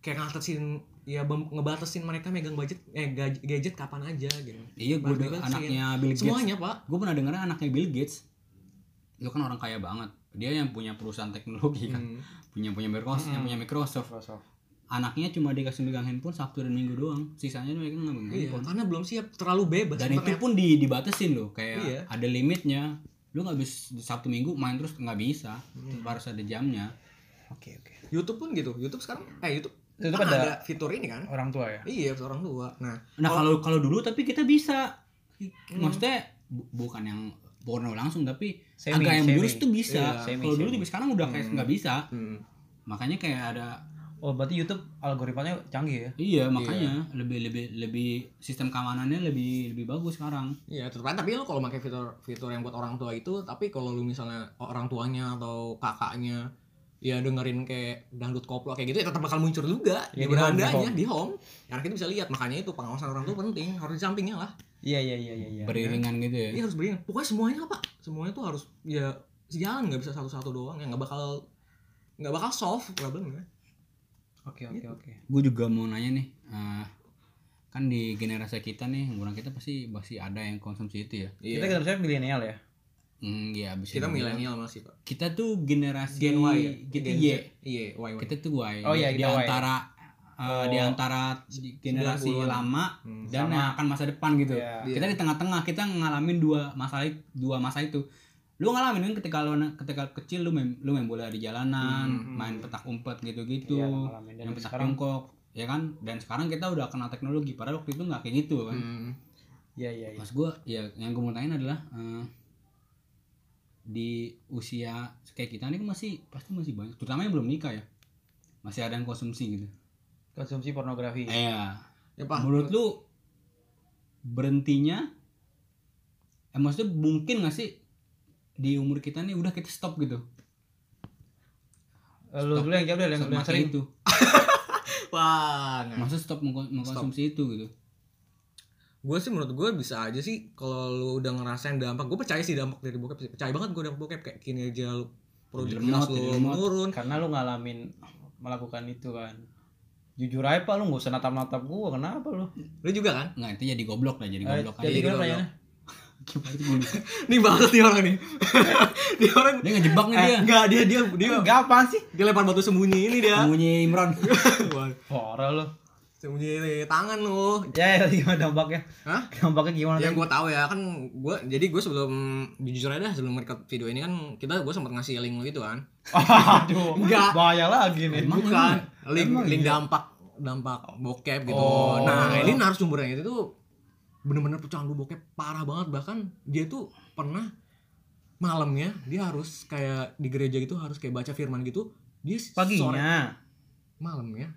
[SPEAKER 1] kayak ngatasin ya bem- ngebatasin mereka megang budget eh gaj- gadget kapan aja gitu
[SPEAKER 2] iya gue
[SPEAKER 1] Harus dibatasin.
[SPEAKER 2] anaknya Bill Gates
[SPEAKER 1] semuanya pak
[SPEAKER 2] gue pernah dengar anaknya Bill Gates itu kan orang kaya banget dia yang punya perusahaan teknologi kan
[SPEAKER 1] Hmm.
[SPEAKER 2] punya punya Microsoft yang
[SPEAKER 3] Mm-mm.
[SPEAKER 2] punya Microsoft anaknya cuma dikasih megang handphone Sabtu dan Minggu doang sisanya mereka nggak megang
[SPEAKER 1] iya
[SPEAKER 2] handphone
[SPEAKER 1] karena belum siap terlalu bebas
[SPEAKER 2] dan itu
[SPEAKER 1] internet.
[SPEAKER 2] pun di, dibatasin loh kayak
[SPEAKER 1] Iya.
[SPEAKER 2] ada limitnya lu nggak bisa sabtu minggu main terus nggak bisa Tetep harus ada jamnya
[SPEAKER 3] Oke oke.
[SPEAKER 1] Hmm. YouTube pun gitu YouTube sekarang eh YouTube
[SPEAKER 3] Itu
[SPEAKER 1] kan
[SPEAKER 3] pada
[SPEAKER 1] ada fitur ini kan
[SPEAKER 3] orang tua ya.
[SPEAKER 1] iya orang tua nah
[SPEAKER 2] nah kalau kalau dulu tapi kita bisa
[SPEAKER 1] Hmm.
[SPEAKER 2] maksudnya bu- bukan yang porno langsung tapi
[SPEAKER 3] Semi,
[SPEAKER 2] agak yang
[SPEAKER 3] semi.
[SPEAKER 2] jurus tuh
[SPEAKER 1] Iya,
[SPEAKER 2] bisa
[SPEAKER 3] semi,
[SPEAKER 2] kalau dulu
[SPEAKER 3] semi.
[SPEAKER 2] tapi sekarang udah kayak
[SPEAKER 1] Hmm.
[SPEAKER 2] nggak bisa
[SPEAKER 1] hmm.
[SPEAKER 2] makanya kayak ada
[SPEAKER 3] Oh, berarti YouTube algoritmanya canggih ya.
[SPEAKER 2] iya makanya lebih lebih lebih sistem keamanannya lebih lebih bagus sekarang
[SPEAKER 1] Iya, tetap aja. tapi lu kalau pakai fitur fitur yang buat orang tua itu, tapi kalau lu misalnya orang tuanya atau kakaknya ya dengerin kayak dangdut koplo kayak gitu ya tetap bakal muncul juga di
[SPEAKER 3] Ya, di home, di
[SPEAKER 1] berandanya
[SPEAKER 3] home.
[SPEAKER 1] di home. Ya, anak itu bisa lihat, makanya itu pengawasan orang tua penting, harus di sampingnya lah.
[SPEAKER 3] Iya iya iya iya. iya.
[SPEAKER 2] beriringan gitu ya
[SPEAKER 1] Ini harus beriringan. Pokoknya semuanya apa? Semuanya tuh harus ya sejalan nggak bisa satu-satu doang ya nggak bakal nggak bakal solve ya. problemnya.
[SPEAKER 3] Oke oke
[SPEAKER 1] Gitu.
[SPEAKER 3] oke.
[SPEAKER 2] gue juga mau nanya nih eh, kan di generasi kita nih umuran kita pasti pasti ada yang konsumsi itu ya
[SPEAKER 3] Kita
[SPEAKER 1] Iya. Kita,
[SPEAKER 3] generasi milenial ya.
[SPEAKER 2] hmm, ya bisa dibilang.
[SPEAKER 1] milenial masih, Pak.
[SPEAKER 2] kita tuh generasi
[SPEAKER 1] Gen Y ya?
[SPEAKER 2] kita
[SPEAKER 1] Gen
[SPEAKER 2] Y.
[SPEAKER 1] Z. Iya, Y. Y.
[SPEAKER 2] kita tuh Y
[SPEAKER 3] Oh, iya,
[SPEAKER 2] di
[SPEAKER 3] kita Y.
[SPEAKER 2] antara eh, di antara generasi
[SPEAKER 1] 90-an.
[SPEAKER 2] lama
[SPEAKER 1] Hmm.
[SPEAKER 3] Sama.
[SPEAKER 2] dan yang akan masa depan gitu
[SPEAKER 3] Iya.
[SPEAKER 2] kita di tengah-tengah kita ngalamin dua masa i- dua masa itu lu ngalamin kan ketika lu ketika kecil lu main, lu main bola di jalanan
[SPEAKER 1] Hmm,
[SPEAKER 2] main petak umpet gitu-gitu
[SPEAKER 3] Iya, ngalamin. Dan
[SPEAKER 2] yang petak
[SPEAKER 3] sekarang-
[SPEAKER 2] jongkok ya kan dan sekarang kita udah kenal teknologi padahal waktu itu nggak kayak gitu kan
[SPEAKER 1] Hmm.
[SPEAKER 3] Iya iya iya.
[SPEAKER 2] Mas gue ya yang gue mau tanyain adalah eh, di usia kayak kita ini kan masih pasti masih banyak terutama yang belum nikah ya masih ada yang konsumsi gitu.
[SPEAKER 3] Konsumsi pornografi.
[SPEAKER 2] Iya.
[SPEAKER 1] Ya, Pak.
[SPEAKER 2] Menurut lu berhentinya? Eh, maksudnya mungkin gak sih di umur kita nih udah kita stop gitu
[SPEAKER 3] Eh, Lu dulu yang jawab deh, yang,
[SPEAKER 2] Stop
[SPEAKER 3] yang
[SPEAKER 2] pakai
[SPEAKER 3] sering.
[SPEAKER 2] itu.
[SPEAKER 1] Wah, nggak
[SPEAKER 2] Maksudnya stop mengko- mengkonsumsi itu gitu.
[SPEAKER 1] gue sih menurut gue bisa aja sih kalau lu udah ngerasain dampak gue percaya sih dampak dari bokep sih percaya banget gue dampak bokep kayak kinerja lu produktivitas
[SPEAKER 2] Jadi lemot,
[SPEAKER 1] lu
[SPEAKER 2] jadi lemot.
[SPEAKER 1] menurun
[SPEAKER 3] Karena lu ngalamin melakukan itu kan. Jujur aja Pak, lu gak usah natap-natap gua, kenapa lu?
[SPEAKER 1] lu juga kan
[SPEAKER 2] Nggak, itu jadi goblok lah, jadi
[SPEAKER 3] Eh,
[SPEAKER 2] goblok aja.
[SPEAKER 3] jadi
[SPEAKER 1] Jadi
[SPEAKER 3] gimana
[SPEAKER 1] goblok.
[SPEAKER 3] pertanyaannya?
[SPEAKER 2] Gimana sih goblok?
[SPEAKER 1] nih banget nih orang nih dia orang
[SPEAKER 2] Dia ngejebak nih dia.
[SPEAKER 1] enggak dia dia dia
[SPEAKER 3] Enggak apa sih?
[SPEAKER 1] dia lempar batu sembunyi ini dia
[SPEAKER 2] Sembunyi Imron.
[SPEAKER 1] Wah,
[SPEAKER 3] Horor lu.
[SPEAKER 1] sembunyi ini, tangan lu
[SPEAKER 3] Ya, ya, gimana dampaknya?
[SPEAKER 1] Hah?
[SPEAKER 3] Dampaknya gimana?
[SPEAKER 1] yang gue tahu ya kan gue jadi gue sebelum jujur aja dah, sebelum merekam video ini kan kita gue sempat ngasih link lu itu kan
[SPEAKER 3] Aduh,
[SPEAKER 1] Enggak.
[SPEAKER 3] Bahaya lagi nih.
[SPEAKER 2] Emang
[SPEAKER 1] bukan
[SPEAKER 2] iya?
[SPEAKER 1] link
[SPEAKER 2] Emang
[SPEAKER 1] link
[SPEAKER 2] iya?
[SPEAKER 1] dampak dampak bokep gitu
[SPEAKER 3] Oh.
[SPEAKER 1] nah ini narasumbernya itu tuh bener-bener pecandu bokep parah banget bahkan dia tuh pernah malamnya dia harus kayak di gereja gitu harus kayak baca firman gitu dia sore
[SPEAKER 3] Paginya.
[SPEAKER 1] malamnya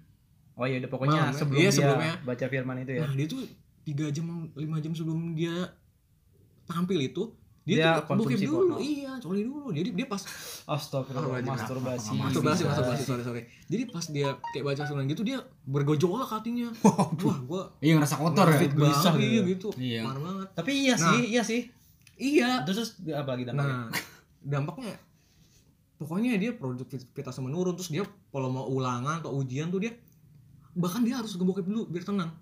[SPEAKER 3] Oh iya, udah
[SPEAKER 1] Malam
[SPEAKER 3] pokoknya
[SPEAKER 1] ya?
[SPEAKER 3] sebelum
[SPEAKER 1] Iya,
[SPEAKER 3] dia
[SPEAKER 1] sebelumnya.
[SPEAKER 3] baca firman itu ya.
[SPEAKER 1] nah dia tuh tiga jam lima jam sebelum dia tampil itu
[SPEAKER 3] Dia
[SPEAKER 1] dia, tuh bokep
[SPEAKER 3] konsumsi
[SPEAKER 1] dulu
[SPEAKER 3] porno.
[SPEAKER 1] iya coli dulu jadi dia pas
[SPEAKER 3] Astagfirullah,
[SPEAKER 1] Oh,
[SPEAKER 3] masturbasi.
[SPEAKER 1] masturbasi
[SPEAKER 3] Iya.
[SPEAKER 1] masturbasi sorry sorry jadi pas dia kayak baca firman gitu dia bergojolak hatinya wah gua
[SPEAKER 2] Iya ngerasa kotor ya.
[SPEAKER 1] fit
[SPEAKER 3] gelisah
[SPEAKER 1] banget iya gitu
[SPEAKER 2] Iya.
[SPEAKER 1] parah banget
[SPEAKER 3] Tapi iya
[SPEAKER 1] Nah.
[SPEAKER 3] sih, iya sih.
[SPEAKER 1] iya
[SPEAKER 3] Terus, terus apa lagi dampaknya?
[SPEAKER 1] nah dampaknya Nah, pokoknya dia produktivitasnya menurun terus dia kalau mau ulangan atau ujian tuh dia bahkan dia harus ngebokep dulu biar tenang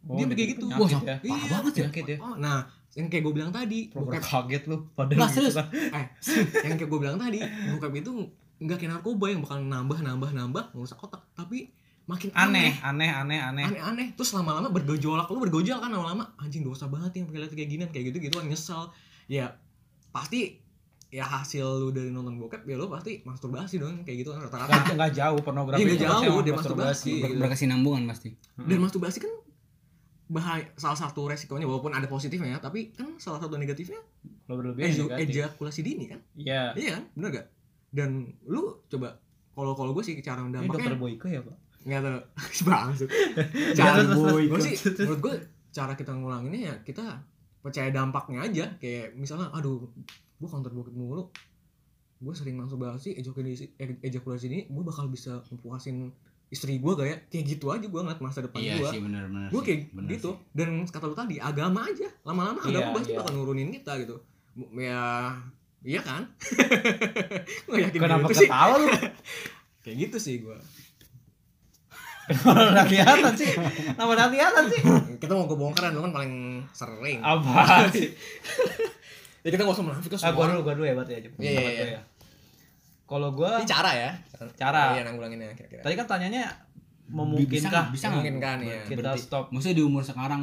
[SPEAKER 1] dia kayak gitu.
[SPEAKER 2] Wah,
[SPEAKER 3] Wah, Oh,
[SPEAKER 2] sam-
[SPEAKER 3] ya.
[SPEAKER 2] parah banget ya.
[SPEAKER 3] Penyakit ya.
[SPEAKER 1] oh, nah yang kayak gue bilang tadi
[SPEAKER 3] Proper
[SPEAKER 1] bokep
[SPEAKER 3] kaget lu gitu kan. pada
[SPEAKER 2] Lah, serius.
[SPEAKER 1] eh yang kayak gue bilang tadi bokep itu nggak kayak narkoba yang bakal nambah nambah nambah merusak otak tapi makin
[SPEAKER 3] Aneh, aneh, aneh, aneh.
[SPEAKER 1] aneh-aneh terus lama-lama bergejolak lu bergojol kan lama-lama anjing dosa banget yang pakai lihat kayak ginian kayak gitu gituan nyesel ya pasti ya hasil lu dari nonton bokep ya lu pasti masturbasi dong kayak gitu kan rata-rata
[SPEAKER 3] Nggak, nggak jauh pornografi.
[SPEAKER 1] Iya, nggak
[SPEAKER 3] itu
[SPEAKER 1] jauh,
[SPEAKER 3] pasti emang
[SPEAKER 1] dia masturbasi.
[SPEAKER 2] Ber- berkesinambungan pasti.
[SPEAKER 1] dan masturbasi kan bahaya salah satu resikonya walaupun ada positifnya ya tapi kan salah satu negatifnya
[SPEAKER 3] Lo berlebih
[SPEAKER 1] eju-
[SPEAKER 3] Iya, negatif.
[SPEAKER 1] ejakulasi dini kan
[SPEAKER 3] Iya.
[SPEAKER 1] iya kan bener gak dan lu coba kalau kalau gue sih cara
[SPEAKER 3] Ini dokter
[SPEAKER 1] dampaknya
[SPEAKER 3] Boyko ya, Pak?
[SPEAKER 1] nggak tahu bangsat cara
[SPEAKER 3] Terus, terus,
[SPEAKER 1] gue
[SPEAKER 3] terus.
[SPEAKER 1] sih menurut gue cara kita ngulanginnya ya kita percaya dampaknya aja kayak misalnya aduh gue counter bokep mulu gue sering masturbasi ejakulasi e- ejakulasi ini gue bakal bisa ngepuasin istri gue kayak kayak gitu aja gue ngeliat masa depan
[SPEAKER 2] Iya
[SPEAKER 1] gue
[SPEAKER 2] sih benar-benar.
[SPEAKER 1] gue kayak
[SPEAKER 2] bener
[SPEAKER 1] gitu dan kata lu tadi agama aja lama-lama agama
[SPEAKER 3] Iya,
[SPEAKER 1] pasti
[SPEAKER 3] iya.
[SPEAKER 1] bakal nurunin kita gitu M- ya iya kan nggak yakin
[SPEAKER 3] Kenapa
[SPEAKER 1] gitu sih
[SPEAKER 3] ketawa lu?
[SPEAKER 1] kayak gitu sih gue
[SPEAKER 3] Kenapa nggak kelihatan sih? Kenapa nggak kelihatan sih?
[SPEAKER 1] kita mau kebongkaran lu kan paling sering
[SPEAKER 3] Apa sih?
[SPEAKER 1] ya kita nggak usah munafik lah
[SPEAKER 3] Ah,
[SPEAKER 1] semua
[SPEAKER 3] gua
[SPEAKER 1] orang.
[SPEAKER 3] dulu, gua dulu ya, Bat ya. Coba
[SPEAKER 1] Iya, iya,
[SPEAKER 3] tempat gua
[SPEAKER 1] iya.
[SPEAKER 3] ya. Kalau gua
[SPEAKER 1] ini cara ya
[SPEAKER 3] Cara.
[SPEAKER 1] iya nanggulanginnya kira-kira
[SPEAKER 3] tadi kan tanyanya memungkinkah
[SPEAKER 2] Bisa nggak?
[SPEAKER 1] mungkin kan ya
[SPEAKER 3] kita
[SPEAKER 2] Berarti-
[SPEAKER 3] stop?
[SPEAKER 2] Maksudnya di umur sekarang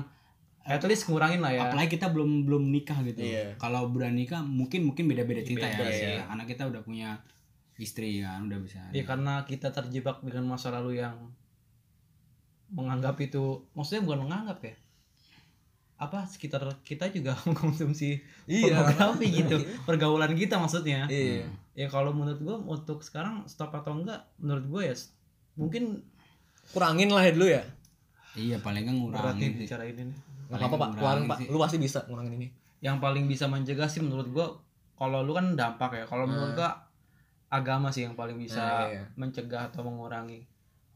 [SPEAKER 3] At least ngurangin lah ya.
[SPEAKER 2] apalagi kita belum belum nikah gitu
[SPEAKER 1] Iya.
[SPEAKER 2] kalau udah nikah mungkin mungkin beda beda cerita
[SPEAKER 1] Beda,
[SPEAKER 2] ya
[SPEAKER 1] iya.
[SPEAKER 2] Iya, anak kita udah punya istri kan udah bisa
[SPEAKER 3] Ya karena kita terjebak dengan masa lalu yang menganggap itu maksudnya bukan menganggap ya. Apa sekitar kita juga mengkonsumsi
[SPEAKER 1] Iya.
[SPEAKER 3] pornografi
[SPEAKER 1] makanya.
[SPEAKER 3] gitu. Pergaulan kita maksudnya.
[SPEAKER 1] iya
[SPEAKER 2] Hmm.
[SPEAKER 3] Ya kalau menurut gua untuk sekarang stop atau enggak menurut gua ya s- mungkin
[SPEAKER 1] kurangin lah ya dulu ya
[SPEAKER 2] iya paling nggak
[SPEAKER 3] berat
[SPEAKER 2] ngurangin
[SPEAKER 3] nih
[SPEAKER 2] sih.
[SPEAKER 3] bicara ini nih.
[SPEAKER 1] nggak apa-apa pak
[SPEAKER 2] Paling
[SPEAKER 1] keluarin pak
[SPEAKER 2] ngurangin
[SPEAKER 1] lu pasti bisa ngurangin ini
[SPEAKER 3] Yang paling bisa mencegah sih menurut gua kalau lu kan dampak ya. Kalau menurut gua agama sih yang paling bisa
[SPEAKER 1] Nah, Hmm. iya.
[SPEAKER 3] mencegah atau mengurangi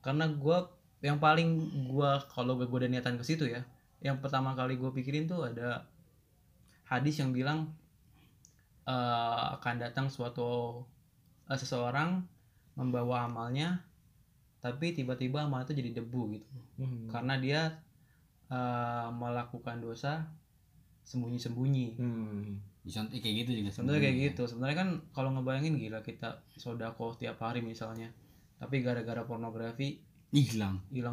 [SPEAKER 3] karena gua yang paling gua kalau gue udah niatan ke situ ya yang pertama kali gue pikirin tuh ada hadis yang bilang eh, akan datang suatu eh, seseorang membawa amalnya tapi tiba-tiba amal itu jadi debu gitu
[SPEAKER 1] Hmm.
[SPEAKER 3] karena dia eh, melakukan dosa sembunyi-sembunyi
[SPEAKER 1] Hmm.
[SPEAKER 2] Contoh- kayak gitu juga
[SPEAKER 3] Sebenarnya kayak
[SPEAKER 2] sebenarnya.
[SPEAKER 3] gitu. Sebenarnya kan kalau ngebayangin gila kita sodako tiap hari misalnya. Tapi gara-gara pornografi
[SPEAKER 2] hilang
[SPEAKER 3] hilang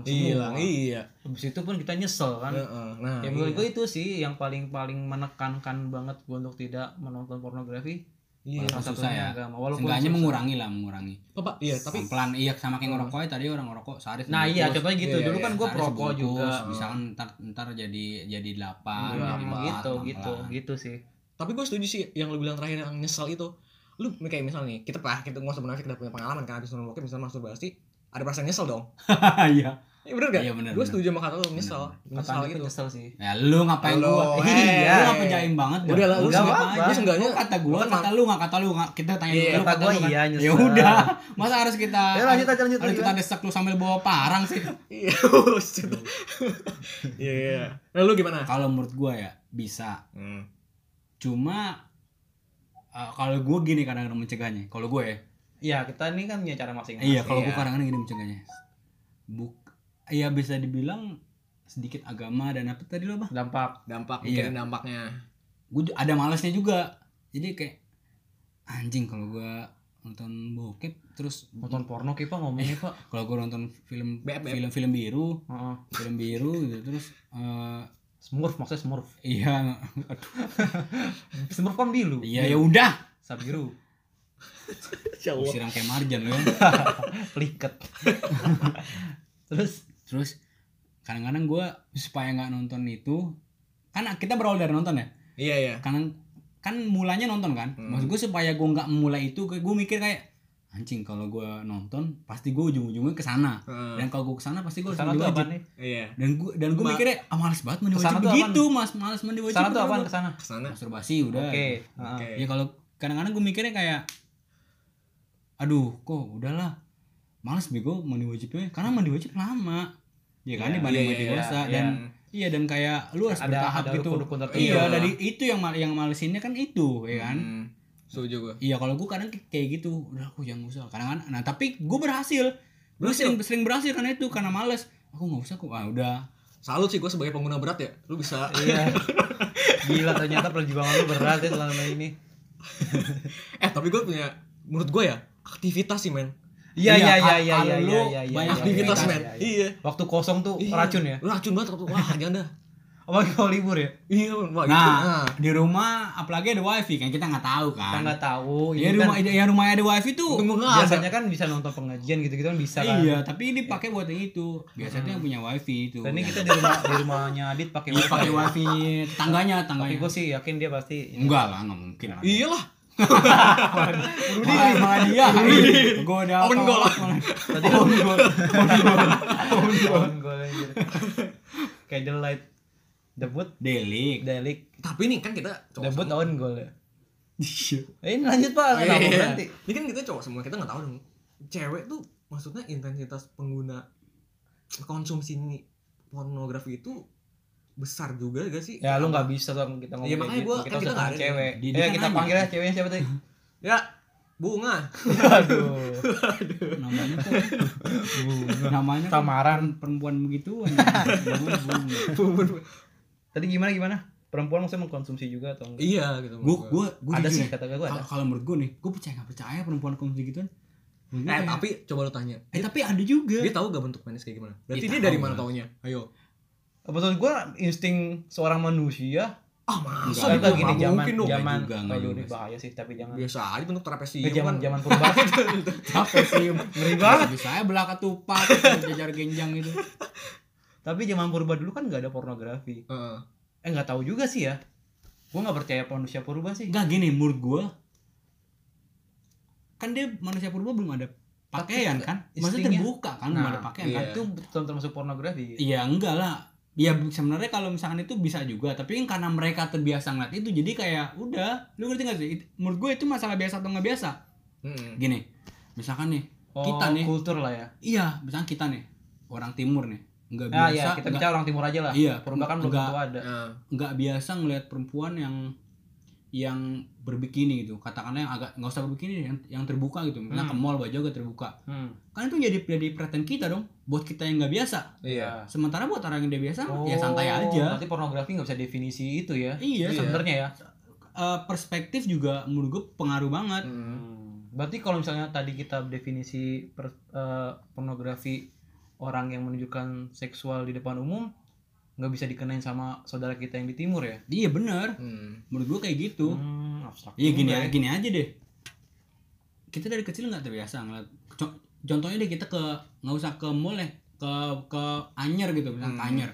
[SPEAKER 1] hilang
[SPEAKER 3] semua.
[SPEAKER 1] iya
[SPEAKER 3] Habis itu pun kita nyesel kan.
[SPEAKER 1] Heeh. nah
[SPEAKER 3] Ya menurut gue itu sih yang paling-paling menekankan banget gue untuk tidak menonton pornografi.
[SPEAKER 1] iya
[SPEAKER 3] Salah
[SPEAKER 2] Susah
[SPEAKER 3] satunya
[SPEAKER 2] ya.
[SPEAKER 3] agama. Walaupun
[SPEAKER 2] Seenggaknya
[SPEAKER 3] susah. Hmm.
[SPEAKER 2] mengurangi lah mengurangi
[SPEAKER 1] apa iya tapi
[SPEAKER 2] pelan iya sama kayak ngerokok tadi orang ngerokok sehari
[SPEAKER 3] Nah iya
[SPEAKER 2] sebungkus.
[SPEAKER 3] contohnya gitu.
[SPEAKER 1] Iya,
[SPEAKER 3] Dulu
[SPEAKER 1] iya,
[SPEAKER 3] kan gue
[SPEAKER 2] Sehari ah,
[SPEAKER 3] perokok
[SPEAKER 2] sebungkus,
[SPEAKER 3] juga.
[SPEAKER 2] misalkan ntar, ntar jadi jadi delapan
[SPEAKER 1] Iya,
[SPEAKER 2] jadi
[SPEAKER 3] Hmm,
[SPEAKER 2] empat,
[SPEAKER 3] gitu
[SPEAKER 2] pelan-pelan.
[SPEAKER 3] gitu gitu sih.
[SPEAKER 1] tapi gue setuju sih yang lu bilang terakhir yang nyesel itu lu kayak misalnya nih kita pernah kita nggak usah munafik kita punya pengalaman kan habis nonton bokep misalnya masturbasi ada perasaan nyesel dong
[SPEAKER 2] iya
[SPEAKER 1] ya, bener gak?
[SPEAKER 2] Iya, bener,
[SPEAKER 1] gue
[SPEAKER 2] bener.
[SPEAKER 1] setuju sama kata lu nyesel nyesel
[SPEAKER 3] Kata
[SPEAKER 1] gitu
[SPEAKER 3] itu nyesel sih.
[SPEAKER 2] ya lu ngapain
[SPEAKER 1] Halo,
[SPEAKER 2] gua
[SPEAKER 1] hei.
[SPEAKER 3] eh.
[SPEAKER 2] iya lu ngapain jaim banget
[SPEAKER 1] udah lah lu
[SPEAKER 2] Nggak
[SPEAKER 1] seenggak-
[SPEAKER 2] apa-apa.
[SPEAKER 1] lu seenggaknya
[SPEAKER 2] Lu kata gua
[SPEAKER 1] Lu kan
[SPEAKER 2] kata lu nggak kata lu nggak kita tanya
[SPEAKER 1] Iya,
[SPEAKER 2] lu
[SPEAKER 3] kata gua
[SPEAKER 2] kan.
[SPEAKER 3] iya, nyesel.
[SPEAKER 2] ya udah masa harus kita
[SPEAKER 3] Ya, lanjut aja, lanjut
[SPEAKER 2] harus
[SPEAKER 3] aja.
[SPEAKER 2] kita desek lu sambil bawa parang sih
[SPEAKER 1] iya bullshit. iya iya. nah lu gimana
[SPEAKER 2] kalau menurut gua ya bisa
[SPEAKER 1] hmm.
[SPEAKER 2] cuma eh, kalau gua gini kadang-kadang mencegahnya kalau gua ya
[SPEAKER 3] Iya kita ini kan punya cara masing-masing.
[SPEAKER 2] iya kalau
[SPEAKER 1] iya.
[SPEAKER 2] gua kadang-kadang gini mencegahnya buk ya bisa dibilang sedikit agama dan apa tadi lo bah
[SPEAKER 3] Dampak.
[SPEAKER 1] dampak
[SPEAKER 2] Iya.
[SPEAKER 1] mikirin dampaknya
[SPEAKER 2] gue ada malasnya juga jadi kayak anjing kalau gua nonton bokep terus
[SPEAKER 3] Nonton porno kita ngomongnya pak.
[SPEAKER 2] kalau gue nonton film
[SPEAKER 1] Beb, beb.
[SPEAKER 2] film film biru
[SPEAKER 3] Heeh.
[SPEAKER 2] film biru gitu terus eh,
[SPEAKER 3] Smurf maksudnya Smurf.
[SPEAKER 2] iya aduh,
[SPEAKER 3] Smurf kan bilu.
[SPEAKER 2] iya ya udah
[SPEAKER 3] Sabiru.
[SPEAKER 1] Insya
[SPEAKER 2] Gua
[SPEAKER 1] Allah.
[SPEAKER 2] siram kayak marjan lo ya
[SPEAKER 3] Peliket. Terus
[SPEAKER 2] terus kadang-kadang gue supaya nggak nonton itu kan kita berawal dari nonton ya
[SPEAKER 1] iya iya
[SPEAKER 2] kan kan mulanya nonton kan
[SPEAKER 1] Hmm.
[SPEAKER 2] maksud gue supaya gue nggak memulai itu gue mikir kayak anjing kalau gue nonton pasti gue ujung-ujungnya ke sana
[SPEAKER 1] Heeh.
[SPEAKER 2] dan kalau gue ke sana pasti gue harus
[SPEAKER 3] Hmm. kesana
[SPEAKER 2] mandi
[SPEAKER 3] tuh apa
[SPEAKER 2] wajib
[SPEAKER 3] nih?
[SPEAKER 1] iya
[SPEAKER 2] dan gue dan gue
[SPEAKER 1] Ma-
[SPEAKER 2] mikirnya ah, males banget mandi
[SPEAKER 3] Kesana
[SPEAKER 2] wajib
[SPEAKER 3] tuh
[SPEAKER 2] begitu mas males mandi wajib
[SPEAKER 3] Kesana tuh
[SPEAKER 2] bener
[SPEAKER 3] apa?
[SPEAKER 2] gua.
[SPEAKER 3] Kesana.
[SPEAKER 1] kesana
[SPEAKER 2] masturbasi udah
[SPEAKER 3] Oke.
[SPEAKER 1] oke
[SPEAKER 3] Heeh.
[SPEAKER 2] ya kalau kadang-kadang gue mikirnya kayak aduh kok udahlah males bego mandi wajibnya karena mandi wajib lama ya kan
[SPEAKER 3] Iya,
[SPEAKER 2] dibanding
[SPEAKER 1] iya,
[SPEAKER 2] mandi
[SPEAKER 1] iya,
[SPEAKER 2] biasa
[SPEAKER 3] iya.
[SPEAKER 2] dan iya dan kayak lu harus
[SPEAKER 3] Ada
[SPEAKER 2] bertahap
[SPEAKER 3] ada
[SPEAKER 2] gitu
[SPEAKER 3] rukun-rukun tertentu.
[SPEAKER 2] iya
[SPEAKER 1] Iya.
[SPEAKER 3] iya
[SPEAKER 2] dari itu yang mal yang malesinnya kan itu ya kan
[SPEAKER 1] Hmm. setuju gue
[SPEAKER 2] Iya kalau gue kadang k- kayak gitu udah aku jangan usah kadang kadang nah tapi gue berhasil gue
[SPEAKER 1] Berhasil.
[SPEAKER 2] sering sering berhasil karena itu karena males aku nggak usah aku ah udah
[SPEAKER 1] salut sih gue sebagai pengguna berat ya lu bisa
[SPEAKER 3] iya gila ternyata perjuangan lu berat ya selama ini
[SPEAKER 1] eh tapi gue punya menurut gue ya aktivitas sih men
[SPEAKER 3] iya iya iya
[SPEAKER 2] Iya,
[SPEAKER 3] iya
[SPEAKER 2] kalau
[SPEAKER 3] iya
[SPEAKER 2] lu
[SPEAKER 3] iya iya
[SPEAKER 2] banyak
[SPEAKER 3] iya,
[SPEAKER 1] aktivitas
[SPEAKER 3] iya,
[SPEAKER 1] men
[SPEAKER 3] iya, iya.
[SPEAKER 1] iya
[SPEAKER 3] waktu kosong tuh
[SPEAKER 1] Iya.
[SPEAKER 3] racun ya
[SPEAKER 1] racun banget waktu- wah jangan dah
[SPEAKER 3] apalagi kalau libur ya
[SPEAKER 1] iya men. wah gitu
[SPEAKER 2] nah di rumah apalagi ada wifi kan kita nggak tahu
[SPEAKER 3] ah. kita
[SPEAKER 2] kan
[SPEAKER 3] nggak tahu
[SPEAKER 2] ya
[SPEAKER 3] Iya, ini kan
[SPEAKER 2] rumah ya rumahnya ada wifi tuh
[SPEAKER 1] tunggu nggak ada
[SPEAKER 3] biasanya kan bisa nonton pengajian gitu-gitu kan bisa kan Hmm.
[SPEAKER 2] iya tapi ini pakai buat yang itu biasanya yang punya wifi itu
[SPEAKER 3] dan ini kita di rumah di rumahnya Adit pakai
[SPEAKER 2] Iya, pakai
[SPEAKER 3] wifi
[SPEAKER 2] wifi
[SPEAKER 3] tapi Iya,
[SPEAKER 2] tangganya tangganya
[SPEAKER 3] gue sih yakin dia pasti ini.
[SPEAKER 2] enggak lah nggak mungkin lah
[SPEAKER 1] iyalah
[SPEAKER 2] malah, malah dia gue udah
[SPEAKER 1] Open goal.
[SPEAKER 3] tadi
[SPEAKER 2] own goal
[SPEAKER 3] Own goal anjir. Candlelight debut
[SPEAKER 2] delik
[SPEAKER 3] Delik
[SPEAKER 1] tapi nih kan kita cowok
[SPEAKER 3] debut
[SPEAKER 1] semua.
[SPEAKER 3] own goal ya Eh, ini lanjut pak kenapa
[SPEAKER 1] Iya.
[SPEAKER 3] berhenti
[SPEAKER 1] ini kan kita cowok semua kita nggak tahu dong cewek tuh maksudnya intensitas pengguna konsumsi ini pornografi itu besar juga gak sih
[SPEAKER 3] ya lu nggak bisa dong kita ngomong
[SPEAKER 1] Iya,
[SPEAKER 3] kayak gitu.
[SPEAKER 1] makanya gua- kan
[SPEAKER 3] kita usah
[SPEAKER 1] kita nggak
[SPEAKER 3] bahas
[SPEAKER 1] ada.
[SPEAKER 3] cewek
[SPEAKER 2] Di-
[SPEAKER 3] ya
[SPEAKER 2] di kan
[SPEAKER 3] kita
[SPEAKER 2] nanya.
[SPEAKER 3] panggil ya ceweknya siapa tadi
[SPEAKER 1] ya bunga
[SPEAKER 3] aduh
[SPEAKER 2] namanya kok namanya kok
[SPEAKER 3] samaran
[SPEAKER 2] perempuan begitu gue
[SPEAKER 3] tadi gimana gimana perempuan maksudnya mengkonsumsi juga atau enggak
[SPEAKER 1] iya gitu
[SPEAKER 2] gue gue
[SPEAKER 3] ada sih kata gue ada
[SPEAKER 2] ya, kalau kalau menurut gue nih gue percaya nggak percaya perempuan konsumsi gituan Menurut gua
[SPEAKER 1] eh
[SPEAKER 2] kayak-
[SPEAKER 1] tapi coba lu tanya
[SPEAKER 2] eh tapi ada juga
[SPEAKER 1] dia tahu gak bentuk penis kayak gimana berarti
[SPEAKER 2] Dia
[SPEAKER 1] dia
[SPEAKER 2] tahu
[SPEAKER 1] dari mana
[SPEAKER 2] lah.
[SPEAKER 1] taunya ayo
[SPEAKER 3] betul gue insting seorang manusia
[SPEAKER 1] ah masa
[SPEAKER 2] Enggak,
[SPEAKER 1] gitu
[SPEAKER 3] kita
[SPEAKER 2] gua
[SPEAKER 3] gini
[SPEAKER 1] Nggak Iya,
[SPEAKER 3] zaman
[SPEAKER 1] mungkin dong
[SPEAKER 3] zaman
[SPEAKER 2] jam- Nggak juga, nggak
[SPEAKER 3] kalau
[SPEAKER 2] juga
[SPEAKER 3] ini
[SPEAKER 2] sih.
[SPEAKER 3] bahaya sih tapi jangan
[SPEAKER 1] biasa aja bentuk
[SPEAKER 3] Ke
[SPEAKER 1] trapesium
[SPEAKER 3] zaman
[SPEAKER 1] kan
[SPEAKER 3] zaman purba
[SPEAKER 2] apa sih ngeri
[SPEAKER 3] banget.
[SPEAKER 2] bisa aja belaka tupak jajar genjang gitu. itu
[SPEAKER 3] tapi zaman purba dulu kan nggak ada pornografi
[SPEAKER 1] Heeh.
[SPEAKER 3] eh nggak tahu juga sih ya gue nggak percaya manusia purba sih
[SPEAKER 2] nggak gini menurut gue kan dia manusia purba belum ada pakaian kan maksudnya
[SPEAKER 3] instingnya-
[SPEAKER 2] terbuka kan belum
[SPEAKER 3] Nah,
[SPEAKER 2] ada pakaian kan
[SPEAKER 1] iya.
[SPEAKER 3] itu betul termasuk pornografi
[SPEAKER 2] Iya enggak lah. Ya sebenarnya kalau misalkan itu bisa juga, tapi kan karena mereka terbiasa ngeliat itu jadi kayak udah, lu ngerti gak sih? It- Menurut gue itu masalah biasa atau nggak biasa.
[SPEAKER 1] Mm-mm.
[SPEAKER 2] Gini, misalkan nih,
[SPEAKER 3] Oh,
[SPEAKER 2] Kita nih.
[SPEAKER 3] kultur lah ya
[SPEAKER 2] iya, misalkan kita nih orang timur nih, nggak
[SPEAKER 3] ah
[SPEAKER 2] biasa,
[SPEAKER 3] ya kita
[SPEAKER 2] nggak-
[SPEAKER 3] bicara orang timur aja lah
[SPEAKER 2] iya,
[SPEAKER 3] purba kan belum
[SPEAKER 2] nggak-
[SPEAKER 3] tentu ada
[SPEAKER 1] Nah,
[SPEAKER 2] nggak biasa ngelihat perempuan yang yang berbikini gitu, katakanlah yang agak nggak usah berbikini, yang, yang terbuka gitu, misalnya
[SPEAKER 3] Hmm.
[SPEAKER 2] ke mall baju agak terbuka,
[SPEAKER 3] Hmm.
[SPEAKER 2] kan itu jadi jadi perhatian kita dong, buat kita yang nggak biasa.
[SPEAKER 1] iya
[SPEAKER 2] Sementara buat orang yang udah biasa,
[SPEAKER 3] Oh.
[SPEAKER 2] ya santai aja.
[SPEAKER 3] Nah. berarti pornografi nggak bisa definisi itu ya
[SPEAKER 2] Iya,
[SPEAKER 1] Iya.
[SPEAKER 3] sebenarnya ya
[SPEAKER 2] Eh, perspektif juga menurut gue pengaruh banget.
[SPEAKER 1] Mm-mm.
[SPEAKER 2] Hmm.
[SPEAKER 3] berarti kalau misalnya tadi kita definisi per- eh, pornografi orang yang menunjukkan seksual di depan umum nggak bisa dikenain sama saudara kita yang di timur ya
[SPEAKER 2] Iya bener,
[SPEAKER 1] Mm.
[SPEAKER 2] menurut gue kayak gitu.
[SPEAKER 3] Hmm, abstrak
[SPEAKER 2] Iya gini
[SPEAKER 3] juga
[SPEAKER 2] aja, gini aja deh. Kita dari kecil nggak terbiasa ngeliat. Co- Contohnya deh kita ke nggak usah ke mall ya, ke ke Anyer gitu, misalnya ke
[SPEAKER 1] Hmm.
[SPEAKER 2] Anyer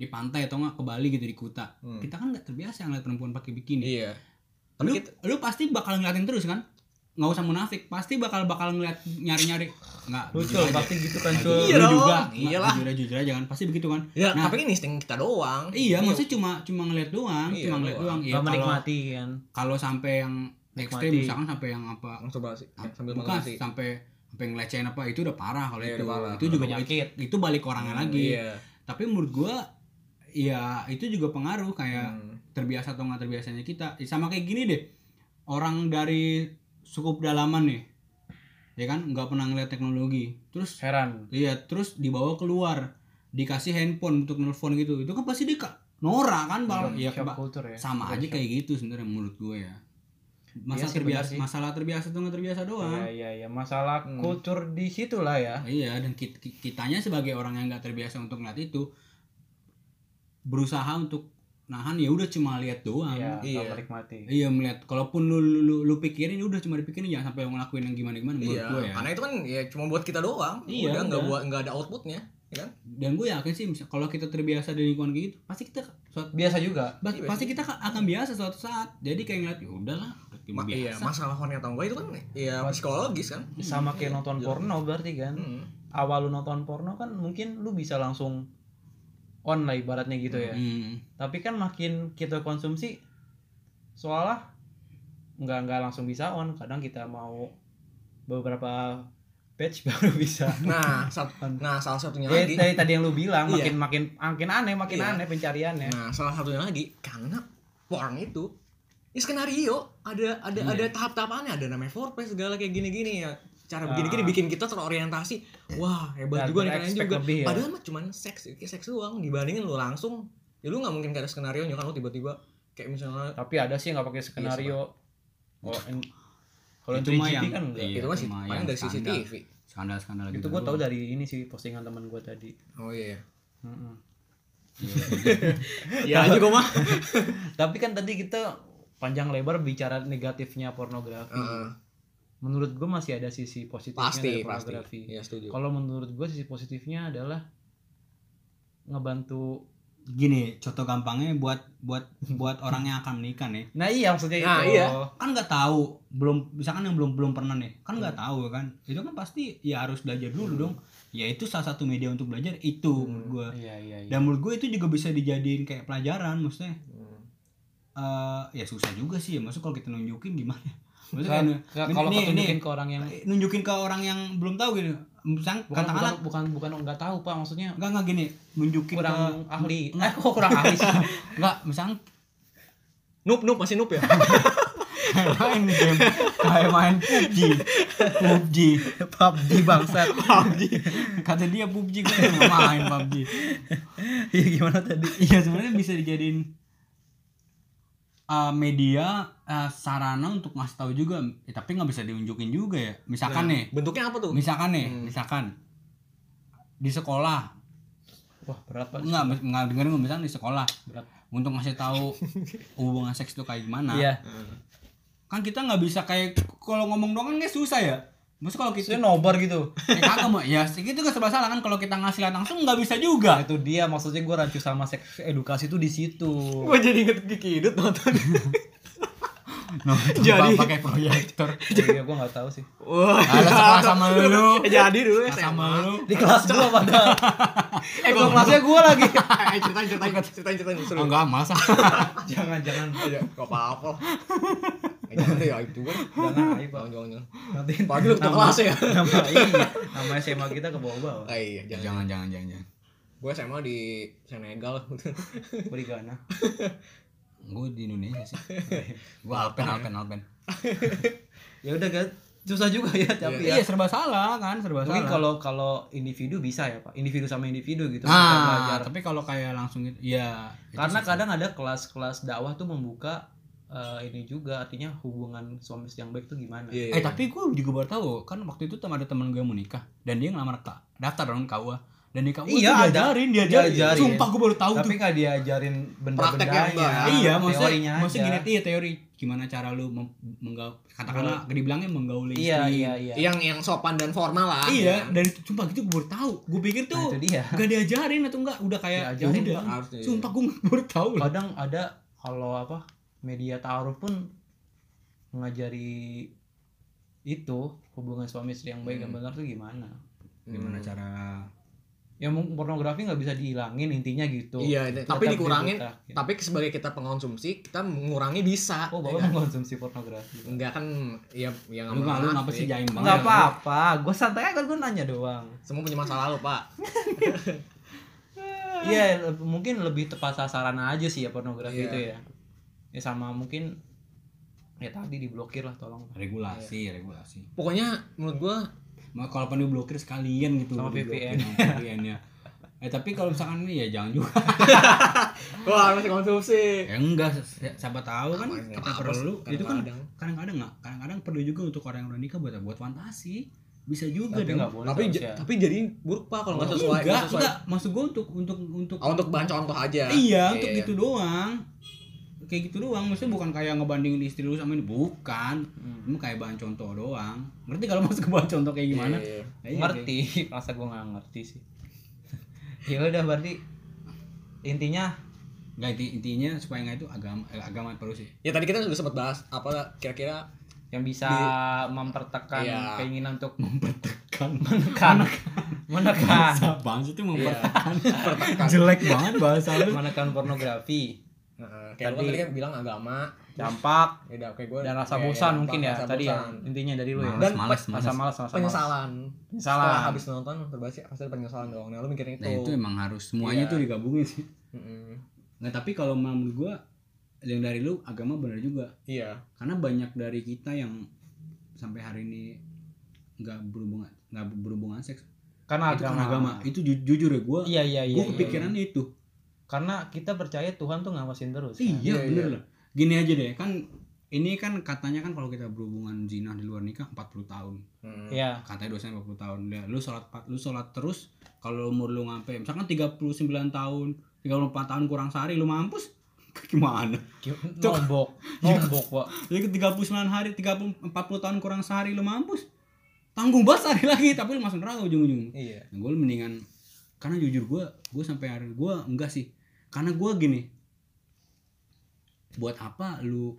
[SPEAKER 2] di pantai atau nggak ke Bali gitu di Kuta.
[SPEAKER 1] Hmm.
[SPEAKER 2] Kita kan nggak terbiasa ngeliat perempuan pakai bikini.
[SPEAKER 1] iya
[SPEAKER 2] Lu,
[SPEAKER 1] tapi kita
[SPEAKER 2] lu pasti bakal ngeliatin terus kan? Nggak usah munafik, pasti bakal bakal ngeliat nyari-nyari. Nggak.
[SPEAKER 3] Lucu,
[SPEAKER 2] jujur aja.
[SPEAKER 3] pasti gitu kan
[SPEAKER 2] Nggak,
[SPEAKER 3] cuy.
[SPEAKER 2] jujur.
[SPEAKER 1] Iya
[SPEAKER 2] Lu
[SPEAKER 1] dong.
[SPEAKER 2] juga.
[SPEAKER 1] Iyalah.
[SPEAKER 2] Iyalah. Jujur aja, jujur aja kan, pasti begitu kan?
[SPEAKER 1] ya
[SPEAKER 2] Nah.
[SPEAKER 1] tapi ini insting kita doang
[SPEAKER 2] Iya, maksudnya cuma cuma ngeliat doang,
[SPEAKER 1] Iya,
[SPEAKER 2] cuma ngeliat
[SPEAKER 1] doang.
[SPEAKER 2] doang. Iya,
[SPEAKER 3] nggak
[SPEAKER 2] kalau-
[SPEAKER 3] menikmati kan
[SPEAKER 2] kalau sampai yang ekstrim
[SPEAKER 3] Nikmati.
[SPEAKER 2] misalkan sampai yang apa
[SPEAKER 1] langsung bahas sih
[SPEAKER 2] ah,
[SPEAKER 1] Eh, sambil
[SPEAKER 2] bukan
[SPEAKER 1] makan sih
[SPEAKER 2] sampai sampai ngelecehin apa itu udah parah kalau
[SPEAKER 1] Iya,
[SPEAKER 2] itu
[SPEAKER 1] udah parah.
[SPEAKER 2] itu juga itu,
[SPEAKER 3] penyakit
[SPEAKER 2] itu balik orangnya lagi
[SPEAKER 1] iya
[SPEAKER 2] tapi menurut gua ya itu juga pengaruh kayak
[SPEAKER 1] Hmm.
[SPEAKER 2] terbiasa atau nggak terbiasanya kita Eh, sama kayak gini deh orang dari suku pedalaman nih ya kan nggak pernah ngeliat teknologi terus
[SPEAKER 3] heran
[SPEAKER 2] iya terus dibawa keluar dikasih handphone untuk nelfon gitu itu kan pasti dia ka- norak kan bal ya
[SPEAKER 3] shock
[SPEAKER 2] ba-
[SPEAKER 3] culture ya
[SPEAKER 2] sama aja kayak gitu sebenarnya menurut gue ya masalah
[SPEAKER 3] sih, benar
[SPEAKER 2] terbiasa
[SPEAKER 3] sih.
[SPEAKER 2] masalah terbiasa tuh nggak terbiasa
[SPEAKER 3] ya
[SPEAKER 2] doang
[SPEAKER 3] ya ya masalah
[SPEAKER 1] Hmm.
[SPEAKER 3] kultur di situ lah ya
[SPEAKER 2] iya dan kit- ki- kitanya sebagai orang yang nggak terbiasa untuk ngeliat itu berusaha untuk nahan ya udah cuma lihat doang
[SPEAKER 3] ya nggak
[SPEAKER 1] Iya.
[SPEAKER 3] menikmati
[SPEAKER 2] iya melihat kalaupun lu lu, lu- lu pikirin ya udah cuma dipikirin jangan sampai lu ngelakuin yang gimana gimana menurut
[SPEAKER 1] iya
[SPEAKER 2] gue ya
[SPEAKER 1] karena itu kan ya cuma buat kita doang
[SPEAKER 2] Iya,
[SPEAKER 1] udah nggak
[SPEAKER 2] udah.
[SPEAKER 1] buat nggak ada outputnya
[SPEAKER 2] dan gue yakin sih misal- kalau kita terbiasa di lingkungan kayak gitu pasti kita suatu-
[SPEAKER 3] biasa juga
[SPEAKER 2] ba-
[SPEAKER 1] Iya,
[SPEAKER 2] pasti kita akan biasa suatu saat jadi kayak ngeliat ya udahlah udah cuma
[SPEAKER 1] Ma- iya
[SPEAKER 2] biasa
[SPEAKER 1] masalah horny atau enggak itu kan ya psikologis kan
[SPEAKER 2] Hmm,
[SPEAKER 3] sama kayak
[SPEAKER 1] iya,
[SPEAKER 3] nonton
[SPEAKER 1] iya.
[SPEAKER 3] porno berarti kan
[SPEAKER 1] Hmm.
[SPEAKER 3] awal lu nonton porno kan mungkin lu bisa langsung on lah ibaratnya gitu ya
[SPEAKER 2] Hmm.
[SPEAKER 3] tapi kan makin kita konsumsi seolah nggak nggak langsung bisa on kadang kita mau beberapa batch baru bisa
[SPEAKER 1] nah sat- nah salah satunya
[SPEAKER 3] ya,
[SPEAKER 1] lagi
[SPEAKER 3] dari tadi yang lu bilang
[SPEAKER 1] Iya.
[SPEAKER 3] makin makin makin aneh makin
[SPEAKER 1] Iya.
[SPEAKER 3] aneh pencariannya
[SPEAKER 1] nah salah satunya lagi karena porn itu ini skenario ada ada
[SPEAKER 2] Iya.
[SPEAKER 1] ada tahap-tahapannya ada namanya foreplay segala kayak gini-gini ya cara
[SPEAKER 4] Ah.
[SPEAKER 1] begini-gini bikin kita terorientasi wah hebat
[SPEAKER 4] Dan
[SPEAKER 1] juga nih kalian
[SPEAKER 4] expect
[SPEAKER 1] juga
[SPEAKER 3] Iya.
[SPEAKER 4] lebih ya.
[SPEAKER 1] padahal mah cuman seks kayak seks doang dibandingin lu langsung ya lu nggak mungkin gak ada skenario nya kan lu tiba-tiba kayak misalnya
[SPEAKER 3] Tapi ada sih nggak pakai skenario. Kalau in- kalau
[SPEAKER 2] Itu mah
[SPEAKER 3] 3GP
[SPEAKER 2] yang-
[SPEAKER 3] kan enggak.
[SPEAKER 2] Iya,
[SPEAKER 1] itu gitu masih
[SPEAKER 2] cuma yang
[SPEAKER 1] paling dari
[SPEAKER 2] standar.
[SPEAKER 1] CCTV
[SPEAKER 2] skandal skandal
[SPEAKER 3] Itu gue tahu dari ini sih postingan teman gue tadi.
[SPEAKER 1] oh iya
[SPEAKER 3] Mm-mm.
[SPEAKER 2] Iya,
[SPEAKER 3] Iya, kan
[SPEAKER 2] ya aja gue mah
[SPEAKER 3] Tapi kan tadi kita panjang lebar bicara negatifnya pornografi.
[SPEAKER 1] Heeh.
[SPEAKER 3] Menurut gue masih ada sisi positifnya
[SPEAKER 1] pasti
[SPEAKER 3] dari
[SPEAKER 1] pasti
[SPEAKER 3] pornografi.
[SPEAKER 1] ya setuju
[SPEAKER 3] Kalau menurut gue sisi positifnya adalah ngebantu.
[SPEAKER 2] gini contoh gampangnya buat buat buat orang yang akan menikah nih
[SPEAKER 3] Nah iya maksudnya
[SPEAKER 1] Nah,
[SPEAKER 3] itu.
[SPEAKER 1] iya.
[SPEAKER 2] kan nggak tahu belum misalkan yang belum belum pernah nih kan nggak tahu kan itu kan pasti ya harus belajar dulu dong ya itu salah satu media untuk belajar itu menurut gue
[SPEAKER 3] Iya iya iya.
[SPEAKER 2] dan menurut gue itu juga bisa dijadiin kayak pelajaran maksudnya
[SPEAKER 1] Hmm.
[SPEAKER 2] eh ya susah juga sih ya maksud kalau kita nunjukin gimana
[SPEAKER 3] Kan-
[SPEAKER 2] maksudnya
[SPEAKER 3] Nggak, kalau
[SPEAKER 2] Ini-
[SPEAKER 3] ketunjukin
[SPEAKER 2] ini-
[SPEAKER 3] ke orang yang
[SPEAKER 2] kayak Eh, nunjukin ke orang yang belum tahu gitu misalkan
[SPEAKER 3] bukan bukan
[SPEAKER 2] katakanlah
[SPEAKER 3] bukan bukan nggak tahu pak maksudnya
[SPEAKER 2] enggak enggak gini nunjukin ke
[SPEAKER 3] kurang ahli. Eh kok kurang ahli sih?
[SPEAKER 2] enggak misalkan
[SPEAKER 1] Nup, nup, masih nup ya?
[SPEAKER 2] kayak main game kayak main PUBG PUBG
[SPEAKER 4] PUBG bangsat.
[SPEAKER 2] PUBG kata dia PUBG gue nggak main PUBG
[SPEAKER 4] Iya gimana tadi?
[SPEAKER 2] iya sebenarnya bisa dijadiin eh, media eh, sarana untuk ngasih tahu juga Eh, tapi nggak bisa diunjukin juga ya misalkan
[SPEAKER 1] Nah,
[SPEAKER 2] nih
[SPEAKER 1] Bentuknya apa tuh?
[SPEAKER 2] misalkan nih
[SPEAKER 1] Hmm.
[SPEAKER 2] misalkan di sekolah
[SPEAKER 3] Wah berat pak.
[SPEAKER 2] nggak nggak dengerin nggak misalkan di sekolah
[SPEAKER 3] Berat.
[SPEAKER 2] untuk ngasih tahu hubungan seks itu kayak gimana
[SPEAKER 3] Iya.
[SPEAKER 2] kan kita nggak bisa kayak kalau ngomong doang kan kayak susah ya Maksudnya kalau kita
[SPEAKER 3] Maksudnya nobar gitu.
[SPEAKER 2] ya kagak mau ya segitu gak serba salah kan kalau kita ngasih lihat langsung nggak bisa juga
[SPEAKER 3] Nah, itu dia maksudnya gue rancu sama seks edukasi tuh di situ.
[SPEAKER 1] Gue jadi inget Kiki Idut nonton
[SPEAKER 2] jadi pakai proyektor
[SPEAKER 3] Oh, iya gue nggak tahu sih.
[SPEAKER 1] Wah, Eh,
[SPEAKER 2] Ada sekolah Ah, sama lu.
[SPEAKER 1] Jadi dulu SMA.
[SPEAKER 2] sama lu
[SPEAKER 3] Di kelas gue padahal.
[SPEAKER 1] Eh,
[SPEAKER 3] Ketua kelasnya gue lagi.
[SPEAKER 1] Eh, ceritain, ceritain, ceritain, ceritain,
[SPEAKER 2] oh,
[SPEAKER 1] seru.
[SPEAKER 2] enggak masa
[SPEAKER 3] jangan jangan
[SPEAKER 1] Iya, Gak apa-apa. Eh, Jangan deh, ya itu kan.
[SPEAKER 3] jangan aib pak.
[SPEAKER 1] Jangan, jangan, jangan.
[SPEAKER 3] Nanti
[SPEAKER 1] Apalagi lu ketua kelas ya.
[SPEAKER 3] Nama iya. Nama SMA kita ke bawah-bawah.
[SPEAKER 1] Eh, iya, jangan.
[SPEAKER 2] jangan jangan jangan jangan
[SPEAKER 1] Gue SMA di Senegal.
[SPEAKER 3] Berigana.
[SPEAKER 2] gue di Indonesia sih gue alpen
[SPEAKER 3] Iya.
[SPEAKER 2] alpen alpen
[SPEAKER 3] Ya udah kan susah juga ya tapi ya.
[SPEAKER 2] iya serba salah kan serba
[SPEAKER 3] Mungkin
[SPEAKER 2] salah
[SPEAKER 3] kalau kalau individu bisa ya pak. Individu sama individu gitu. bisa
[SPEAKER 2] nah
[SPEAKER 3] belajar.
[SPEAKER 2] tapi kalau kayak langsung gitu ya itu
[SPEAKER 3] Karena
[SPEAKER 2] susah.
[SPEAKER 3] kadang ada kelas-kelas dakwah tuh membuka eh, ini juga artinya hubungan suami istri yang baik tuh gimana.
[SPEAKER 1] Iya.
[SPEAKER 2] eh tapi gue juga baru tahu kan waktu itu tem- ada teman gue mau nikah dan dia ngelamar kak daftar dong KUA dan di KUA
[SPEAKER 3] Iya,
[SPEAKER 2] tuh
[SPEAKER 3] ada.
[SPEAKER 2] diajarin diajarin
[SPEAKER 3] Diajarin.
[SPEAKER 2] sumpah gue baru tahu
[SPEAKER 3] Tapi
[SPEAKER 2] tuh
[SPEAKER 3] nggak diajarin
[SPEAKER 1] Prakteknya enggak.
[SPEAKER 3] benda-bendanya.
[SPEAKER 2] iya
[SPEAKER 3] teorinya
[SPEAKER 2] maksudnya maksudnya
[SPEAKER 3] aja.
[SPEAKER 2] gini iya teori gimana cara lu mem- menggaul katakanlah dibilangnya menggauli
[SPEAKER 3] Iya,
[SPEAKER 2] istri
[SPEAKER 3] iya, iya.
[SPEAKER 1] Yang yang sopan dan formal lah.
[SPEAKER 2] Iya,
[SPEAKER 1] ya.
[SPEAKER 2] dari sumpah gitu gue baru tahu. Gue pikir
[SPEAKER 3] Nah,
[SPEAKER 2] tuh
[SPEAKER 3] itu dia.
[SPEAKER 2] gak diajarin atau enggak udah kayak ya
[SPEAKER 3] Diajarin,
[SPEAKER 2] udah.
[SPEAKER 1] Harusnya, iya.
[SPEAKER 2] Sumpah gue baru tahu. loh.
[SPEAKER 3] Kadang ada kalau apa media taruh pun mengajari itu hubungan suami istri yang baik dan benar tuh gimana.
[SPEAKER 2] Gimana
[SPEAKER 1] Hmm.
[SPEAKER 2] cara
[SPEAKER 3] Ya mung- pornografi nggak bisa dihilangin intinya gitu.
[SPEAKER 1] Iya, itu. tapi
[SPEAKER 3] Tetap
[SPEAKER 1] dikurangin.
[SPEAKER 3] dibutakin.
[SPEAKER 1] Tapi sebagai kita pengonsumsi, kita mengurangi bisa.
[SPEAKER 3] Oh,
[SPEAKER 1] ya kan?
[SPEAKER 3] bapak mengkonsumsi pornografi.
[SPEAKER 1] Enggak kan ya yang
[SPEAKER 2] lu nggak- lu ngapa sih jaim banget?
[SPEAKER 3] Enggak apa-apa, gue santai aja gue nanya doang.
[SPEAKER 1] Semua punya masa lalu, Pak.
[SPEAKER 3] Iya, le- mungkin lebih tepat sasaran aja sih ya pornografi
[SPEAKER 1] Iya.
[SPEAKER 3] itu ya. Ya sama mungkin ya tadi diblokir lah tolong.
[SPEAKER 2] Regulasi, regulasi.
[SPEAKER 1] Pokoknya menurut gua
[SPEAKER 2] Maka kalau pengen blokir sekalian gitu.
[SPEAKER 3] Sama VPN.
[SPEAKER 2] VPN-nya. Eh tapi kalau misalkan ini ya jangan juga.
[SPEAKER 1] wah masih konsumsi.
[SPEAKER 2] Ya enggak, si- siapa tahu Ah. kan
[SPEAKER 1] Apa-
[SPEAKER 2] kita
[SPEAKER 1] apa-
[SPEAKER 2] perlu.
[SPEAKER 1] apa-
[SPEAKER 2] Itu kan
[SPEAKER 1] kadang-kadang.
[SPEAKER 2] kadang-kadang enggak, kadang-kadang perlu juga untuk orang yang udah nikah buat buat fantasi. Bisa juga
[SPEAKER 3] Tapi
[SPEAKER 2] dong.
[SPEAKER 3] nggak boleh. ya.
[SPEAKER 1] tapi ja-
[SPEAKER 3] harusnya.
[SPEAKER 1] tapi jadi buruk pak kalau nggak ya. sesuai
[SPEAKER 2] enggak,
[SPEAKER 1] nggak sesuai
[SPEAKER 2] enggak. Maksud gue untuk untuk untuk
[SPEAKER 1] oh, untuk bahan contoh aja
[SPEAKER 2] Iya,
[SPEAKER 1] Iya,
[SPEAKER 2] untuk
[SPEAKER 1] iya.
[SPEAKER 2] gitu doang. Kayak gitu doang, maksudnya bukan kayak ngebandingin istri lu sama ini, bukan.
[SPEAKER 3] Hmm.
[SPEAKER 2] Ini kayak bahan contoh doang. Ngerti kalau masuk ke bahan contoh kayak gimana?
[SPEAKER 1] Iya, iya.
[SPEAKER 2] Nah, iya, kayak-
[SPEAKER 3] ngerti, masa gue nggak ngerti sih. ya udah berarti intinya
[SPEAKER 2] Nggak, inti, intinya supaya nggak itu agama eh, agama perlu sih.
[SPEAKER 1] ya tadi kita sudah sempat bahas apa kira-kira
[SPEAKER 3] yang bisa mempertekan
[SPEAKER 1] Iya.
[SPEAKER 3] keinginan untuk
[SPEAKER 2] Mempertekan.
[SPEAKER 3] menekan menekan
[SPEAKER 2] Bahasa bang itu mempertekan.
[SPEAKER 1] pertekan
[SPEAKER 2] Jelek banget bahasa lu.
[SPEAKER 3] menekan pornografi
[SPEAKER 1] Heeh, kayak lu kan
[SPEAKER 3] Tadi-
[SPEAKER 1] tadi kan bilang agama
[SPEAKER 3] dampak
[SPEAKER 1] ya udah, kayak gue
[SPEAKER 3] dan rasa bosan mungkin ya tadi ya intinya dari lu ya
[SPEAKER 1] Dan
[SPEAKER 2] Males, males, males.
[SPEAKER 3] rasa malas rasa malas.
[SPEAKER 1] penyesalan
[SPEAKER 3] Penyesalan.
[SPEAKER 1] setelah habis nonton terbaik sih pasti ada penyesalan doang nah lu mikirin itu,
[SPEAKER 2] Nah, itu emang harus semuanya
[SPEAKER 1] Iya.
[SPEAKER 2] tuh digabungin sih.
[SPEAKER 1] Mm-mm.
[SPEAKER 2] Nah, tapi kalau menurut gua yang dari lu agama bener juga
[SPEAKER 1] Iya.
[SPEAKER 2] karena banyak dari kita yang sampai hari ini nggak berhubungan nggak berhubungan seks
[SPEAKER 3] karena
[SPEAKER 2] itu
[SPEAKER 3] agama.
[SPEAKER 2] karena agama itu ju- jujur ya gue
[SPEAKER 3] Iya iya iya.
[SPEAKER 2] gue kepikiran itu
[SPEAKER 3] Karena kita percaya Tuhan tuh ngawasin terus.
[SPEAKER 2] iya,
[SPEAKER 1] Iya,
[SPEAKER 2] bener
[SPEAKER 1] iya.
[SPEAKER 2] lah gini aja deh kan ini kan katanya kan kalau kita berhubungan zina di luar nikah 40 tahun
[SPEAKER 1] Hmm.
[SPEAKER 3] Iya.
[SPEAKER 2] katanya dosanya 40 tahun ya, lu sholat pa- lu sholat terus kalau umur lu nyampe misalkan 39 tahun 34 tahun kurang sehari lu mampus gimana
[SPEAKER 3] Nombok, nombok, Pak.
[SPEAKER 2] jadi ke 39 hari 30 40 tahun kurang sehari lu mampus tanggung banget sehari lagi tapi lu masuk neraka ujung-ujung
[SPEAKER 3] Iya.
[SPEAKER 2] nah, gue mendingan karena jujur gue gue sampai hari gue enggak sih karena gue gini buat apa lu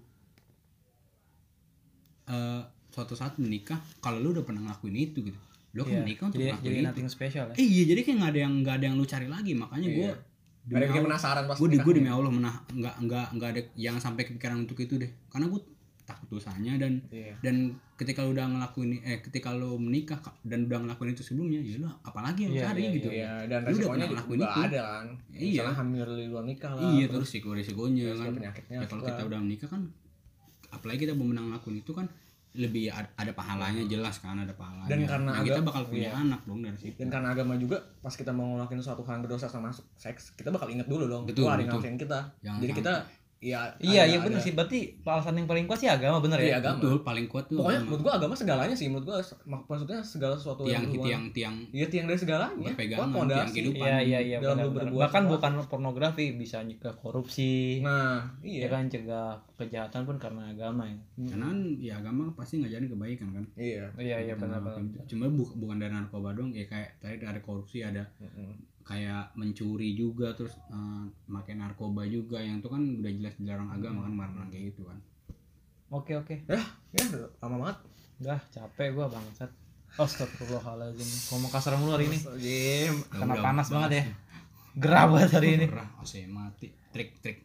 [SPEAKER 2] eh suatu saat menikah kalau lu udah pernah ngelakuin itu gitu lu kan
[SPEAKER 3] Iya.
[SPEAKER 2] menikah untuk
[SPEAKER 3] Jadi
[SPEAKER 2] ngelakuin
[SPEAKER 3] jadi
[SPEAKER 2] itu
[SPEAKER 3] nothing special ya.
[SPEAKER 2] Eh, iya jadi kayak nggak ada yang nggak ada yang lu cari lagi makanya gue
[SPEAKER 1] Iya. Ada yang bikin penasaran kan? Iya. pas
[SPEAKER 2] gue di
[SPEAKER 1] nikah.
[SPEAKER 2] gue demi Allah menah nggak nggak nggak ada jangan sampai kepikiran untuk itu deh karena gue takut dosanya dan
[SPEAKER 1] Iya.
[SPEAKER 2] dan ketika lu udah ngelakuin eh ketika lu menikah ka- dan udah ngelakuin itu sebelumnya ya lu apalagi yang
[SPEAKER 3] Iya,
[SPEAKER 2] cari
[SPEAKER 3] iya,
[SPEAKER 2] gitu
[SPEAKER 1] Iya, dan
[SPEAKER 2] Lu udah
[SPEAKER 1] resikonya
[SPEAKER 2] pernah ngelakuin
[SPEAKER 1] juga
[SPEAKER 2] itu?
[SPEAKER 1] ada kan.
[SPEAKER 2] Iya.
[SPEAKER 1] Misalnya hamil di luar nikah lah.
[SPEAKER 2] iya terus resiko resikonya
[SPEAKER 1] resiko
[SPEAKER 2] kan
[SPEAKER 1] penyakitnya.
[SPEAKER 2] ya kalau
[SPEAKER 1] lah.
[SPEAKER 2] kita udah menikah kan apalagi kita belum menang ngelakuin itu kan lebih a- ada pahalanya jelas kan ada pahalanya
[SPEAKER 1] Iya. Dan karena
[SPEAKER 2] Nah, kita
[SPEAKER 1] agak-
[SPEAKER 2] bakal punya
[SPEAKER 1] iya.
[SPEAKER 2] anak dong dari situ
[SPEAKER 1] dan karena agama juga pas kita mau ngelakuin suatu hal yang berdosa sama seks kita bakal inget dulu dong
[SPEAKER 2] Betul,
[SPEAKER 1] wah ada yang
[SPEAKER 2] betul.
[SPEAKER 1] ngelakuin kita
[SPEAKER 2] Jangan
[SPEAKER 1] jadi kita
[SPEAKER 2] sampai.
[SPEAKER 1] ya
[SPEAKER 3] Iya,
[SPEAKER 1] ada-
[SPEAKER 3] iya benar
[SPEAKER 1] ada-
[SPEAKER 3] sih. Berarti alasan yang paling kuat sih agama bener
[SPEAKER 1] iya
[SPEAKER 3] ya.
[SPEAKER 1] agama
[SPEAKER 2] betul paling kuat tuh
[SPEAKER 1] pokoknya
[SPEAKER 2] agama.
[SPEAKER 1] menurut gua agama segalanya sih menurut gua se- mak- maksudnya segala sesuatu
[SPEAKER 2] tiang
[SPEAKER 1] berhubungan-
[SPEAKER 2] tiang tiang
[SPEAKER 1] iya tiang dari segalanya
[SPEAKER 2] Berpegangan,
[SPEAKER 1] Pokoknya
[SPEAKER 2] tiang
[SPEAKER 1] fondasi.
[SPEAKER 2] kehidupan.
[SPEAKER 3] Iya iya iya.
[SPEAKER 1] Dalam
[SPEAKER 3] benar,
[SPEAKER 1] lu
[SPEAKER 3] benar.
[SPEAKER 1] berbuat
[SPEAKER 3] Bahkan
[SPEAKER 1] apa.
[SPEAKER 3] bukan pornografi bisa nyegah korupsi.
[SPEAKER 1] nah
[SPEAKER 3] Ya
[SPEAKER 1] iya Hmm.
[SPEAKER 3] kan cegah kejahatan pun karena agama ya.
[SPEAKER 2] karena ya agama pasti ngajarin kebaikan kan
[SPEAKER 1] iya
[SPEAKER 3] Iya iya
[SPEAKER 2] Kita
[SPEAKER 3] benar
[SPEAKER 2] ngelakuin
[SPEAKER 3] benar.
[SPEAKER 2] itu. cuma bu- bukan dari narkoba doang ya kayak tadi ada korupsi ada
[SPEAKER 1] Mm-mm.
[SPEAKER 2] kayak mencuri juga terus eh, pakai narkoba juga yang itu kan udah jelas dilarang agama kan marah kayak gitu kan
[SPEAKER 3] Oke oke.
[SPEAKER 1] ya lama banget
[SPEAKER 3] Udah capek gua bangsat. Astagfirullahaladzim. Ngomong kasar mulu hari ini.
[SPEAKER 1] Jim
[SPEAKER 3] Karena panas banget ya. Gerah banget hari ini.
[SPEAKER 2] gerah AC oh, mati trik trik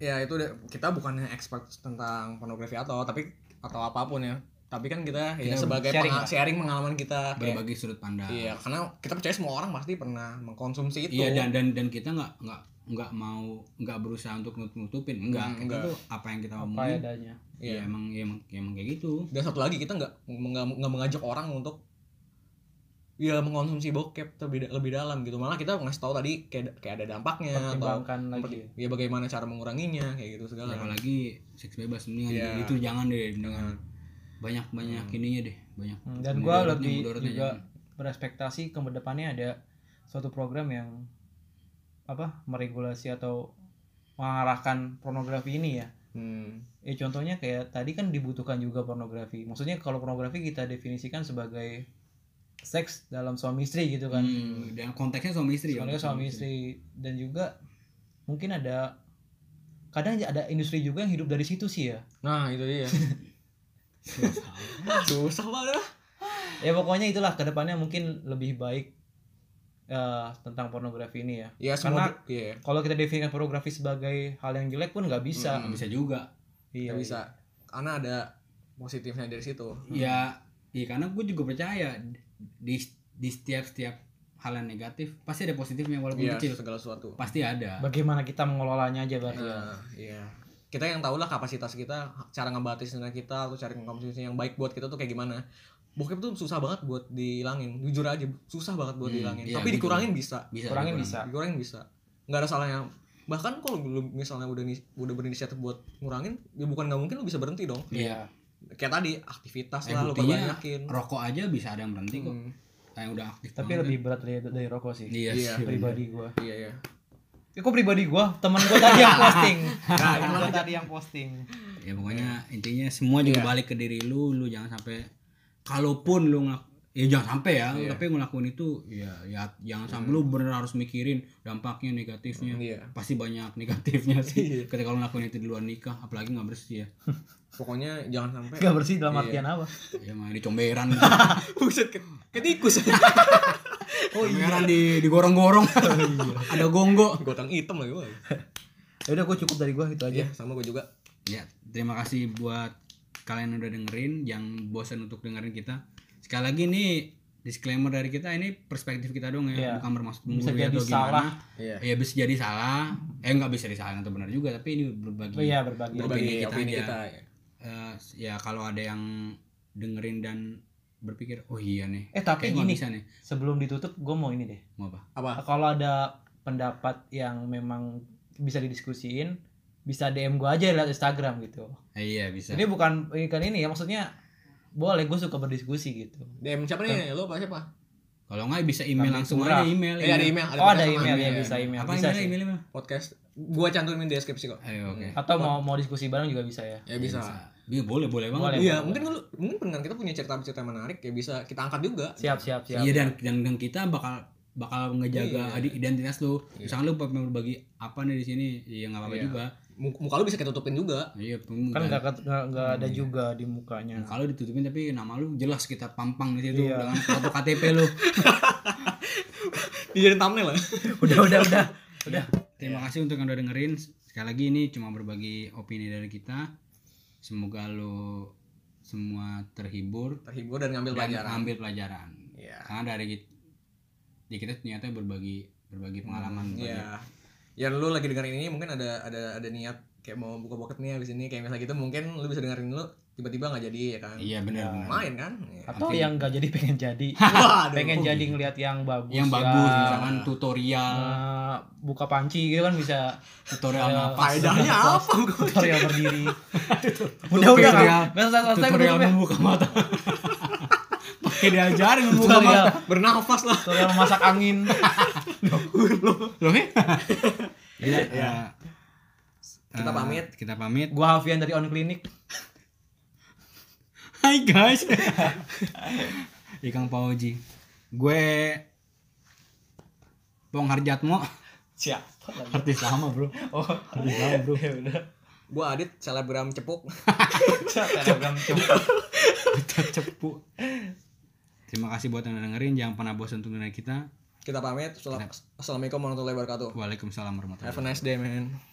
[SPEAKER 1] ya itu udah- kita bukannya expert tentang pornografi atau tapi atau apapun ya tapi kan kita, ya
[SPEAKER 2] Kita
[SPEAKER 1] sebagai
[SPEAKER 3] sharing
[SPEAKER 1] penga- sharing pengalaman kita
[SPEAKER 2] berbagi sudut pandang
[SPEAKER 1] Iya, karena kita percaya semua orang pasti pernah mengkonsumsi itu.
[SPEAKER 2] Iya, dan dan dan kita nggak nggak nggak mau nggak berusaha untuk nut- nutupin enggak
[SPEAKER 1] Hmm,
[SPEAKER 2] kita
[SPEAKER 1] enggak.
[SPEAKER 2] tuh gitu. apa yang kita
[SPEAKER 3] Apa
[SPEAKER 2] omongin
[SPEAKER 3] adanya.
[SPEAKER 2] ya
[SPEAKER 1] Iya.
[SPEAKER 2] emang ya emang ya emang kayak gitu
[SPEAKER 1] Dan satu lagi kita nggak nggak nggak mengajak orang untuk ya mengkonsumsi bokep lebih da- lebih dalam gitu. Malah kita ngasih tahu tadi kayak kayak ada
[SPEAKER 2] Iya,
[SPEAKER 1] dampaknya atau
[SPEAKER 3] Pertimbangkan lagi.
[SPEAKER 1] ya bagaimana cara menguranginya kayak gitu
[SPEAKER 2] Ya,
[SPEAKER 1] segala.
[SPEAKER 2] apalagi seks bebas mendingan
[SPEAKER 1] Iya.
[SPEAKER 2] itu jangan deh mendingan banyak banyak ininya deh banyak
[SPEAKER 3] Hmm, Dan gua
[SPEAKER 2] mudaratnya-
[SPEAKER 3] lebih
[SPEAKER 2] mudaratnya
[SPEAKER 3] juga
[SPEAKER 2] jangan.
[SPEAKER 3] berespektasi ke depannya ada suatu program yang apa meregulasi atau mengarahkan pornografi ini ya.
[SPEAKER 1] Hmm.
[SPEAKER 3] Ya contohnya kayak tadi kan dibutuhkan juga pornografi. Maksudnya kalau pornografi kita definisikan sebagai seks dalam suami istri gitu kan.
[SPEAKER 2] Hmm, dan konteksnya suami istri ya.
[SPEAKER 3] Soalnya suami istri dan juga mungkin ada kadang ada industri juga yang hidup dari situ sih ya.
[SPEAKER 1] Nah, itu dia. Susah banget. lah.
[SPEAKER 3] Ya pokoknya itulah kedepannya mungkin lebih baik eh, tentang pornografi ini ya.
[SPEAKER 1] Ya semua
[SPEAKER 3] Karena-
[SPEAKER 1] iya.
[SPEAKER 3] Kalau kita definisikan pornografi sebagai hal yang jelek pun nggak bisa.
[SPEAKER 1] Mm-mm.
[SPEAKER 2] bisa juga
[SPEAKER 1] nggak
[SPEAKER 3] Iya.
[SPEAKER 1] bisa. Karena ada positifnya dari situ.
[SPEAKER 2] ya iya karena gue juga percaya di di setiap setiap hal yang negatif pasti ada positifnya walaupun
[SPEAKER 1] Iya,
[SPEAKER 2] kecil
[SPEAKER 1] segala sesuatu.
[SPEAKER 2] pasti ada
[SPEAKER 3] Bagaimana kita mengelolanya aja berarti. ya.
[SPEAKER 1] Nah, iya. Kita yang tahulah kapasitas kita, cara ngebatasinnya kita, atau cara konsumsi yang baik buat kita tuh kayak gimana. Bokep tuh susah banget buat dihilangin, jujur aja susah banget buat
[SPEAKER 2] Hmm,
[SPEAKER 1] dihilangin.
[SPEAKER 2] iya,
[SPEAKER 1] Tapi
[SPEAKER 2] gua
[SPEAKER 1] dikurangin bisa,
[SPEAKER 2] bisa
[SPEAKER 3] Kurangin
[SPEAKER 2] kurang.
[SPEAKER 3] bisa.
[SPEAKER 1] dikurangin bisa. Nggak ada salahnya. Bahkan kalau lu misalnya udah ni- udah berinisiatif buat ngurangin, ya bukan nggak mungkin lu bisa berhenti dong.
[SPEAKER 2] Iya.
[SPEAKER 1] Kayak tadi aktivitas
[SPEAKER 2] Eh,
[SPEAKER 1] lah lu
[SPEAKER 2] buktinya
[SPEAKER 1] perbanyakin.
[SPEAKER 2] rokok aja bisa ada yang berhenti kok
[SPEAKER 1] Hmm,
[SPEAKER 2] yang udah aktif
[SPEAKER 3] Tapi
[SPEAKER 2] banget
[SPEAKER 3] lebih
[SPEAKER 2] kan.
[SPEAKER 3] berat dari, dari rokok sih.
[SPEAKER 2] iya
[SPEAKER 1] Iya,
[SPEAKER 2] sih, bener.
[SPEAKER 3] Pribadi gua.
[SPEAKER 1] iya iya.
[SPEAKER 3] Ya, kok pribadi gua? Temen gua tadi yang posting.
[SPEAKER 1] Nah,
[SPEAKER 3] Temen
[SPEAKER 1] itu
[SPEAKER 3] gua
[SPEAKER 1] aja.
[SPEAKER 3] tadi yang posting.
[SPEAKER 2] ya pokoknya intinya semua juga
[SPEAKER 1] Iya.
[SPEAKER 2] balik ke diri lu lu jangan sampai kalaupun lu ngelak ya jangan sampai ya
[SPEAKER 1] Iya.
[SPEAKER 2] tapi ngelakuin itu ya ya jangan sampai lu bener harus mikirin dampaknya negatifnya
[SPEAKER 1] Iya.
[SPEAKER 2] pasti banyak negatifnya
[SPEAKER 1] Iya.
[SPEAKER 2] sih ketika lu ngelakuin itu di luar nikah apalagi nggak bersih ya
[SPEAKER 1] Pokoknya jangan sampai
[SPEAKER 3] Gak bersih dalam
[SPEAKER 1] Iya.
[SPEAKER 3] artian apa?
[SPEAKER 2] ya main dicomberan
[SPEAKER 1] Buset, ke- kayak tikus. Oh, iya.
[SPEAKER 2] comberan di digorong-gorong ada gonggo
[SPEAKER 1] Gotong hitam lagi gua.
[SPEAKER 3] Ya udah gua cukup dari gua itu aja.
[SPEAKER 1] Iya, sama gua juga.
[SPEAKER 2] ya terima kasih buat kalian yang udah dengerin yang bosan untuk dengerin kita sekali lagi nih disclaimer dari kita ini perspektif kita doang ya,
[SPEAKER 3] Iya.
[SPEAKER 2] bukan bermaksud
[SPEAKER 3] Bisa
[SPEAKER 2] menggurui
[SPEAKER 3] jadi
[SPEAKER 2] atau gimana.
[SPEAKER 3] salah.
[SPEAKER 1] Iya.
[SPEAKER 2] Ya bisa jadi salah, eh nggak bisa jadi salah atau benar juga, tapi ini berbagi.
[SPEAKER 3] Oh iya berbagi.
[SPEAKER 2] Berbagi.
[SPEAKER 1] Berbagi
[SPEAKER 2] kita
[SPEAKER 1] opini
[SPEAKER 2] aja.
[SPEAKER 1] kita. ya.
[SPEAKER 2] Eh, ya kalau ada yang dengerin dan berpikir, oh iya nih,
[SPEAKER 3] Eh tapi
[SPEAKER 2] kayak nggak
[SPEAKER 3] gini,
[SPEAKER 2] bisa nih,
[SPEAKER 3] sebelum ditutup gue mau ini deh.
[SPEAKER 2] mau apa?
[SPEAKER 1] Apa?
[SPEAKER 3] Ah, Kalau ada pendapat yang memang bisa didiskusiin, bisa DM gue aja lewat Instagram gitu.
[SPEAKER 2] Eh, iya bisa.
[SPEAKER 3] Jadi bukan ikan ini ya maksudnya boleh gue suka berdiskusi gitu.
[SPEAKER 1] DM siapa nih? Lu apa siapa?
[SPEAKER 2] Kalau nggak bisa email
[SPEAKER 3] Kambing
[SPEAKER 2] langsung
[SPEAKER 3] murah.
[SPEAKER 2] aja email.
[SPEAKER 1] Eh, ada email,
[SPEAKER 3] oh
[SPEAKER 1] podcast
[SPEAKER 3] ada
[SPEAKER 1] sama
[SPEAKER 3] email ya bisa email
[SPEAKER 2] Apa
[SPEAKER 3] bisa
[SPEAKER 2] email?
[SPEAKER 3] sih.
[SPEAKER 2] Email, email.
[SPEAKER 1] Podcast. Gua cantumin di deskripsi kok.
[SPEAKER 2] Ayo, Eh, oke.
[SPEAKER 3] Atau mau mau diskusi bareng juga bisa ya.
[SPEAKER 1] Ya bisa.
[SPEAKER 2] Iya, boleh, boleh banget.
[SPEAKER 3] Boleh.
[SPEAKER 1] Iya, mungkin lu mungkin pendengar kita punya cerita-cerita menarik ya bisa kita angkat juga.
[SPEAKER 3] Siap siap siap.
[SPEAKER 2] Iya dan, dan dan kita bakal bakal ngejaga
[SPEAKER 1] Iya.
[SPEAKER 2] adik identitas lu. Misalkan lu pengen berbagi apa nih di sini, ya nggak apa-apa
[SPEAKER 1] Iya.
[SPEAKER 2] juga.
[SPEAKER 1] Mu- Muka lu bisa kita tutupin juga.
[SPEAKER 2] Iya,
[SPEAKER 3] Kan
[SPEAKER 2] pengen
[SPEAKER 3] nggak nggak- nggak ada
[SPEAKER 2] Iya.
[SPEAKER 3] juga di mukanya.
[SPEAKER 2] kalau ditutupin tapi nama lu jelas kita pampang di situ
[SPEAKER 3] Iya.
[SPEAKER 2] dengan foto KTP lu.
[SPEAKER 1] Dijadiin thumbnail lah.
[SPEAKER 3] udah udah udah.
[SPEAKER 2] Terima
[SPEAKER 1] Iya.
[SPEAKER 2] kasih untuk yang udah dengerin. Sekali lagi ini cuma berbagi opini dari kita. Semoga lu semua terhibur
[SPEAKER 1] Terhibur dan ngambil
[SPEAKER 2] dan
[SPEAKER 1] pelajaran.
[SPEAKER 2] ambil pelajaran.
[SPEAKER 1] Iya.
[SPEAKER 2] karena dari kita, ya kita ternyata berbagi berbagi pengalaman berbagi-
[SPEAKER 1] Iya. Ya lu lagi dengerin ini mungkin ada ada ada niat kayak mau buka pocket nih habis ini kayak misalnya gitu mungkin lu bisa dengerin dulu tiba-tiba nggak jadi ya kan.
[SPEAKER 2] iya benar benar
[SPEAKER 1] Main kan? Iya.
[SPEAKER 3] Atau
[SPEAKER 2] Mungkin-
[SPEAKER 3] yang nggak jadi pengen jadi.
[SPEAKER 1] Waduh.
[SPEAKER 3] pengen jadi ngelihat yang bagus.
[SPEAKER 2] yang
[SPEAKER 1] Iya.
[SPEAKER 3] ya.
[SPEAKER 2] bagus misalkan tutorial
[SPEAKER 1] Nah.
[SPEAKER 3] Eh, buka panci gitu kan bisa
[SPEAKER 2] tutorial
[SPEAKER 3] Iya.
[SPEAKER 2] nafas
[SPEAKER 1] Faedahnya apa gua?
[SPEAKER 3] tutorial berdiri. udah udah
[SPEAKER 2] Tutorial-
[SPEAKER 3] kan. Masa selesai
[SPEAKER 2] tutorial
[SPEAKER 3] menutup ya.
[SPEAKER 2] membuka mata pakai diajarin membuka
[SPEAKER 3] Tutorial
[SPEAKER 2] mata
[SPEAKER 1] Bernafas lah.
[SPEAKER 3] tutorial masak angin.
[SPEAKER 2] loh ya Gila, eh,
[SPEAKER 1] Kita
[SPEAKER 2] eh,
[SPEAKER 1] pamit.
[SPEAKER 2] kita pamit
[SPEAKER 3] Gua Hafian dari On Clinic.
[SPEAKER 2] Hai guys Ikang Pauji gue Bong Harjatmo
[SPEAKER 3] Siapa lagi?
[SPEAKER 2] artis lama bro
[SPEAKER 3] Oh,
[SPEAKER 2] artis lama bro
[SPEAKER 3] ya udah.
[SPEAKER 1] Gua Adit selebgram cepuk.
[SPEAKER 3] Telegram coba.
[SPEAKER 2] Pecah cepu. Terima kasih buat yang udah dengerin. Jangan pernah bosan untuk dengerin kita.
[SPEAKER 1] Kita pamit. Assalamualaikum warahmatullahi wabarakatuh.
[SPEAKER 2] Waalaikumsalam warahmatullahi
[SPEAKER 1] Have a nice day, man.